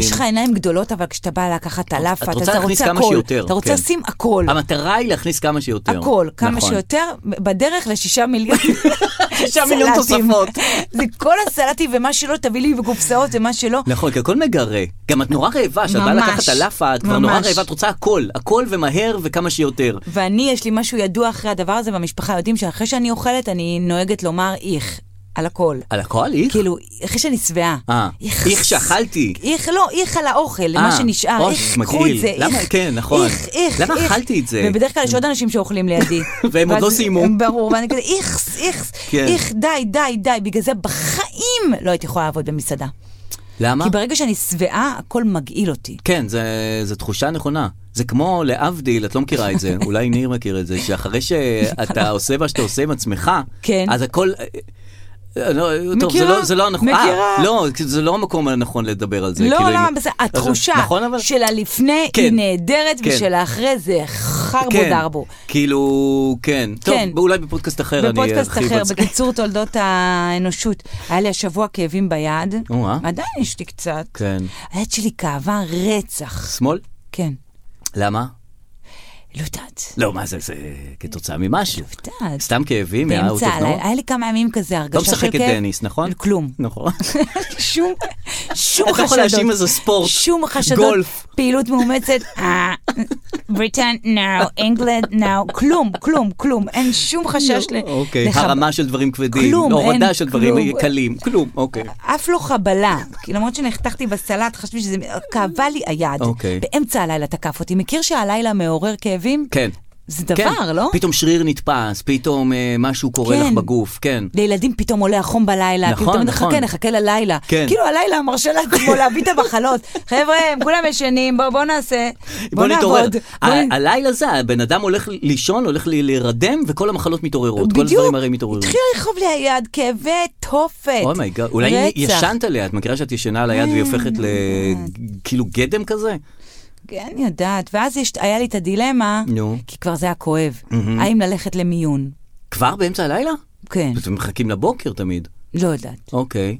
[SPEAKER 3] יש לך עיניים גדולות, אבל כשאתה בא לקחת על אף,
[SPEAKER 2] את
[SPEAKER 3] אתה
[SPEAKER 2] רוצה
[SPEAKER 3] אתה
[SPEAKER 2] להכניס
[SPEAKER 3] רוצה
[SPEAKER 2] כמה
[SPEAKER 3] הכל.
[SPEAKER 2] שיותר,
[SPEAKER 3] אתה רוצה
[SPEAKER 2] כן.
[SPEAKER 3] לשים הכל.
[SPEAKER 2] המטרה היא להכניס כמה שיותר.
[SPEAKER 3] הכל, כמה
[SPEAKER 2] נכון.
[SPEAKER 3] שיותר, בדרך לשישה מיליון
[SPEAKER 2] [laughs] שישה מיליון
[SPEAKER 3] סלטים.
[SPEAKER 2] תוספות.
[SPEAKER 3] [laughs] זה כל הסלטים ומה שלא תביא לי וקופסאות ומה שלא.
[SPEAKER 2] נכון, כי הכל מגרה. גם את נורא רעבה, כשאת באה
[SPEAKER 3] ממש,
[SPEAKER 2] לקחת הלאפה, את כבר
[SPEAKER 3] ממש.
[SPEAKER 2] נורא רעבה, את רוצה הכל, הכל ומהר וכמה שיותר.
[SPEAKER 3] ואני, יש לי משהו ידוע אחרי הדבר הזה, והמשפחה יודעים שאחרי שאני אוכלת, אני נוהגת לומר איך, על הכל.
[SPEAKER 2] על הכל איך?
[SPEAKER 3] כאילו, אחרי שאני שבעה.
[SPEAKER 2] אה, איך שאכלתי.
[SPEAKER 3] איך, לא, איך על האוכל,
[SPEAKER 2] אה,
[SPEAKER 3] מה שנשאר.
[SPEAKER 2] אוי,
[SPEAKER 3] איך, קחו
[SPEAKER 2] מגעיל.
[SPEAKER 3] את זה.
[SPEAKER 2] למה-
[SPEAKER 3] איך,
[SPEAKER 2] כן, נכון.
[SPEAKER 3] איך, איך,
[SPEAKER 2] למה
[SPEAKER 3] איך.
[SPEAKER 2] אכלתי את זה?
[SPEAKER 3] ובדרך כלל יש עוד אנשים שאוכלים לידי.
[SPEAKER 2] [laughs] והם עוד לא
[SPEAKER 3] ואז-
[SPEAKER 2] סיימו.
[SPEAKER 3] ברור, ואני כזה, איכס, איכס,
[SPEAKER 2] כן.
[SPEAKER 3] איך, די, די, די. בגלל זה בחיים לא הייתי יכולה לעבוד במסעדה.
[SPEAKER 2] למה?
[SPEAKER 3] כי ברגע שאני שבעה, הכל מגעיל אותי.
[SPEAKER 2] כן, זה, זה תחושה נכונה. זה כמו להבדיל, את לא מכירה את
[SPEAKER 3] [laughs]
[SPEAKER 2] זה, אולי ניר מכיר את זה, שאחרי שאתה עושה מה שאתה עושה עם עצמך,
[SPEAKER 3] כן.
[SPEAKER 2] אז הכל... אה, לא, טוב, זה
[SPEAKER 3] מכירה,
[SPEAKER 2] לא, זה לא הנכון,
[SPEAKER 3] מכירה.
[SPEAKER 2] אה, לא, זה לא המקום הנכון לדבר על זה.
[SPEAKER 3] לא,
[SPEAKER 2] כאילו,
[SPEAKER 3] לא,
[SPEAKER 2] אם-
[SPEAKER 3] בסדר,
[SPEAKER 2] אז-
[SPEAKER 3] התחושה
[SPEAKER 2] נכון, אבל...
[SPEAKER 3] של הלפני
[SPEAKER 2] כן.
[SPEAKER 3] היא נהדרת,
[SPEAKER 2] כן.
[SPEAKER 3] ושל האחרי זה חרבו
[SPEAKER 2] כן,
[SPEAKER 3] דרבו.
[SPEAKER 2] כאילו, כן. טוב,
[SPEAKER 3] כן.
[SPEAKER 2] אולי בפודקאסט אחר אני ארחיב על זה.
[SPEAKER 3] בפודקאסט אחר, בקיצור תולדות האנושות. היה לי השבוע כאבים ביד,
[SPEAKER 2] או-אה.
[SPEAKER 3] עדיין יש לי קצת.
[SPEAKER 2] [laughs] כן.
[SPEAKER 3] היד שלי כאבה רצח.
[SPEAKER 2] שמאל?
[SPEAKER 3] כן,
[SPEAKER 2] למה?
[SPEAKER 3] לא יודעת. לא
[SPEAKER 2] לא, מה זה, זה כתוצאה ממשהו.
[SPEAKER 3] יודעת.
[SPEAKER 2] סתם כאבים,
[SPEAKER 3] באמצע
[SPEAKER 2] מהאוטופנול?
[SPEAKER 3] הלילה, היה לי כמה ימים כזה
[SPEAKER 2] לא
[SPEAKER 3] הרגשה של כאב.
[SPEAKER 2] משחקת טניס, נכון? [laughs]
[SPEAKER 3] כלום.
[SPEAKER 2] נכון.
[SPEAKER 3] שום, שום
[SPEAKER 2] אתה
[SPEAKER 3] חשדות.
[SPEAKER 2] יכול להאשים איזה ספורט,
[SPEAKER 3] שום חשדות.
[SPEAKER 2] גולף.
[SPEAKER 3] פעילות
[SPEAKER 2] [laughs]
[SPEAKER 3] מאומצת. אה, בריטן, נאו, אנגלד, נאו. כלום, כלום, כלום. אין שום חשש ל...
[SPEAKER 2] אוקיי,
[SPEAKER 3] לחב-
[SPEAKER 2] הרמה של דברים כבדים, לא,
[SPEAKER 3] כלום,
[SPEAKER 2] הורדה
[SPEAKER 3] אין
[SPEAKER 2] של דברים אה,
[SPEAKER 3] כלום.
[SPEAKER 2] קלים, כלום, אוקיי.
[SPEAKER 3] אף לא חבלה, כי למרות שנחתכתי בסלט, חשבתי שזה... כאבה לי היד.
[SPEAKER 2] אוקיי.
[SPEAKER 3] באמצע הלילה תקף אותי. מכיר שהלילה מעורר כאבים?
[SPEAKER 2] כן.
[SPEAKER 3] זה דבר, לא?
[SPEAKER 2] פתאום שריר נתפס, פתאום אה, משהו קורה
[SPEAKER 3] כן.
[SPEAKER 2] לך בגוף, כן.
[SPEAKER 3] לילדים פתאום עולה החום בלילה,
[SPEAKER 2] נכון,
[SPEAKER 3] פתאום
[SPEAKER 2] נכון.
[SPEAKER 3] נחכה, נחכה ללילה.
[SPEAKER 2] כן.
[SPEAKER 3] כאילו הלילה מרשה לעצמו להביא את המחלות. [laughs] חבר'ה, הם כולם ישנים, בואו בוא נעשה, בואו נעבוד.
[SPEAKER 2] ה-
[SPEAKER 3] בוא נ-
[SPEAKER 2] הלילה זה, הבן אדם הולך לישון, הולך ל- להירדם, וכל המחלות מתעוררות. כל הדברים הרי מתעוררים.
[SPEAKER 3] התחיל לכאוב לי היד, כאבי תופת.
[SPEAKER 2] אומייגאד, אולי
[SPEAKER 3] רצח.
[SPEAKER 2] ישנת עליה, את מכירה שאת ישנה על היד והיא הופכת לכאילו גדם כזה?
[SPEAKER 3] כן, יודעת. ואז יש, היה לי את הדילמה,
[SPEAKER 2] נו.
[SPEAKER 3] כי כבר זה היה כואב. האם ללכת למיון?
[SPEAKER 2] כבר באמצע הלילה?
[SPEAKER 3] כן,
[SPEAKER 2] אתם מחכים לבוקר תמיד.
[SPEAKER 3] לא יודעת.
[SPEAKER 2] אוקיי.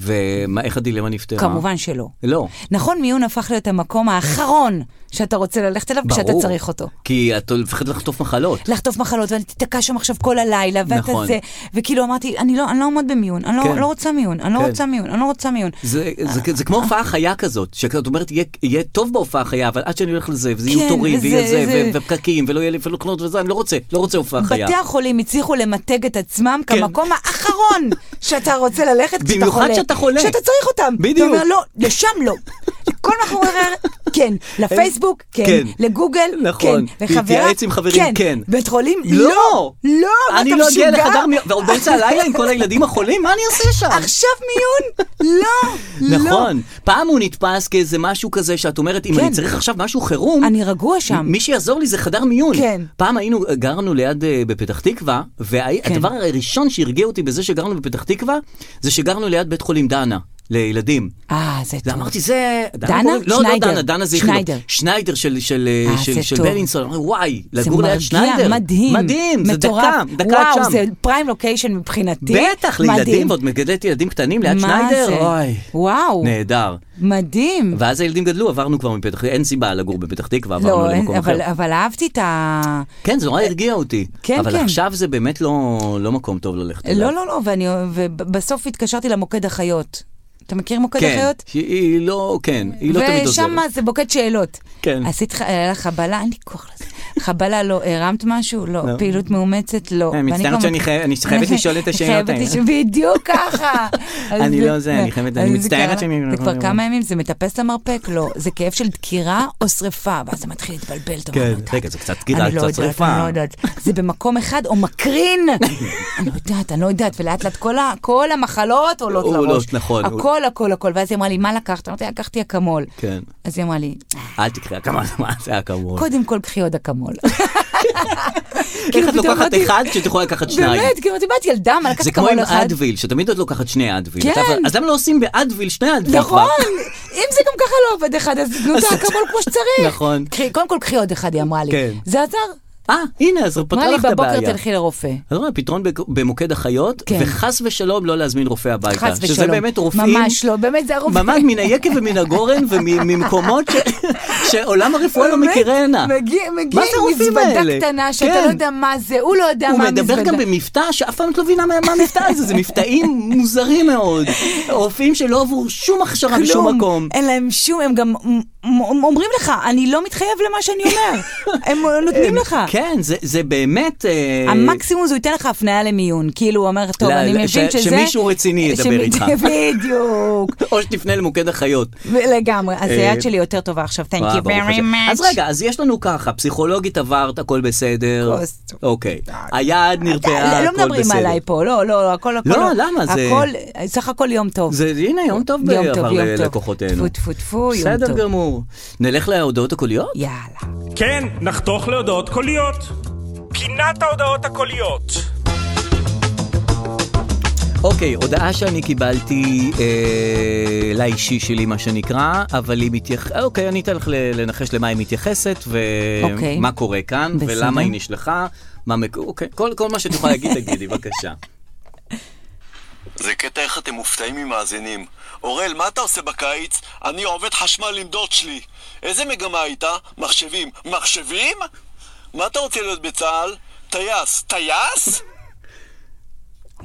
[SPEAKER 2] ואיך הדילמה נפתרה?
[SPEAKER 3] כמובן שלא.
[SPEAKER 2] לא.
[SPEAKER 3] נכון, מיון הפך להיות המקום האחרון שאתה רוצה ללכת אליו כשאתה
[SPEAKER 2] ברור.
[SPEAKER 3] צריך אותו.
[SPEAKER 2] כי את מפחדת לחטוף מחלות.
[SPEAKER 3] לחטוף מחלות, ואני תיתקע שם עכשיו כל הלילה, ואתה
[SPEAKER 2] נכון.
[SPEAKER 3] זה, וכאילו אמרתי, אני לא, אני לא עומד במיון, אני לא,
[SPEAKER 2] כן.
[SPEAKER 3] לא רוצה מיון, אני לא
[SPEAKER 2] כן.
[SPEAKER 3] רוצה מיון, אני לא רוצה מיון.
[SPEAKER 2] זה, זה, זה, זה כמו הופעה חיה כזאת, שאת אומרת, יהיה, יהיה טוב בהופעה חיה, אבל עד שאני הולך לזה, וזה יהיו
[SPEAKER 3] כן,
[SPEAKER 2] תורים,
[SPEAKER 3] וזה-
[SPEAKER 2] ויהיה זה,
[SPEAKER 3] זה-
[SPEAKER 2] ו- ופקקים, ולא יהיה לי פלוכנות וזה, אני לא רוצה, לא רוצה הופעה חיה.
[SPEAKER 3] בתי החולים הצליחו למתג את עצמם
[SPEAKER 2] כן.
[SPEAKER 3] כמקום
[SPEAKER 2] [laughs]
[SPEAKER 3] האחרון שאתה רוצה ללכת כשאתה חולה.
[SPEAKER 2] במיוחד שאתה חולה.
[SPEAKER 3] שאתה צריך אותם.
[SPEAKER 2] בדיוק.
[SPEAKER 3] אתה אומר, לא, לשם לא. לכל מאחורי אחר, כן.
[SPEAKER 2] [laughs]
[SPEAKER 3] לפייסבוק, כן.
[SPEAKER 2] כן.
[SPEAKER 3] לגוגל,
[SPEAKER 2] נכון.
[SPEAKER 3] כן. לחברה,
[SPEAKER 2] להתייעץ עם חברים, כן.
[SPEAKER 3] בית חולים,
[SPEAKER 2] לא.
[SPEAKER 3] לא. לא, מה,
[SPEAKER 2] אני
[SPEAKER 3] אתה
[SPEAKER 2] לא אגיע
[SPEAKER 3] משוגע?
[SPEAKER 2] לחדר מיון, ועוד
[SPEAKER 3] [laughs]
[SPEAKER 2] באמצע הלילה עם כל הילדים החולים, מה אני אעשה שם?
[SPEAKER 3] עכשיו מיון?
[SPEAKER 2] [laughs]
[SPEAKER 3] לא, לא.
[SPEAKER 2] נכון, פעם הוא נתפס כאיזה משהו כזה שאת אומרת, אם
[SPEAKER 3] כן.
[SPEAKER 2] אני צריך עכשיו משהו חירום,
[SPEAKER 3] אני רגוע שם.
[SPEAKER 2] מי שיעזור לי זה חדר מיון.
[SPEAKER 3] כן.
[SPEAKER 2] פעם היינו, גרנו ליד, אה, בפתח תקווה,
[SPEAKER 3] כן.
[SPEAKER 2] והדבר הראשון שהרגיע אותי בזה שגרנו בפתח תקווה, זה שגרנו ליד בית חולים דנה, לילדים.
[SPEAKER 3] אה, זה טוב.
[SPEAKER 2] ואמרתי, זה...
[SPEAKER 3] דנה?
[SPEAKER 2] קוראים- לא, לא
[SPEAKER 3] שניידר.
[SPEAKER 2] דנה, דנה זה יחידו.
[SPEAKER 3] שניידר.
[SPEAKER 2] שניידר של, של,
[SPEAKER 3] אה,
[SPEAKER 2] של,
[SPEAKER 3] זה
[SPEAKER 2] של
[SPEAKER 3] טוב.
[SPEAKER 2] בלינסון. אמרתי, וואי,
[SPEAKER 3] זה
[SPEAKER 2] לגור
[SPEAKER 3] מרגיע,
[SPEAKER 2] ליד שניידר.
[SPEAKER 3] מדהים,
[SPEAKER 2] מדהים, זה
[SPEAKER 3] מטורף.
[SPEAKER 2] דקה, דקה
[SPEAKER 3] וואו,
[SPEAKER 2] עד שם.
[SPEAKER 3] זה פריים לוקיישן מבחינתי.
[SPEAKER 2] בטח,
[SPEAKER 3] מדהים.
[SPEAKER 2] לילדים, ועוד מגדלת ילדים קטנים ליד
[SPEAKER 3] מה
[SPEAKER 2] שניידר.
[SPEAKER 3] זה?
[SPEAKER 2] אוי.
[SPEAKER 3] וואו.
[SPEAKER 2] נהדר.
[SPEAKER 3] מדהים.
[SPEAKER 2] ואז הילדים גדלו, עברנו כבר מפתח תקווה, אין סיבה לגור בפתח תקווה, עברנו
[SPEAKER 3] לא, אין-
[SPEAKER 2] למקום אחר.
[SPEAKER 3] אבל- אבל אהבתי את ה...
[SPEAKER 2] כן, זה נורא הרגיע אותי.
[SPEAKER 3] כן,
[SPEAKER 2] אבל
[SPEAKER 3] כן.
[SPEAKER 2] עכשיו זה באמת לא לא מקום טוב ללכת אליו.
[SPEAKER 3] לא, לא, לא, ואני- ובסוף התקשרתי למוקד החיות. אתה מכיר מוקד
[SPEAKER 2] כן,
[SPEAKER 3] החיות?
[SPEAKER 2] היא- היא לא, כן, היא לא תמיד עוזרת.
[SPEAKER 3] ושם זה בוקד שאלות.
[SPEAKER 2] כן.
[SPEAKER 3] עשית ח- היה לך חבלה, אין לי כוח לזה. חבלה לא, הרמת משהו? לא.
[SPEAKER 2] לא. אה,
[SPEAKER 3] פעילות מאומצת? לא.
[SPEAKER 2] אני
[SPEAKER 3] ואני
[SPEAKER 2] מצטערת
[SPEAKER 3] כבר-
[SPEAKER 2] שאני חייב- אני
[SPEAKER 3] [laughs]
[SPEAKER 2] חייבת לשאול את השאלות
[SPEAKER 3] חייבת
[SPEAKER 2] האלה.
[SPEAKER 3] לשאול- בדיוק ככה.
[SPEAKER 2] [laughs]
[SPEAKER 3] אז
[SPEAKER 2] אני לא זה, אני חייבת- אני
[SPEAKER 3] אז זה
[SPEAKER 2] מצטערת
[SPEAKER 3] כבר-
[SPEAKER 2] שאני-
[SPEAKER 3] זה כבר כמה ימים, זה מטפס למרפק? לא. זה כאב של דקירה או שריפה, ואז זה מתחיל להתבלבל. אתה אומר,
[SPEAKER 2] כן,
[SPEAKER 3] "לא יודעת."
[SPEAKER 2] רגע, זה קצת דקירה,
[SPEAKER 3] אני לא
[SPEAKER 2] קצת
[SPEAKER 3] יודעת,
[SPEAKER 2] שריפה.
[SPEAKER 3] אני לא יודעת. זה במקום אחד או
[SPEAKER 2] [laughs]
[SPEAKER 3] מקרין? אני לא יודעת, אני לא יודעת, ולאט לאט כל ה- כל המחלות עולות
[SPEAKER 2] עולות,
[SPEAKER 3] לראש.
[SPEAKER 2] נכון.
[SPEAKER 3] הכל, הכל, הכל. ואז היא אמרה לי, מה לקחת? אמרתי, לקחתי אקמול.
[SPEAKER 2] כן. נכון.
[SPEAKER 3] אז היא אמרה לי,
[SPEAKER 2] אל תקרא כמה [laughs] מה זה אקמול.
[SPEAKER 3] קודם כל קחי
[SPEAKER 2] [laughs]
[SPEAKER 3] עוד אקמול.
[SPEAKER 2] איך את
[SPEAKER 3] פתאום
[SPEAKER 2] לוקחת
[SPEAKER 3] אמרתי-
[SPEAKER 2] אחד כשאת יכולה לקחת שניים?
[SPEAKER 3] כאילו באמת, כאילו, את יודעת, ילדה, מה לקחת
[SPEAKER 2] זה כמו
[SPEAKER 3] אקמול
[SPEAKER 2] עם
[SPEAKER 3] אחד?
[SPEAKER 2] אדוויל, שתמיד את לוקחת שני אדוויל.
[SPEAKER 3] כן.
[SPEAKER 2] אתה- אז למה לא עושים באדוויל שני אדוויל
[SPEAKER 3] נכון,
[SPEAKER 2] כבר?
[SPEAKER 3] אם זה גם ככה לא עובד אחד, אז תנו את האקמול כמו שצריך.
[SPEAKER 2] נכון.
[SPEAKER 3] קחי- קודם כל קחי עוד אחד, היא אמרה לי.
[SPEAKER 2] כן.
[SPEAKER 3] זה עזר.
[SPEAKER 2] אה, הנה, אז פתרה
[SPEAKER 3] אמרה לי,
[SPEAKER 2] לך את
[SPEAKER 3] בבוקר
[SPEAKER 2] הבעיה.
[SPEAKER 3] תלכי לרופא.
[SPEAKER 2] אז רואה, פתרון בק- במוקד החיות,
[SPEAKER 3] כן.
[SPEAKER 2] וחס ושלום לא להזמין רופא הביתה.
[SPEAKER 3] חס ושלום.
[SPEAKER 2] שזה באמת רופאים...
[SPEAKER 3] ממש לא, באמת זה הרופא.
[SPEAKER 2] ממש מן היקב ומן
[SPEAKER 3] [laughs]
[SPEAKER 2] הגורן וממקומות שעולם הרפואה לא
[SPEAKER 3] באמת,
[SPEAKER 2] מכירנה.
[SPEAKER 3] מגיע, מגיע
[SPEAKER 2] מה זה
[SPEAKER 3] עם
[SPEAKER 2] הרופאים
[SPEAKER 3] מזוודה
[SPEAKER 2] האלה?
[SPEAKER 3] קטנה שאתה
[SPEAKER 2] כן.
[SPEAKER 3] לא יודע מה זה, הוא לא יודע
[SPEAKER 2] הוא
[SPEAKER 3] מה המזוודה.
[SPEAKER 2] מדבר גם במבטא שאף פעם את לא מבינה מה מה המבטא הזה, זה מבטאים מוזרים מאוד. רופאים שלא עברו שום הכשרה בשום מקום.
[SPEAKER 3] אין להם שום, הם גם מ- מ- אומרים לך, אני לא מתחייב למה שאני
[SPEAKER 2] [laughs]
[SPEAKER 3] אומר. הם נותנים לך.
[SPEAKER 2] כן, זה- זה באמת... אה,
[SPEAKER 3] המקסימום זה הוא ייתן לך הפניה למיון, כאילו הוא אומר, טוב,
[SPEAKER 2] לא,
[SPEAKER 3] אני
[SPEAKER 2] לא,
[SPEAKER 3] מבין
[SPEAKER 2] ש-
[SPEAKER 3] שזה...
[SPEAKER 2] שמישהו רציני ידבר
[SPEAKER 3] שמי-
[SPEAKER 2] איתך."
[SPEAKER 3] [laughs] בדיוק,
[SPEAKER 2] או שתפנה למוקד החיות.
[SPEAKER 3] לגמרי. אז היד שלי יותר טובה עכשיו, thank
[SPEAKER 2] אה,
[SPEAKER 3] you
[SPEAKER 2] ברוך
[SPEAKER 3] very
[SPEAKER 2] השם.
[SPEAKER 3] much.
[SPEAKER 2] אז רגע, אז יש לנו ככה, פסיכולוגית עברת, הכל בסדר.
[SPEAKER 3] כוס.
[SPEAKER 2] אוקיי. היד נרפאה,
[SPEAKER 3] לא-
[SPEAKER 2] הכל
[SPEAKER 3] לא
[SPEAKER 2] בסדר.
[SPEAKER 3] מדברים עליי פה, לא, לא, הכל, הכל,
[SPEAKER 2] לא, למה? זה-
[SPEAKER 3] הכל, סך הכל יום טוב.
[SPEAKER 2] זה, הנה, יום טוב
[SPEAKER 3] יום טוב,
[SPEAKER 2] עבר
[SPEAKER 3] יום טוב.
[SPEAKER 2] ללקוחותינו.
[SPEAKER 3] טפו, טפו, טפו, יום
[SPEAKER 2] בסדר
[SPEAKER 3] טוב.
[SPEAKER 2] גמור. נלך להודעות הקוליות?
[SPEAKER 3] יאללה.
[SPEAKER 5] כן, נחתוך להודעות קוליות. פינת ההודעות הקוליות.
[SPEAKER 2] אוקיי, הודעה שאני קיבלתי אה, לאישי שלי, מה שנקרא, אבל היא מתייחסת... אוקיי, אני אתן לך ל- לנחש למה היא מתייחסת,
[SPEAKER 3] אוקיי.
[SPEAKER 2] ומה קורה כאן,
[SPEAKER 3] בסדר.
[SPEAKER 2] ולמה היא נשלחה, מה מק... אוקיי, כל, כל מה שאת יכולה להגיד, תגידי,
[SPEAKER 3] [laughs]
[SPEAKER 2] בבקשה.
[SPEAKER 6] זה קטע איך אתם מופתעים ממאזינים. אוראל, מה אתה עושה בקיץ? אני עובד חשמל עם דוד שלי. איזה מגמה הייתה? מחשבים. מחשבים? מה אתה רוצה להיות בצה"ל? טייס. טייס?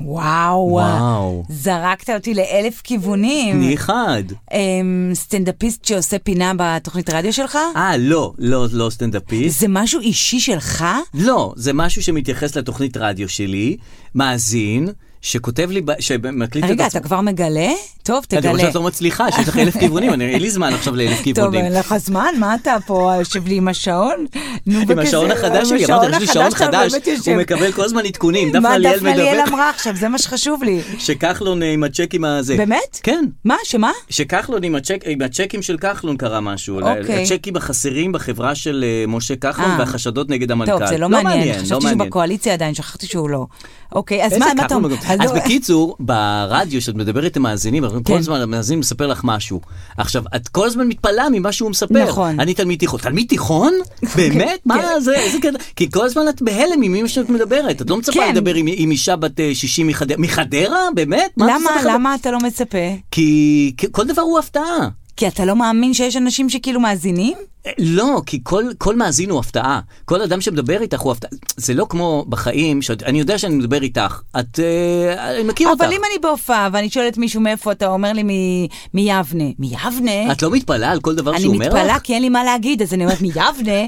[SPEAKER 3] וואו.
[SPEAKER 2] וואו.
[SPEAKER 3] זרקת אותי לאלף כיוונים.
[SPEAKER 2] תני אחד.
[SPEAKER 3] אמ, סטנדאפיסט שעושה פינה בתוכנית רדיו שלך?
[SPEAKER 2] אה, לא, לא, לא סטנדאפיסט.
[SPEAKER 3] זה משהו אישי שלך?
[SPEAKER 2] לא, זה משהו שמתייחס לתוכנית רדיו שלי, מאזין, שכותב לי, ב- שמקליט את עצמו.
[SPEAKER 3] רגע, אתה כבר מגלה? טוב,
[SPEAKER 2] אני
[SPEAKER 3] תגלה.
[SPEAKER 2] חושב שאת לא מצליחה, שיש לך אלף כיוונים, אני- אין לי זמן עכשיו לאלף
[SPEAKER 3] טוב, לא
[SPEAKER 2] כיוונים.
[SPEAKER 3] אין לך זמן? מה אתה פה יושב לי עם השעון? נו,
[SPEAKER 2] עם
[SPEAKER 3] וכזה-
[SPEAKER 2] השעון החדש
[SPEAKER 3] אה, עם
[SPEAKER 2] שלי, אמרתי,
[SPEAKER 3] השעון
[SPEAKER 2] יש לי שעון
[SPEAKER 3] החדש שלנו,
[SPEAKER 2] חדש,
[SPEAKER 3] באמת יושב.
[SPEAKER 2] הוא מקבל כל הזמן עדכונים, דפנה
[SPEAKER 3] מה
[SPEAKER 2] ליאל
[SPEAKER 3] דפנה ליאל
[SPEAKER 2] מדווח
[SPEAKER 3] אמרה עכשיו? זה מה שחשוב לי.
[SPEAKER 2] שכחלון אה, עם הצ'ק עם הזה.
[SPEAKER 3] באמת?
[SPEAKER 2] כן.
[SPEAKER 3] מה? שמה?
[SPEAKER 2] שכחלון עם, הצ'ק, עם הצ'קים של כחלון קרה משהו,
[SPEAKER 3] אוקיי.
[SPEAKER 2] הצ'קים החסרים בחברה של אה, משה כחלון
[SPEAKER 3] אה.
[SPEAKER 2] והחשדות נגד המנכ"ל.
[SPEAKER 3] טוב, זה לא מעניין. חשבתי שהוא בקואליציה עדיין, שכחתי שהוא לא. אוקיי, אז
[SPEAKER 2] איזה
[SPEAKER 3] מה מה אתה
[SPEAKER 2] כחלון
[SPEAKER 3] אומר?
[SPEAKER 2] בקואליציה? אז
[SPEAKER 3] לא-
[SPEAKER 2] בקיצור, ברדיו שאת מדברת עם מאזינים, אבל כל
[SPEAKER 3] כן.
[SPEAKER 2] הזמן המאזין מספר לך משהו. עכשיו, את כל הזמן מתפלאה ממה שהוא מספר.
[SPEAKER 3] נכון. כן.
[SPEAKER 2] אני תלמיד תיכון. תלמיד
[SPEAKER 3] [laughs]
[SPEAKER 2] תיכון? באמת? מה זה? איזה קטע? כי כל הזמן את בהלם עם מי שאת מדברת. את לא מצפה
[SPEAKER 3] כן.
[SPEAKER 2] לדבר עם- עם אישה בת אה, 60 מחדרה. מחדרה? באמת? מה את
[SPEAKER 3] למה,
[SPEAKER 2] מספרת?
[SPEAKER 3] למה אתה לא מצפה?
[SPEAKER 2] כי כי כל דבר הוא הפתעה.
[SPEAKER 3] כי אתה לא מאמין שיש אנשים שכאילו מאזינים?
[SPEAKER 2] לא, כי כל, כל מאזין הוא הפתעה. כל אדם שמדבר איתך הוא הפתעה. זה לא כמו בחיים, שאת, אני יודע שאני מדבר איתך. את... אה, אני מכיר אותך.
[SPEAKER 3] אבל אם אני בהופעה ואני שואלת מישהו מאיפה אתה, אומר לי "מ- מיבנה. מיבנה?
[SPEAKER 2] את לא מתפלאה על כל דבר
[SPEAKER 3] אני
[SPEAKER 2] שהוא אומר לך?
[SPEAKER 3] מתפלאה כי אין לי מה להגיד, אז אני אומרת מיבנה.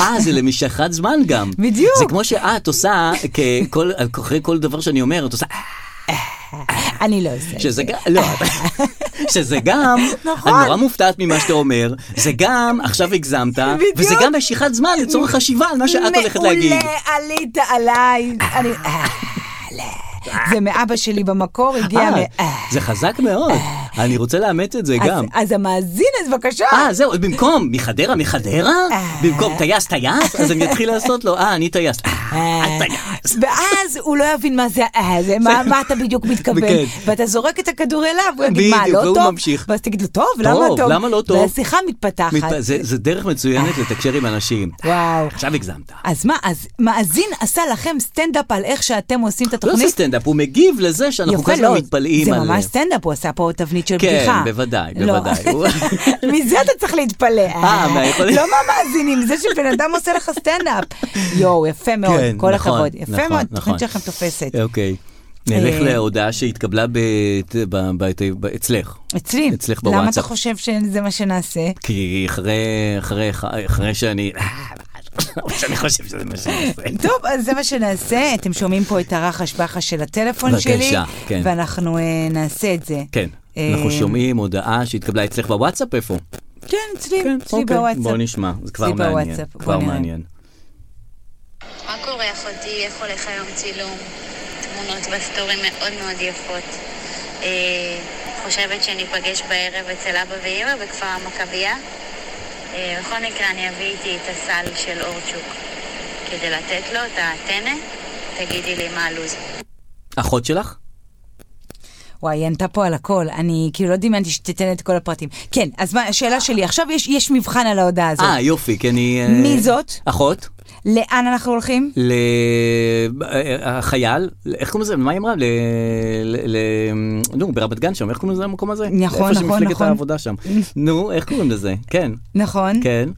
[SPEAKER 2] אה, זה למשכת זמן גם.
[SPEAKER 3] [laughs] בדיוק.
[SPEAKER 2] זה כמו שאת עושה, ככל, אחרי כל דבר שאני אומר, את עושה... "אה,
[SPEAKER 3] אני לא עושה את זה.
[SPEAKER 2] שזה גם, לא,
[SPEAKER 3] [laughs]
[SPEAKER 2] שזה גם,
[SPEAKER 3] נכון.
[SPEAKER 2] אני נורא מופתעת ממה שאתה אומר, זה גם, עכשיו הגזמת,
[SPEAKER 3] בדיוק.
[SPEAKER 2] וזה גם משיכת זמן לצורך חשיבה על מה שאת הולכת להגיד.
[SPEAKER 3] מעולה, עלית עליי. אני- אה, לא. זה מאבא שלי במקור, הגיע
[SPEAKER 2] אה,
[SPEAKER 3] מ... אה.
[SPEAKER 2] זה חזק מאוד, אני רוצה לאמץ את זה
[SPEAKER 3] אז-
[SPEAKER 2] גם.
[SPEAKER 3] אז המאזין, אז בבקשה.
[SPEAKER 2] אה, זהו, במקום, מחדרה, מחדרה?
[SPEAKER 3] אה.
[SPEAKER 2] במקום טייס, טייס? אז אני אתחיל לעשות לו, אה, אני טייס. אה, את טייס.
[SPEAKER 3] ואז הוא לא יבין מה זה, אה, זה, מה- מה אתה בדיוק מתכוון.
[SPEAKER 2] כן.
[SPEAKER 3] ואתה זורק את הכדור אליו, הוא יגיד, מה,
[SPEAKER 2] בדיוק,
[SPEAKER 3] לא
[SPEAKER 2] והוא
[SPEAKER 3] טוב?
[SPEAKER 2] ממשיך.
[SPEAKER 3] ואז תגיד לו, טוב, למה
[SPEAKER 2] טוב,
[SPEAKER 3] טוב?
[SPEAKER 2] למה לא טוב?
[SPEAKER 3] והשיחה מתפתחת.
[SPEAKER 2] מת- זה זה דרך מצוינת לתקשר עם אנשים.
[SPEAKER 3] וואו.
[SPEAKER 2] עכשיו הגזמת.
[SPEAKER 3] אז מה, אז מאזין עשה לכם סטנדאפ על איך שאתם עושים את
[SPEAKER 2] לא
[SPEAKER 3] התוכנית?
[SPEAKER 2] עושה סטנדאפ, הוא מגיב לזה שאנחנו כל
[SPEAKER 3] יפה,
[SPEAKER 2] הזמן
[SPEAKER 3] לא,
[SPEAKER 2] מתפלאים
[SPEAKER 3] זה
[SPEAKER 2] על...
[SPEAKER 3] ממש סטנדאפ, הוא עשה פה תבנית של
[SPEAKER 2] כן,
[SPEAKER 3] בדיחה.
[SPEAKER 2] בוודאי,
[SPEAKER 3] לא. [laughs]
[SPEAKER 2] בוודאי. הוא-
[SPEAKER 3] מזה אתה צריך להתפלא.
[SPEAKER 2] אה, מהיכולת-
[SPEAKER 3] לא מהמאזינים, זה שבן אדם עושה לך סטנדאפ. יואו, יפה מאוד,
[SPEAKER 2] כן,
[SPEAKER 3] כל
[SPEAKER 2] נכון,
[SPEAKER 3] הכבוד. יפה
[SPEAKER 2] נכון,
[SPEAKER 3] מאוד,
[SPEAKER 2] נכון.
[SPEAKER 3] התוכנית שלכם תופסת.
[SPEAKER 2] אוקיי. נלך
[SPEAKER 3] אה.
[SPEAKER 2] להודעה שהתקבלה ב- ב- ב- ב- אצלך.
[SPEAKER 3] אצלי.
[SPEAKER 2] אצלך
[SPEAKER 3] למה אתה
[SPEAKER 2] בוואטסאפ.
[SPEAKER 3] חושב שזה מה שנעשה?
[SPEAKER 2] כי אחרי, אחרי, אחרי שאני... אה, [laughs] שאני חושב שזה מה שאני עושה.
[SPEAKER 3] טוב, אז זה מה שנעשה. אתם שומעים פה את הרחש בחש של הטלפון
[SPEAKER 2] בבקשה,
[SPEAKER 3] שלי,
[SPEAKER 2] כן.
[SPEAKER 3] ואנחנו אה, נעשה את זה.
[SPEAKER 2] כן,
[SPEAKER 3] אה,
[SPEAKER 2] אנחנו שומעים הודעה שהתקבלה אצלך בוואטסאפ איפה?
[SPEAKER 3] כן, אצלי, אצלי
[SPEAKER 2] אוקיי,
[SPEAKER 3] בוואטסאפ.
[SPEAKER 2] בוא נשמע, זה כבר
[SPEAKER 3] אצלי
[SPEAKER 2] מעניין.
[SPEAKER 3] בוואטסאפ, בוא
[SPEAKER 2] כבר
[SPEAKER 3] נראה.
[SPEAKER 2] מעניין.
[SPEAKER 7] מה קורה אחותי? איך הולך היום צילום? תמונות בסטורי מאוד מאוד יפות. אה, חושבת שניפגש בערב אצל אבא ואימא בכפר המכבייה. אה, בכל מקרה אני אביא איתי את הסל של אורצ'וק כדי לתת לו את הטנא. תגידי לי מה הלו"ז.
[SPEAKER 2] אחות שלך?
[SPEAKER 3] וואי, היא ענתה פה על הכל, אני כאילו לא דמיינתי שתיתן את כל הפרטים. כן, אז מה, השאלה שלי, עכשיו יש, יש מבחן על ההודעה הזאת.
[SPEAKER 2] אה, יופי, כי אני... אה,
[SPEAKER 3] מי זאת?
[SPEAKER 2] אחות?
[SPEAKER 3] לאן אנחנו הולכים?
[SPEAKER 2] לחייל, איך קוראים לזה? מה היא אמרה? ל... ל... ל- נו, ברמת גן שם, איך קוראים לזה המקום הזה?
[SPEAKER 3] נכון, נכון,
[SPEAKER 2] איפה שמפלגת
[SPEAKER 3] נכון.
[SPEAKER 2] העבודה שם. נו, איך קוראים לזה? כן,
[SPEAKER 3] נכון?
[SPEAKER 2] כן.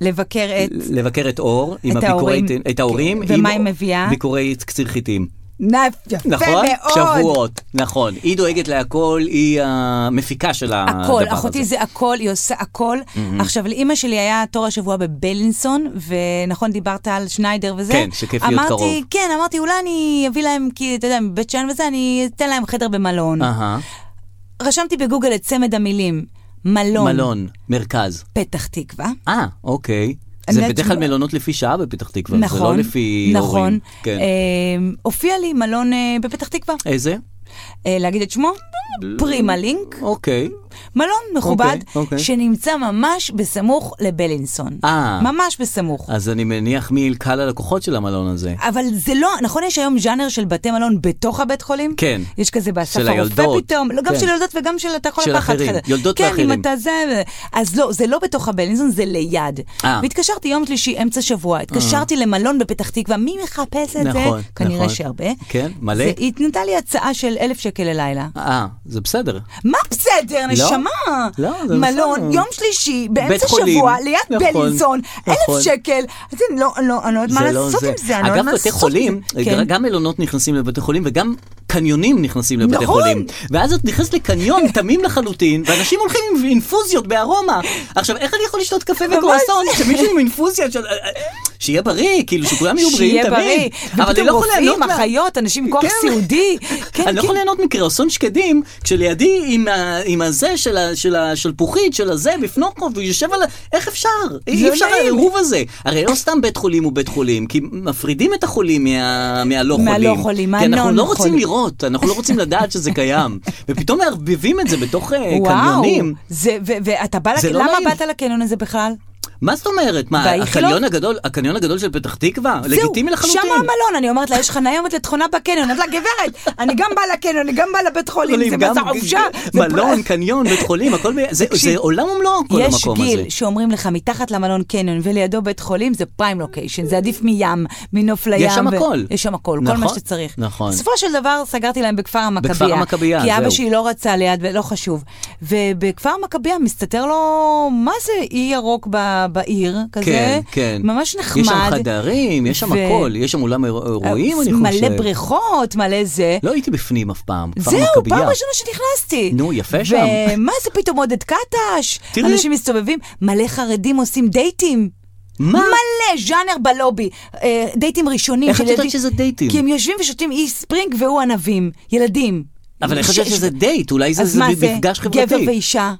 [SPEAKER 3] לבקר את...
[SPEAKER 2] לבקר את אור, עם
[SPEAKER 3] את
[SPEAKER 2] הביקורי...
[SPEAKER 3] ההורים.
[SPEAKER 2] את ההורים.
[SPEAKER 3] כן, ומה
[SPEAKER 2] עם
[SPEAKER 3] היא מביאה?
[SPEAKER 2] ביקורי קציר חיטים.
[SPEAKER 3] נא, יפה
[SPEAKER 2] נכון?
[SPEAKER 3] מאוד.
[SPEAKER 2] שבועות, נכון. היא דואגת להכל, היא המפיקה של הדבר הזה.
[SPEAKER 3] הכל, אחותי זה הכל, היא עושה הכל. עכשיו, לאימא שלי היה תור השבוע בבלינסון, ונכון, דיברת על שניידר וזה.
[SPEAKER 2] כן, שכיף להיות
[SPEAKER 3] אמרתי,
[SPEAKER 2] קרוב.
[SPEAKER 3] כן, אמרתי, אולי אני אביא להם, כי, אתה יודע, מבית שאן וזה, אני אתן להם חדר במלון.
[SPEAKER 2] אהה,
[SPEAKER 3] רשמתי בגוגל את צמד המילים, מלון,
[SPEAKER 2] מלון, מרכז.
[SPEAKER 3] פתח תקווה.
[SPEAKER 2] אה, אוקיי.
[SPEAKER 3] אני
[SPEAKER 2] זה
[SPEAKER 3] יודעת
[SPEAKER 2] בדרך כלל
[SPEAKER 3] ש-
[SPEAKER 2] מלונות לפי שעה בפתח תקווה,
[SPEAKER 3] נכון,
[SPEAKER 2] זה לא לפי
[SPEAKER 3] נכון,
[SPEAKER 2] הורים. כן.
[SPEAKER 3] אה, הופיע לי מלון אה, בפתח תקווה.
[SPEAKER 2] איזה?
[SPEAKER 3] אה, להגיד את שמו? פרימה לינק,
[SPEAKER 2] אוקיי.
[SPEAKER 3] מלון מכובד,
[SPEAKER 2] אוקיי.
[SPEAKER 3] שנמצא ממש בסמוך לבלינסון.
[SPEAKER 2] אה.
[SPEAKER 3] ממש בסמוך.
[SPEAKER 2] אז אני מניח מי קהל הלקוחות של המלון הזה.
[SPEAKER 3] אבל זה לא, נכון יש היום ז'אנר של בתי מלון בתוך הבית חולים?
[SPEAKER 2] כן.
[SPEAKER 3] יש כזה באסף
[SPEAKER 2] של
[SPEAKER 3] הרופא
[SPEAKER 2] היולדות.
[SPEAKER 3] פתאום, לא, גם
[SPEAKER 2] כן.
[SPEAKER 3] של יולדות וגם של אתה יכול
[SPEAKER 2] של
[SPEAKER 3] לקחת
[SPEAKER 2] אחרים,
[SPEAKER 3] חדר.
[SPEAKER 2] יולדות
[SPEAKER 3] כן,
[SPEAKER 2] ואחרים.
[SPEAKER 3] אם אתה זה, אז לא, זה לא בתוך הבלינסון, זה ליד.
[SPEAKER 2] אה.
[SPEAKER 3] והתקשרתי יום שלישי, אמצע שבוע, התקשרתי למלון בפתח תקווה, מי מחפש את זה?
[SPEAKER 2] נכון,
[SPEAKER 3] כנראה
[SPEAKER 2] נכון.
[SPEAKER 3] שהרבה.
[SPEAKER 2] כן, מלא.
[SPEAKER 3] והיא נתנה לי הצעה של אלף שקל ללילה.
[SPEAKER 2] אה, זה בסדר.
[SPEAKER 3] מה בסדר, נשמה?
[SPEAKER 2] לא, זה
[SPEAKER 3] מלון,
[SPEAKER 2] בסדר.
[SPEAKER 3] יום שלישי,
[SPEAKER 2] בית
[SPEAKER 3] באמצע
[SPEAKER 2] חולים.
[SPEAKER 3] שבוע, ליד
[SPEAKER 2] נכון,
[SPEAKER 3] בלינסון, אלף
[SPEAKER 2] נכון.
[SPEAKER 3] שקל. אז אני לא, לא, אני לא יודעת מה
[SPEAKER 2] זה לא
[SPEAKER 3] לעשות עם זה, אני לא יודעת
[SPEAKER 2] אגב,
[SPEAKER 3] מה
[SPEAKER 2] בתי
[SPEAKER 3] לעשות
[SPEAKER 2] חולים,
[SPEAKER 3] עם זה. כן.
[SPEAKER 2] גם מלונות נכנסים לבתי חולים וגם קניונים נכנסים לבתי
[SPEAKER 3] נכון.
[SPEAKER 2] חולים. ואז את נכנסת
[SPEAKER 3] [laughs]
[SPEAKER 2] לקניון תמים לחלוטין, ואנשים הולכים עם אינפוזיות בארומה. עכשיו, איך אני יכול לשתות קפה
[SPEAKER 3] ממש.
[SPEAKER 2] וקרואסון כשמישהו עם אינפוזיה של... אה, שיהיה בריא, כאילו שכולם יהיו בריאים
[SPEAKER 3] שיהיה
[SPEAKER 2] תמיד.
[SPEAKER 3] בריא.
[SPEAKER 2] אבל אני
[SPEAKER 3] ופתאום
[SPEAKER 2] לא יכול ליהנות
[SPEAKER 3] רופאים,
[SPEAKER 2] מה-
[SPEAKER 3] אחיות, אנשים עם כוח
[SPEAKER 2] כן. [laughs]
[SPEAKER 3] סיעודי. כן,
[SPEAKER 2] אני לא
[SPEAKER 3] כן.
[SPEAKER 2] יכול ליהנות מקרסון שקדים, כשלידי עם ה- עם הזה של ה- של השלפוחית, של הזה, בפנוקו, והוא יושב על ה... איך אפשר? אי
[SPEAKER 3] לא
[SPEAKER 2] אפשר
[SPEAKER 3] נעים.
[SPEAKER 2] העירוב הזה. הרי לא סתם בית חולים הוא בית חולים, כי מפרידים את החולים מה- מהלא חולים.
[SPEAKER 3] מהלא חולים,
[SPEAKER 2] כי אנחנו
[SPEAKER 3] מהנון
[SPEAKER 2] לא רוצים
[SPEAKER 3] חולים.
[SPEAKER 2] לראות, אנחנו לא רוצים לדעת שזה
[SPEAKER 3] [laughs]
[SPEAKER 2] קיים. ופתאום מערבבים את זה בתוך אה,
[SPEAKER 3] וואו,
[SPEAKER 2] קניונים.
[SPEAKER 3] זה- ו- ואתה בא, לק-
[SPEAKER 2] זה לא
[SPEAKER 3] למה
[SPEAKER 2] נעים.
[SPEAKER 3] באת לקניון הזה בכלל?
[SPEAKER 2] מה זאת אומרת? מה,
[SPEAKER 3] באיכילוב?
[SPEAKER 2] הקניון הגדול, הקניון הגדול של פתח תקווה? לגיטימי לחלוטין.
[SPEAKER 3] שם המלון, אני אומרת לה, יש חניה עומדת לתכונה בקניון. אומרת לה, גברת, אני גם באה לקניון, אני גם באה לבית חולים, זה
[SPEAKER 2] גם-
[SPEAKER 3] בשר חופשה. זה
[SPEAKER 2] מלון,
[SPEAKER 3] פרס.
[SPEAKER 2] קניון, בית חולים, הכל ב... זה-
[SPEAKER 3] תקשיב,
[SPEAKER 2] זה עולם ומלואו, כל
[SPEAKER 3] יש
[SPEAKER 2] המקום הזה.
[SPEAKER 3] גיל שאומרים לך, מתחת למלון קניון ולידו בית חולים, זה פריים לוקיישן, זה עדיף מים, מנוף לים.
[SPEAKER 2] שם
[SPEAKER 3] ו-
[SPEAKER 2] הכל.
[SPEAKER 3] יש שם הכל, כל
[SPEAKER 2] נכון,
[SPEAKER 3] מה שצריך.
[SPEAKER 2] נכון.
[SPEAKER 3] בסופו של דבר, סגרתי להם בכפר המכבייה.
[SPEAKER 2] בכפר המכבייה,
[SPEAKER 3] כי אבא
[SPEAKER 2] זהו.
[SPEAKER 3] שלי לא רצה ליד, ולא חשוב. ובכפר המכבייה מסתתר לו, מה זה אי ירוק ב- בעיר, כזה?
[SPEAKER 2] כן, כן.
[SPEAKER 3] ממש נחמד.
[SPEAKER 2] יש שם חדרים, יש שם
[SPEAKER 3] ו- אה,
[SPEAKER 2] הכל, יש שם אולם אירוע- אירועים, אני חושב.
[SPEAKER 3] מלא בריכות, מלא זה.
[SPEAKER 2] לא הייתי בפנים אף פעם, כפר
[SPEAKER 3] זהו,
[SPEAKER 2] המכבייה.
[SPEAKER 3] פעם ראשונה שנכנסתי.
[SPEAKER 2] נו, יפה שם.
[SPEAKER 3] ומה זה פתאום עודד קטש?
[SPEAKER 2] תראי.
[SPEAKER 3] אנשים מסתובבים, מלא חרדים עושים דייטים.
[SPEAKER 2] מה?
[SPEAKER 3] מלא ז'אנר בלובי. אה, דייטים ראשונים.
[SPEAKER 2] איך
[SPEAKER 3] של
[SPEAKER 2] את יודעת
[SPEAKER 3] ילדים-
[SPEAKER 2] שזה דייטים?
[SPEAKER 3] כי הם יושבים ושותים אי ספרינג והוא ענבים. ילדים.
[SPEAKER 2] אבל אני
[SPEAKER 3] ש-
[SPEAKER 2] חושב שזה דייט, אולי זה
[SPEAKER 3] אז
[SPEAKER 2] זה
[SPEAKER 3] מה זה?
[SPEAKER 2] מפגש
[SPEAKER 3] גבר
[SPEAKER 2] חברתי.
[SPEAKER 3] ואישה.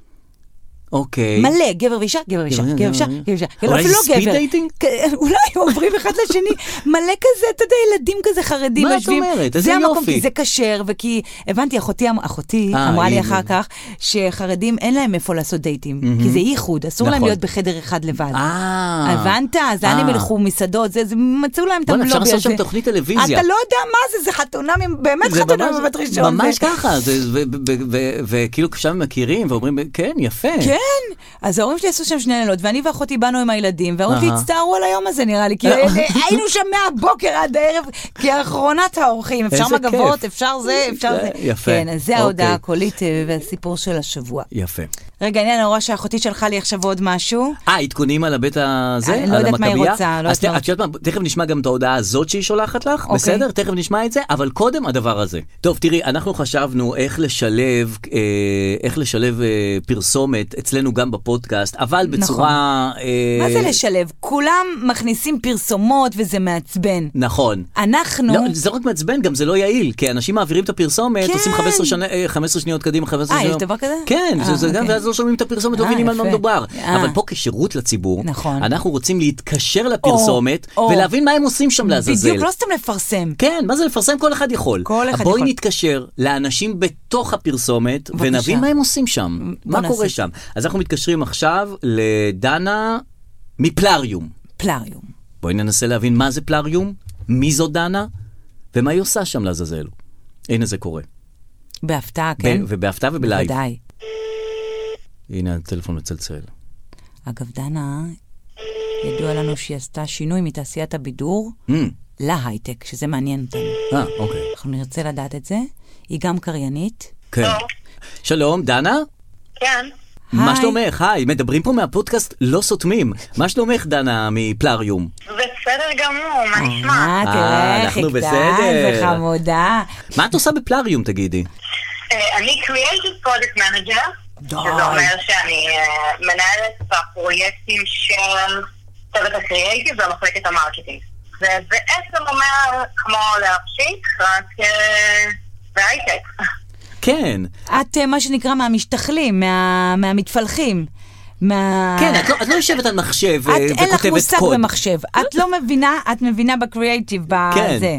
[SPEAKER 2] אוקיי.
[SPEAKER 3] מלא, גבר ואישה, גבר ואישה,
[SPEAKER 2] גבר,
[SPEAKER 3] גבר ואישה,
[SPEAKER 2] גבר,
[SPEAKER 3] גבר ואישה.
[SPEAKER 2] אולי
[SPEAKER 3] לא,
[SPEAKER 2] זה
[SPEAKER 3] אפילו לא
[SPEAKER 2] speed
[SPEAKER 3] גבר.
[SPEAKER 2] dating?
[SPEAKER 3] כ- אולי עוברים אחד לשני, מלא כזה, אתה יודע, ילדים כזה חרדים
[SPEAKER 2] מה את
[SPEAKER 3] יושבים.
[SPEAKER 2] אומרת? איזה
[SPEAKER 3] זה המקום,
[SPEAKER 2] יופי.
[SPEAKER 3] כי זה כשר, וכי, הבנתי, אחותי אמ- אחותי
[SPEAKER 2] אה,
[SPEAKER 3] אמרה לי
[SPEAKER 2] היא-
[SPEAKER 3] אחר כך, שחרדים אין להם איפה לעשות דייטים, כי זה ייחוד, אסור להם
[SPEAKER 2] נכון.
[SPEAKER 3] להיות בחדר אחד לבד.
[SPEAKER 2] אה.
[SPEAKER 3] הבנת? אז לאן הם
[SPEAKER 2] אה.
[SPEAKER 3] ילכו? מסעדות, זה, זה- מצאו להם את
[SPEAKER 2] בוא'נה,
[SPEAKER 3] הלובי הזה.
[SPEAKER 2] אפשר לעשות שם תוכנית טלוויזיה.
[SPEAKER 3] אתה לא יודע מה זה, זה חתונה, מ- באמת
[SPEAKER 2] זה
[SPEAKER 3] חתונה
[SPEAKER 2] ממש-
[SPEAKER 3] בבת ראשון.
[SPEAKER 2] ממש
[SPEAKER 3] זה-
[SPEAKER 2] ככה, זה- ו- ו- ו- ו- וכאילו שם מכירים ואומרים, כן, יפה.
[SPEAKER 3] כן, אז ההורים שלי עשו שם שני לילות, ואני ואחותי באנו עם הילדים, וההורים שלי
[SPEAKER 2] אהה. אה.
[SPEAKER 3] הצטערו על היום הזה נראה לי, כי אה, היינו שם מהבוקר עד הערב, כאחרונת האורחים, אפשר
[SPEAKER 2] איזה
[SPEAKER 3] מגבות,
[SPEAKER 2] כיף.
[SPEAKER 3] אפשר זה, אפשר
[SPEAKER 2] זה,
[SPEAKER 3] זה.
[SPEAKER 2] יפה.
[SPEAKER 3] כן, אז זה
[SPEAKER 2] אוקיי.
[SPEAKER 3] ההודעה הקולית אה, והסיפור של השבוע.
[SPEAKER 2] יפה.
[SPEAKER 3] רגע, אני נורא שאחותי שלחה לי עכשיו עוד משהו.
[SPEAKER 2] אה, עדכונים על הבית הזה?
[SPEAKER 3] אני לא
[SPEAKER 2] על
[SPEAKER 3] יודעת מה היא
[SPEAKER 2] המכבייה?
[SPEAKER 3] רוצה, לא
[SPEAKER 2] אז
[SPEAKER 3] יודעת מה-
[SPEAKER 2] את יודעת מה, תכף נשמע גם את ההודעה הזאת שהיא שולחת לך,
[SPEAKER 3] אוקיי.
[SPEAKER 2] בסדר? תכף נשמע את זה, אבל קודם הדבר הזה. טוב, תראי, אנחנו חשבנו איך לשלב, אה, איך לשלב אה, פרסומת אצלנו גם בפודקאסט, אבל בצורה... אה,
[SPEAKER 3] נכון. מה זה לשלב? כולם מכניסים פרסומות וזה מעצבן.
[SPEAKER 2] נכון.
[SPEAKER 3] אנחנו...
[SPEAKER 2] לא, זה לא רק מעצבן, גם זה לא יעיל, כי אנשים מעבירים את הפרסומת,
[SPEAKER 3] כן.
[SPEAKER 2] עושים 15 שני- אה, 15 שניות קדימה, 15
[SPEAKER 3] אה,
[SPEAKER 2] שניות.
[SPEAKER 3] יש דבר כזה?
[SPEAKER 2] כן, זה-
[SPEAKER 3] אה,
[SPEAKER 2] זה גם,
[SPEAKER 3] אוקיי.
[SPEAKER 2] ואז לא שומעים את הפרסומת, לא
[SPEAKER 3] אה,
[SPEAKER 2] מבינים על מה
[SPEAKER 3] יפה.
[SPEAKER 2] מדובר.
[SPEAKER 3] אה.
[SPEAKER 2] אבל פה כשירות לציבור,
[SPEAKER 3] נכון.
[SPEAKER 2] אנחנו רוצים להתקשר לפרסומת,
[SPEAKER 3] או.
[SPEAKER 2] ולהבין מה הם עושים שם לעזאזל.
[SPEAKER 3] בדיוק, לא סתם לפרסם.
[SPEAKER 2] כן, מה זה לפרסם? כל אחד יכול.
[SPEAKER 3] כל אחד
[SPEAKER 2] בואי
[SPEAKER 3] יכול.
[SPEAKER 2] נתקשר לאנשים בתוך הפרסומת,
[SPEAKER 3] בבקשה.
[SPEAKER 2] ונבין מה הם עושים שם.
[SPEAKER 3] בוא
[SPEAKER 2] מה
[SPEAKER 3] נעשה
[SPEAKER 2] קורה
[SPEAKER 3] את זה.
[SPEAKER 2] שם. אז אנחנו מתקשרים עכשיו לדנה מפלריום.
[SPEAKER 3] פלריום.
[SPEAKER 2] בואי ננסה להבין מה זה פלריום, מי זו דנה, ומה היא עושה שם לעזאזל. הנה זה קורה.
[SPEAKER 3] בהפתעה, כן?
[SPEAKER 2] ב- ובהפתעה ובלייב.
[SPEAKER 3] בוודאי.
[SPEAKER 2] הנה הטלפון מצלצל.
[SPEAKER 3] אגב, דנה, ידוע לנו שהיא עשתה שינוי מתעשיית הבידור
[SPEAKER 2] Mm,
[SPEAKER 3] להייטק, שזה מעניין אותנו.
[SPEAKER 2] אה, אוקיי.
[SPEAKER 3] אנחנו נרצה לדעת את זה. היא גם קריינית.
[SPEAKER 2] כן. שלום, דנה?
[SPEAKER 8] כן,
[SPEAKER 2] מה
[SPEAKER 3] היי.
[SPEAKER 2] שלומך? היי, מדברים פה מהפודקאסט לא סותמים. מה שלומך, דנה, מפלריום?
[SPEAKER 8] בסדר גמור, מה נשמע?
[SPEAKER 3] אה,
[SPEAKER 2] אה,
[SPEAKER 3] תראה,
[SPEAKER 2] אנחנו
[SPEAKER 3] חיקדן
[SPEAKER 2] בסדר.
[SPEAKER 3] וחמודה.
[SPEAKER 2] מה את עושה בפלריום, תגידי?
[SPEAKER 8] אה, אני קריאייטיב פרודקט מנג'ר, שזה אומר שאני אה, מנהלת בפרויקטים של צוות הקריאייטיב ומחלקת המרקטינג. זה בעצם אומר כמו להפשיק, רק אה, בהייטק. [laughs]
[SPEAKER 2] כן.
[SPEAKER 3] את, אה, מה שנקרא, מהמשתחלים, מה- מהמתפלחים. מה...
[SPEAKER 2] כן, את לא- את לא יושבת על מחשב אה,
[SPEAKER 3] את
[SPEAKER 2] וכותבת קוד.
[SPEAKER 3] אין לך מושג במחשב. את לא מבינה, את מבינה בקריאייטיב,
[SPEAKER 2] כן.
[SPEAKER 3] בזה.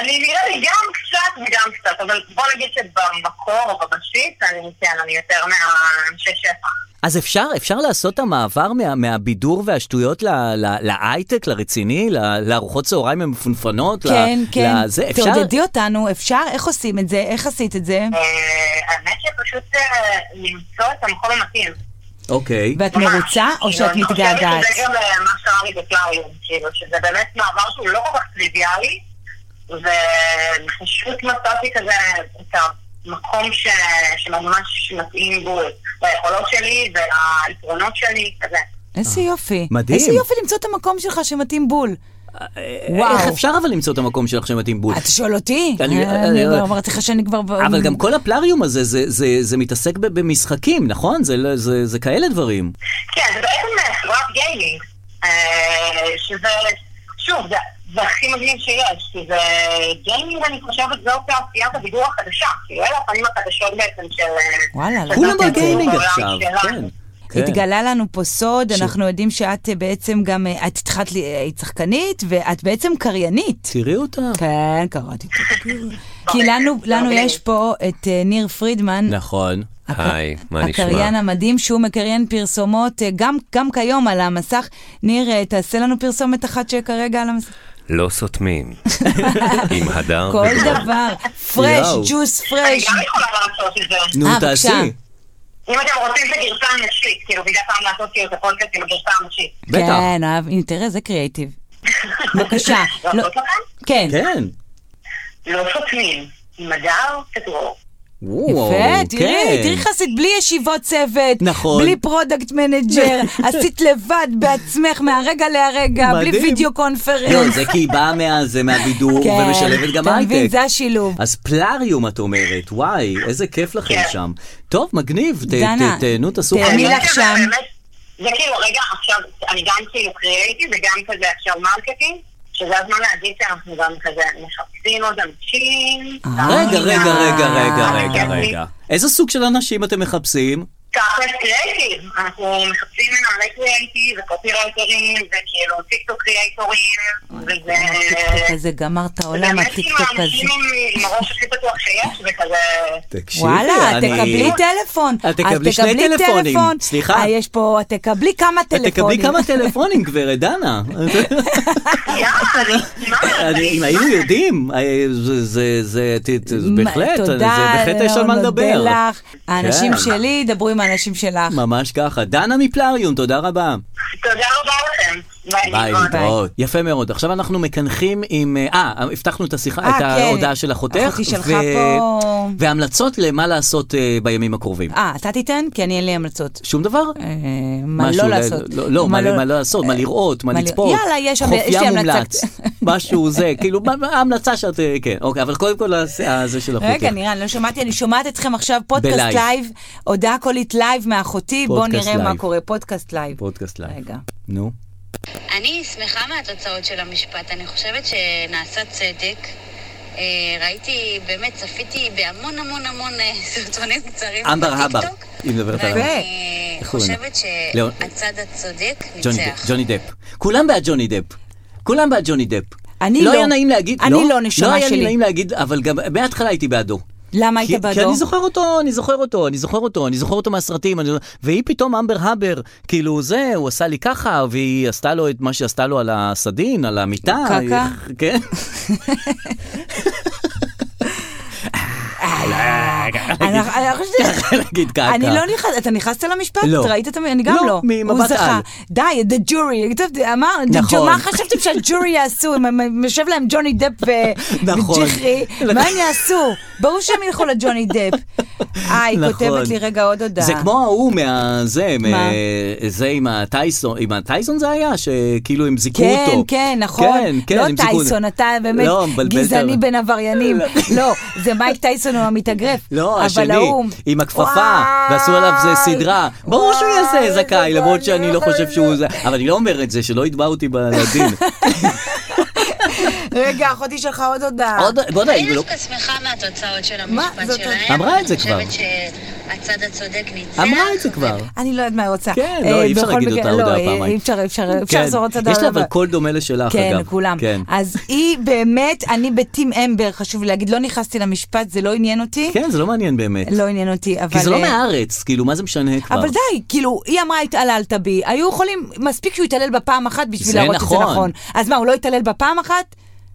[SPEAKER 8] אני נראה לי גם קצת וגם קצת, אבל בוא נגיד שבמקור או בבסיס אני כן, אני יותר מהאנשי שטח.
[SPEAKER 2] אז אפשר, אפשר לעשות את המעבר מה, מהבידור והשטויות ל- ל- להייטק, לרציני, ל- לארוחות צהריים המפונפנות? ל-
[SPEAKER 3] כן, כן.
[SPEAKER 2] לזה, אפשר?
[SPEAKER 3] תעודדי אותנו, אפשר? איך עושים את זה? איך עשית את זה?
[SPEAKER 8] אה, האמת שפשוט אה, למצוא את המקום המתאים.
[SPEAKER 2] אוקיי.
[SPEAKER 3] ואת
[SPEAKER 8] ממש.
[SPEAKER 3] מרוצה או שאת
[SPEAKER 8] כאילו, אני
[SPEAKER 3] מתגעגעת?
[SPEAKER 8] חושבת שזה גם אה, מה שקרה לי בפלאריום, כאילו, שזה באמת מעבר שהוא לא כל כך טריוויאלי, ופשוט מצאתי כזה את המקום ש... שממש מתאים בו ליכולות שלי וליתרונות שלי, כזה.
[SPEAKER 3] איזה יופי.
[SPEAKER 2] אה. מדהים.
[SPEAKER 3] איזה יופי למצוא את המקום שלך שמתאים בול. וואו.
[SPEAKER 2] איך אפשר אבל למצוא את המקום שלך שמתאים בול?
[SPEAKER 3] אתה שואל אותי?
[SPEAKER 2] אני-
[SPEAKER 3] אה,
[SPEAKER 2] אני-
[SPEAKER 3] אני כבר אמרתי לך שאני כבר... ב-
[SPEAKER 2] אבל גם כל הפלריום הזה, זה, זה, זה מתעסק ב- במשחקים, נכון? זה, לא- זה, זה כאלה דברים.
[SPEAKER 8] כן, זה בעצם אה, חברת גיימינג, אה, שזה שוב, זה, זה הכי מגניב שיש, כי זה גיימינג, אני חושבת, זו תעשיית הבידור החדשה. כאילו, אלה הפנים החדשות בעצם של... אה,
[SPEAKER 3] וואלה,
[SPEAKER 8] של
[SPEAKER 2] כולם
[SPEAKER 8] זאת
[SPEAKER 2] בגיימינג
[SPEAKER 8] בעולם
[SPEAKER 2] עכשיו,
[SPEAKER 8] שלנו.
[SPEAKER 2] כן. כן.
[SPEAKER 3] התגלה לנו פה סוד,
[SPEAKER 2] ש-
[SPEAKER 3] אנחנו יודעים שאת אה, בעצם גם, אה, את התחלת, ל- אה, היית שחקנית, ואת בעצם קריינית.
[SPEAKER 2] תראי אותה.
[SPEAKER 3] כן, קראתי. כי לנו- לנו
[SPEAKER 8] אוקיי.
[SPEAKER 3] יש פה את אה, ניר פרידמן,
[SPEAKER 2] נכון.
[SPEAKER 3] הק-
[SPEAKER 9] היי, מה נשמע?
[SPEAKER 3] הקריין המדהים שהוא מקריין פרסומות אה, גם, גם כיום על המסך. ניר, אה, תעשה לנו פרסומת אחת שכרגע על המסך.
[SPEAKER 9] לא
[SPEAKER 3] [laughs]
[SPEAKER 9] סותמים. עם הדר
[SPEAKER 3] כל
[SPEAKER 9] ודרור.
[SPEAKER 3] דבר, פרש,
[SPEAKER 2] יואו.
[SPEAKER 3] ג'וס
[SPEAKER 8] אני
[SPEAKER 2] כן.
[SPEAKER 3] פרש.
[SPEAKER 8] גם יכולה לעשות את זה.
[SPEAKER 2] נו,
[SPEAKER 3] אה,
[SPEAKER 2] תעשי.
[SPEAKER 3] בבקשה.
[SPEAKER 8] אם אתם רוצים את הגרסה הנשית, כאילו, בגלל פעם לעשות כאילו את הפודקאסט עם הגרסה הנשית.
[SPEAKER 2] בטח.
[SPEAKER 3] כן, אהב, הנה, תראה, זה קריאיטיב. בבקשה. לא-
[SPEAKER 8] לעשות לכם?
[SPEAKER 3] כן.
[SPEAKER 2] כן.
[SPEAKER 8] לא סותמים. מדר כדרור.
[SPEAKER 2] וואו,
[SPEAKER 3] יפה, תראי,
[SPEAKER 2] כן.
[SPEAKER 3] תראי איך עשית בלי ישיבות צוות,
[SPEAKER 2] נכון.
[SPEAKER 3] בלי פרודקט מנג'ר,
[SPEAKER 2] [laughs]
[SPEAKER 3] עשית לבד בעצמך מהרגע להרגע, בלי
[SPEAKER 2] מדהים.
[SPEAKER 3] וידאו קונפרנס.
[SPEAKER 2] לא, זה כי היא באה מה- זה מהבידור
[SPEAKER 3] כן,
[SPEAKER 2] ומשלבת גם
[SPEAKER 3] אתה
[SPEAKER 2] הייטק.
[SPEAKER 3] מבין, זה השילוב.
[SPEAKER 2] אז פלאריום את אומרת, וואי, איזה כיף לכם
[SPEAKER 8] כן.
[SPEAKER 2] שם. טוב, מגניב, ת-
[SPEAKER 3] דנה,
[SPEAKER 2] ת- תהנו, תעשו
[SPEAKER 3] תהני
[SPEAKER 2] חיים.
[SPEAKER 3] אני
[SPEAKER 8] אני
[SPEAKER 3] לך
[SPEAKER 8] חושבת
[SPEAKER 3] שם.
[SPEAKER 8] שבאמת, זה כאילו, רגע, עכשיו, אני גם כאילו קריאייטיב וגם כזה עכשיו מרקטינג, שזה הזמן להגיד שאנחנו גם כזה מחפשים עוד אנשים.
[SPEAKER 2] אה, רגע, רגע, רגע, רגע,
[SPEAKER 8] אה,
[SPEAKER 2] רגע,
[SPEAKER 8] אוקיי.
[SPEAKER 2] רגע. איזה סוג של אנשים אתם מחפשים?
[SPEAKER 8] תכלס קריאייטיב, אנחנו מחפשים מנהלי קריאייטיב וקופי רייטרים וכאילו טיקטוק קריאייטורים וזה... אה,
[SPEAKER 3] הטיקטוק הזה גמר את העולם,
[SPEAKER 8] באמת עם
[SPEAKER 3] הטיקטוק הזה.
[SPEAKER 8] האנשים עם- עם הראש הכי פתוח שיש
[SPEAKER 2] [laughs]
[SPEAKER 8] וכזה...
[SPEAKER 2] תקשיבי,
[SPEAKER 3] וואלה, את
[SPEAKER 2] אני-
[SPEAKER 3] תקבלי טלפון.
[SPEAKER 2] את תקבלי שני
[SPEAKER 3] תקבלי
[SPEAKER 2] טלפונים.
[SPEAKER 3] טלפון.
[SPEAKER 2] סליחה.
[SPEAKER 3] אה, יש פה, את תקבלי כמה
[SPEAKER 2] את
[SPEAKER 3] טלפונים.
[SPEAKER 2] אה, תקבלי כמה טלפונים, גברת דנה. אני- אם היינו יודעים, אה, זה- זה- זה ת- ת- בהחלט, זה בהחלט יש על מה לדבר.
[SPEAKER 3] תודה, לך. האנשים
[SPEAKER 2] כן.
[SPEAKER 3] שלי ידברו עם האנשים שלך.
[SPEAKER 2] ממש ככה. דנה מפלאריום, תודה רבה.
[SPEAKER 8] תודה רבה לכם.
[SPEAKER 2] ביי,
[SPEAKER 8] נתראות.
[SPEAKER 2] להתראות. יפה מאוד. עכשיו אנחנו מקנחים עם... אה, הבטחנו את השיחה,
[SPEAKER 3] אה,
[SPEAKER 2] את
[SPEAKER 3] כן.
[SPEAKER 2] ההודעה של אחותך.
[SPEAKER 3] אחותי שלך
[SPEAKER 2] ו-
[SPEAKER 3] פה.
[SPEAKER 2] והמלצות למה לעשות אה, בימים הקרובים.
[SPEAKER 3] אה, אתה תיתן? כי אני אין לי המלצות.
[SPEAKER 2] שום דבר?
[SPEAKER 3] אה, מה
[SPEAKER 2] משהו,
[SPEAKER 3] לא
[SPEAKER 2] ל-
[SPEAKER 3] לעשות.
[SPEAKER 2] לא, לא, מה מה לא לעשות, מה לראות, מה
[SPEAKER 3] מה ל-
[SPEAKER 2] לצפות.
[SPEAKER 3] יאללה, יש שם-
[SPEAKER 2] חוף
[SPEAKER 3] יש לי
[SPEAKER 2] ים
[SPEAKER 3] המלצה.
[SPEAKER 2] מומלץ. משהו זה, כאילו, מה- מה ההמלצה שאת... אה, כן, אוקיי, אבל קודם כל ה- זה של אחותך.
[SPEAKER 3] רגע, נראה, אני לא שמעתי, אני שומעת אתכם עכשיו פודקאסט
[SPEAKER 2] בלייב.
[SPEAKER 3] לייב, הודעה קולית לייב מאחותי, בואו
[SPEAKER 2] פודקאסט
[SPEAKER 3] נראה מה
[SPEAKER 2] לייב.
[SPEAKER 3] קורה, פודקאסט לייב.
[SPEAKER 2] פודקאסט לייב.
[SPEAKER 3] רגע.
[SPEAKER 2] נו.
[SPEAKER 7] אני שמחה מהתוצאות של המשפט, אני חושבת שנעשה צדק. אה, ראיתי, באמת צפיתי בהמון המון המון אה, סרטונים קצרים
[SPEAKER 2] אמבר האבר,
[SPEAKER 7] בטיקטוק,
[SPEAKER 2] היא מדברת על...
[SPEAKER 3] ו-
[SPEAKER 7] ואני
[SPEAKER 2] איך לא. קוראים לה?
[SPEAKER 7] חושבת
[SPEAKER 2] ליאון-
[SPEAKER 7] שהצד הצודק
[SPEAKER 2] ג'וני דפ,
[SPEAKER 7] ניצח.
[SPEAKER 2] ג'וני דפ. כולם בעד ג'וני דפ. כולם בעד ג'וני דפ.
[SPEAKER 3] אני
[SPEAKER 2] לא
[SPEAKER 3] לא.
[SPEAKER 2] היה נעים להגיד,
[SPEAKER 3] אני לא, נשמה
[SPEAKER 2] לא היה לי
[SPEAKER 3] שלי.
[SPEAKER 2] נעים להגיד, אבל גם בהתחלה הייתי בעדו.
[SPEAKER 3] למה
[SPEAKER 2] כי-
[SPEAKER 3] היית בעדו?
[SPEAKER 2] כי אני זוכר אותו, אני זוכר אותו, אני זוכר אותו, אני זוכר אותו מהסרטים, אני... והיא פתאום אמבר הבר, כאילו זה, הוא עשה לי ככה, והיא עשתה לו את מה שעשתה לו על הסדין, על המיטה.
[SPEAKER 3] קקה?
[SPEAKER 2] [laughs] כן. אה,
[SPEAKER 3] אני- אני
[SPEAKER 2] [laughs]
[SPEAKER 3] חושבת-
[SPEAKER 2] להגיד קקה.
[SPEAKER 3] אני לא נכנס, אתה נכנסת למשפט?
[SPEAKER 2] לא.
[SPEAKER 3] ראית את המ... אני גם
[SPEAKER 2] לא,
[SPEAKER 3] לא.
[SPEAKER 2] ממבט
[SPEAKER 3] הוא זכה.
[SPEAKER 2] על.
[SPEAKER 3] די, the jury, כתבתי, אמר,
[SPEAKER 2] נכון.
[SPEAKER 3] מה חשבתם שהג'ורי יעשו? הם- הם- הם- יושב להם ג'וני דפ ו-
[SPEAKER 2] נכון.
[SPEAKER 3] וג'חרי, מה הם יעשו? ברור שהם ילכו לג'וני
[SPEAKER 2] [laughs]
[SPEAKER 3] דפ. אה, היא
[SPEAKER 2] נכון.
[SPEAKER 3] כותבת לי רגע עוד הודעה.
[SPEAKER 2] זה כמו ההוא מה... זה,
[SPEAKER 3] מה?
[SPEAKER 2] מה? זה עם הטייסון, עם הטייסון זה היה? שכאילו הם זיכו
[SPEAKER 3] כן,
[SPEAKER 2] אותו.
[SPEAKER 3] כן, נכון.
[SPEAKER 2] כן, כן,
[SPEAKER 3] לא
[SPEAKER 2] הם זיכו-
[SPEAKER 3] טייסון, אתה באמת
[SPEAKER 2] לא, מבלבל את
[SPEAKER 3] גזעני
[SPEAKER 2] ה-
[SPEAKER 3] בין
[SPEAKER 2] [laughs]
[SPEAKER 3] עבריינים. לא, זה מייק טייסון הוא המתאגרף.
[SPEAKER 2] לא,
[SPEAKER 3] אבל
[SPEAKER 2] השני,
[SPEAKER 3] ההוא-
[SPEAKER 2] עם הכפפה,
[SPEAKER 3] וואי,
[SPEAKER 2] ועשו עליו זה סדרה. ברור שהוא
[SPEAKER 3] וואי,
[SPEAKER 2] יעשה
[SPEAKER 3] איזה
[SPEAKER 2] זכאי, למרות שאני לא
[SPEAKER 3] גאון,
[SPEAKER 2] חושב שהוא... זה- אבל אני לא אומר את זה, שלא יתבע אותי
[SPEAKER 3] [laughs]
[SPEAKER 2] בדין.
[SPEAKER 3] רגע, אחותי שלך עוד הודעה.
[SPEAKER 2] עוד, בוא
[SPEAKER 7] אני
[SPEAKER 2] נגיד, לא-
[SPEAKER 7] דווקא שמחה מהתוצאות של
[SPEAKER 3] מה?
[SPEAKER 7] המשפט
[SPEAKER 3] זאת-
[SPEAKER 7] שלהם.
[SPEAKER 2] אמרה את זה כבר.
[SPEAKER 7] אני חושבת שהצד הצודק ניצח.
[SPEAKER 2] אמרה את זה כבר.
[SPEAKER 3] אני לא יודעת מה היא רוצה.
[SPEAKER 2] כן,
[SPEAKER 3] אה,
[SPEAKER 2] לא, אי אפשר
[SPEAKER 3] בכל
[SPEAKER 2] להגיד
[SPEAKER 3] מקרה-
[SPEAKER 2] אותה
[SPEAKER 3] לא,
[SPEAKER 2] הודעה
[SPEAKER 3] אי-
[SPEAKER 2] פעמיים.
[SPEAKER 3] אי אפשר, אי אפשר, אי אפשר
[SPEAKER 2] כן.
[SPEAKER 3] לחזור אותה הודעה.
[SPEAKER 2] יש לה אבל
[SPEAKER 3] הבאה.
[SPEAKER 2] קול דומה לשלך,
[SPEAKER 3] כן,
[SPEAKER 2] אגב.
[SPEAKER 3] כולם.
[SPEAKER 2] כן,
[SPEAKER 3] אז היא באמת, אני בטים אמבר, חשוב לי להגיד, לא נכנסתי למשפט, זה לא עניין אותי.
[SPEAKER 2] כן, זה לא מעניין באמת.
[SPEAKER 3] לא עניין אותי, אבל...
[SPEAKER 2] כי זה לא
[SPEAKER 3] אה,
[SPEAKER 2] מהארץ, כאילו, מה זה משנה כבר?
[SPEAKER 3] אבל די, כאילו, היא אמרה, התעללת בי. היו יכולים, מספיק שהוא התעלל בפעם אחת בשביל
[SPEAKER 2] זה
[SPEAKER 3] להראות את
[SPEAKER 2] נכון.
[SPEAKER 3] זה נכון. אז מה, הוא לא התעלל בפעם אחת?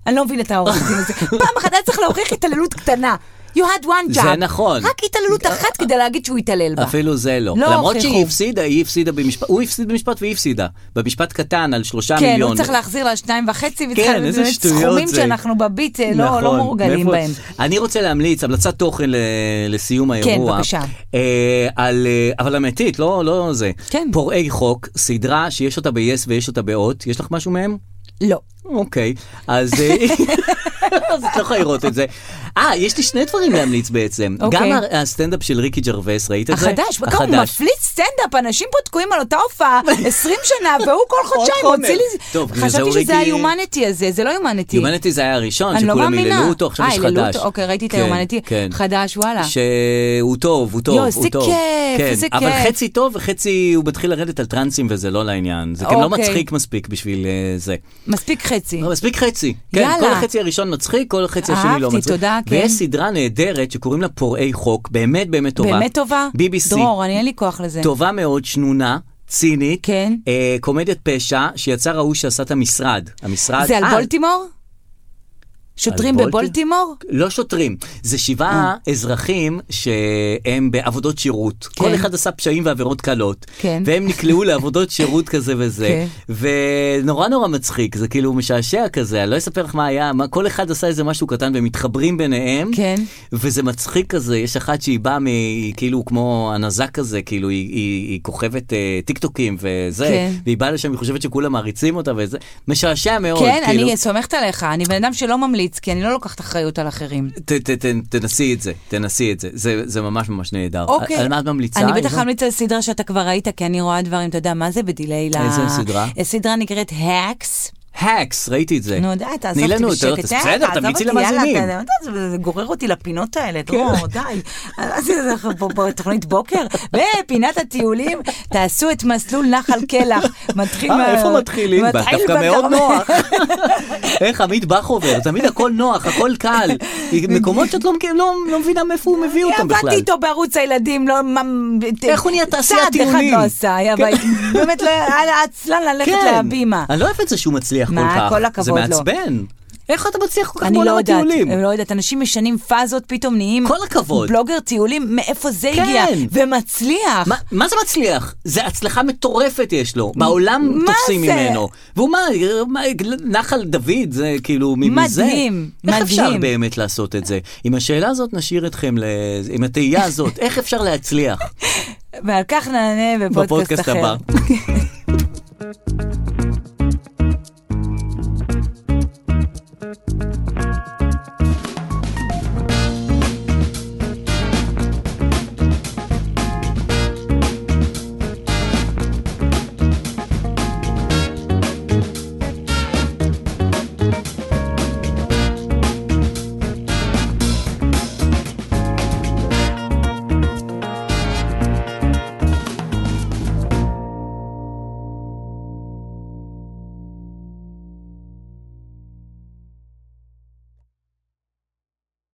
[SPEAKER 3] אני לא מבין את העורך דין
[SPEAKER 2] [laughs]
[SPEAKER 3] הזה. פעם אחת היה צריך להוכיח התעללות קטנה. You had one
[SPEAKER 2] זה
[SPEAKER 3] job.
[SPEAKER 2] נכון.
[SPEAKER 3] רק התעללות אחת כדי להגיד שהוא התעלל בה.
[SPEAKER 2] אפילו זה לא.
[SPEAKER 3] לא
[SPEAKER 2] למרות
[SPEAKER 3] הוכיחו.
[SPEAKER 2] שהיא הפסידה, היא הפסידה במשפט, הוא הפסיד במשפט והיא הפסידה. במשפט קטן על שלושה
[SPEAKER 3] כן,
[SPEAKER 2] מיליון.
[SPEAKER 3] הוא צריך להחזיר לה שניים וחצי, והיא
[SPEAKER 2] כן,
[SPEAKER 3] צריכה
[SPEAKER 2] איזה
[SPEAKER 3] באמת
[SPEAKER 2] שטויות
[SPEAKER 3] סכומים
[SPEAKER 2] זה.
[SPEAKER 3] שאנחנו בביט אה, לא- לא
[SPEAKER 2] נכון,
[SPEAKER 3] מורגלים
[SPEAKER 2] מאיפה-
[SPEAKER 3] בהם. כן,
[SPEAKER 2] אני רוצה להמליץ, המלצת תוכן ל- לסיום האירוע.
[SPEAKER 3] בבקשה.
[SPEAKER 2] אה, על, אה, אבל אמיתית, לא, לא זה.
[SPEAKER 3] כן.
[SPEAKER 2] פורעי חוק, סדרה שיש אותה ב-yes ויש אותה בהוט, יש לך משהו מהם?
[SPEAKER 3] לא.
[SPEAKER 2] אוקיי, אז
[SPEAKER 3] [laughs]
[SPEAKER 2] אה, אז את לא יכולה לראות את זה. אה, יש לי שני דברים להמליץ בעצם.
[SPEAKER 3] אוקיי.
[SPEAKER 2] גם ה- הסטנדאפ של ריקי ג'רווס, ראית את זה?
[SPEAKER 3] החדש, כמה הוא מפליץ סטנדאפ, אנשים פה תקועים על אותה
[SPEAKER 2] [laughs]
[SPEAKER 3] הופעה 20 שנה, והוא כל חודשיים
[SPEAKER 2] חומר.
[SPEAKER 3] מוציא לי...
[SPEAKER 2] טוב, בגלל זה
[SPEAKER 3] חשבתי
[SPEAKER 2] הוא
[SPEAKER 3] שזה
[SPEAKER 2] ריקי-
[SPEAKER 3] היומנטי הזה, זה לא יומנטי.
[SPEAKER 2] יומנטי זה היה הראשון,
[SPEAKER 3] אני לא
[SPEAKER 2] נכון, שכולם
[SPEAKER 3] מאמינה.
[SPEAKER 2] היללו אותו, עכשיו
[SPEAKER 3] אה,
[SPEAKER 2] יש
[SPEAKER 3] היללו
[SPEAKER 2] חדש.
[SPEAKER 3] אותו, אוקיי, ראיתי את
[SPEAKER 2] כן,
[SPEAKER 3] היומנטי.
[SPEAKER 2] כן.
[SPEAKER 3] חדש, וואלה.
[SPEAKER 2] שהוא טוב, הוא טוב,
[SPEAKER 3] אה. יואו,
[SPEAKER 2] הוא
[SPEAKER 3] איזה
[SPEAKER 2] טוב.
[SPEAKER 3] כיף,
[SPEAKER 2] כן,
[SPEAKER 3] איזה
[SPEAKER 2] אבל
[SPEAKER 3] כיף.
[SPEAKER 2] חצי טוב וחצי הוא מתחיל לרדת על טרנסים וזה לא לעניין. זה כן לא
[SPEAKER 3] אוקיי.
[SPEAKER 2] מצחיק מספיק בשביל אה, זה.
[SPEAKER 3] מספיק חצי.
[SPEAKER 2] לא, מספיק חצי. כן,
[SPEAKER 3] יאללה.
[SPEAKER 2] כל החצי הראשון מצחיק, כל החצי השני לא
[SPEAKER 3] אהבתי,
[SPEAKER 2] מצחיק.
[SPEAKER 3] תודה, כן.
[SPEAKER 2] ויש סדרה נהדרת שקוראים לה פורעי חוק, באמת באמת טובה.
[SPEAKER 3] באמת טובה?
[SPEAKER 2] BBC.
[SPEAKER 3] דרור, אני אין לי כוח לזה.
[SPEAKER 2] טובה מאוד, שנונה. צינית,
[SPEAKER 3] כן.
[SPEAKER 2] אה, קומדיית פשע, שיצר ההוא שעשה את המשרד. המשרד...
[SPEAKER 3] זה על
[SPEAKER 2] אה,
[SPEAKER 3] בולטימור? שוטרים
[SPEAKER 2] בולטי-
[SPEAKER 3] בבולטימור?
[SPEAKER 2] לא שוטרים, זה שבעה אזרחים שהם בעבודות שירות.
[SPEAKER 3] אה. כן.
[SPEAKER 2] כל אחד עשה פשעים ועבירות קלות.
[SPEAKER 3] כן.
[SPEAKER 2] והם נקלעו לעבודות שירות כזה וזה.
[SPEAKER 3] כן.
[SPEAKER 2] ונורא נורא מצחיק, זה כאילו משעשע כזה, אני לא אספר לך מה היה, מה, כל אחד עשה איזה משהו קטן והם מתחברים ביניהם.
[SPEAKER 3] כן.
[SPEAKER 2] וזה מצחיק כזה, יש אחת שהיא באה מ... היא כאילו כמו הנזק כזה, כאילו היא, היא, היא כוכבת אה, טיקטוקים וזה,
[SPEAKER 3] כן.
[SPEAKER 2] והיא באה לשם, היא חושבת שכולם מעריצים אותה וזה, משעשע מאוד,
[SPEAKER 3] כן,
[SPEAKER 2] כאילו.
[SPEAKER 3] אני סומכת עליך, אני בן אדם שלא ממליץ, כי אני לא לוקחת אחריות על אחרים.
[SPEAKER 2] ת, ת, ת, תנסי את זה, תנסי את זה, זה, זה ממש ממש נהדר.
[SPEAKER 3] אוקיי.
[SPEAKER 2] על מה את ממליצה?
[SPEAKER 3] אני בטח
[SPEAKER 2] איזו-
[SPEAKER 3] אמליץ על סדרה שאתה כבר ראית, כי אני רואה דברים, אתה יודע, מה זה בדיליי ל...
[SPEAKER 2] איזה סדרה?
[SPEAKER 3] הסדרה נקראת הקס.
[SPEAKER 2] האקס, ראיתי את זה.
[SPEAKER 3] נו, די, תעזוב
[SPEAKER 2] נעלנו,
[SPEAKER 3] אותי
[SPEAKER 2] אתה לא-
[SPEAKER 3] בשקט.
[SPEAKER 2] אתה- בסדר,
[SPEAKER 3] אה,
[SPEAKER 2] תמליצי
[SPEAKER 3] עזוב אותי, יאללה,
[SPEAKER 2] למאזינים. כן.
[SPEAKER 3] אתה- אתה יודע, זה גורר אותי לפינות האלה, דרור, די. אז זה- אנחנו פה בתוכנית בוקר, בפינת הטיולים, תעשו את מסלול נחל קלח. מתחיל...
[SPEAKER 2] אה,
[SPEAKER 3] מה-
[SPEAKER 2] איפה מתחילים?
[SPEAKER 3] מתחיל
[SPEAKER 2] דווקא מאוד
[SPEAKER 3] בכרמל. [laughs]
[SPEAKER 2] נוח. איך עמית בכובר, תמיד הכל נוח, הכל קל. מקומות שאת לא, מכיר- לא, לא מבינה מאיפה הוא מביא אותם בכלל.
[SPEAKER 3] עבדתי איתו בערוץ הילדים, לא... ממ-
[SPEAKER 2] איך הוא נהיה תעשיית
[SPEAKER 3] צעד
[SPEAKER 2] טיולים?
[SPEAKER 3] אחד לא עשה, היה
[SPEAKER 2] כן.
[SPEAKER 3] בית. באמת, לא היה היה עצלן ללכת להבימה.
[SPEAKER 2] אני לא אוהב את זה שהוא מצליח כל
[SPEAKER 3] מה,
[SPEAKER 2] כך.
[SPEAKER 3] כל הכבוד
[SPEAKER 2] זה
[SPEAKER 3] לו.
[SPEAKER 2] מעצבן. איך אתה מצליח כל כך
[SPEAKER 3] אני
[SPEAKER 2] בעולם
[SPEAKER 3] לא יודעת,
[SPEAKER 2] הטיולים?
[SPEAKER 3] אני לא יודעת, אנשים משנים פאזות, פתאום נהיים...
[SPEAKER 2] כל הכבוד.
[SPEAKER 3] בלוגר טיולים, מאיפה זה
[SPEAKER 2] כן.
[SPEAKER 3] הגיע? ומצליח.
[SPEAKER 2] מה- מה זה מצליח? זה הצלחה מטורפת יש לו. בעולם
[SPEAKER 3] מה
[SPEAKER 2] תופסים
[SPEAKER 3] זה?
[SPEAKER 2] ממנו. והוא מה, מה, נחל דוד זה כאילו מ-
[SPEAKER 3] מדהים,
[SPEAKER 2] מזה. איך
[SPEAKER 3] מדהים.
[SPEAKER 2] אפשר באמת לעשות את זה? עם השאלה הזאת נשאיר אתכם, ל...
[SPEAKER 3] [laughs]
[SPEAKER 2] עם התהייה הזאת, איך אפשר להצליח
[SPEAKER 3] ועל כך נענה בפודקאסט
[SPEAKER 2] בפודקאסט
[SPEAKER 3] אחר.
[SPEAKER 2] הבא?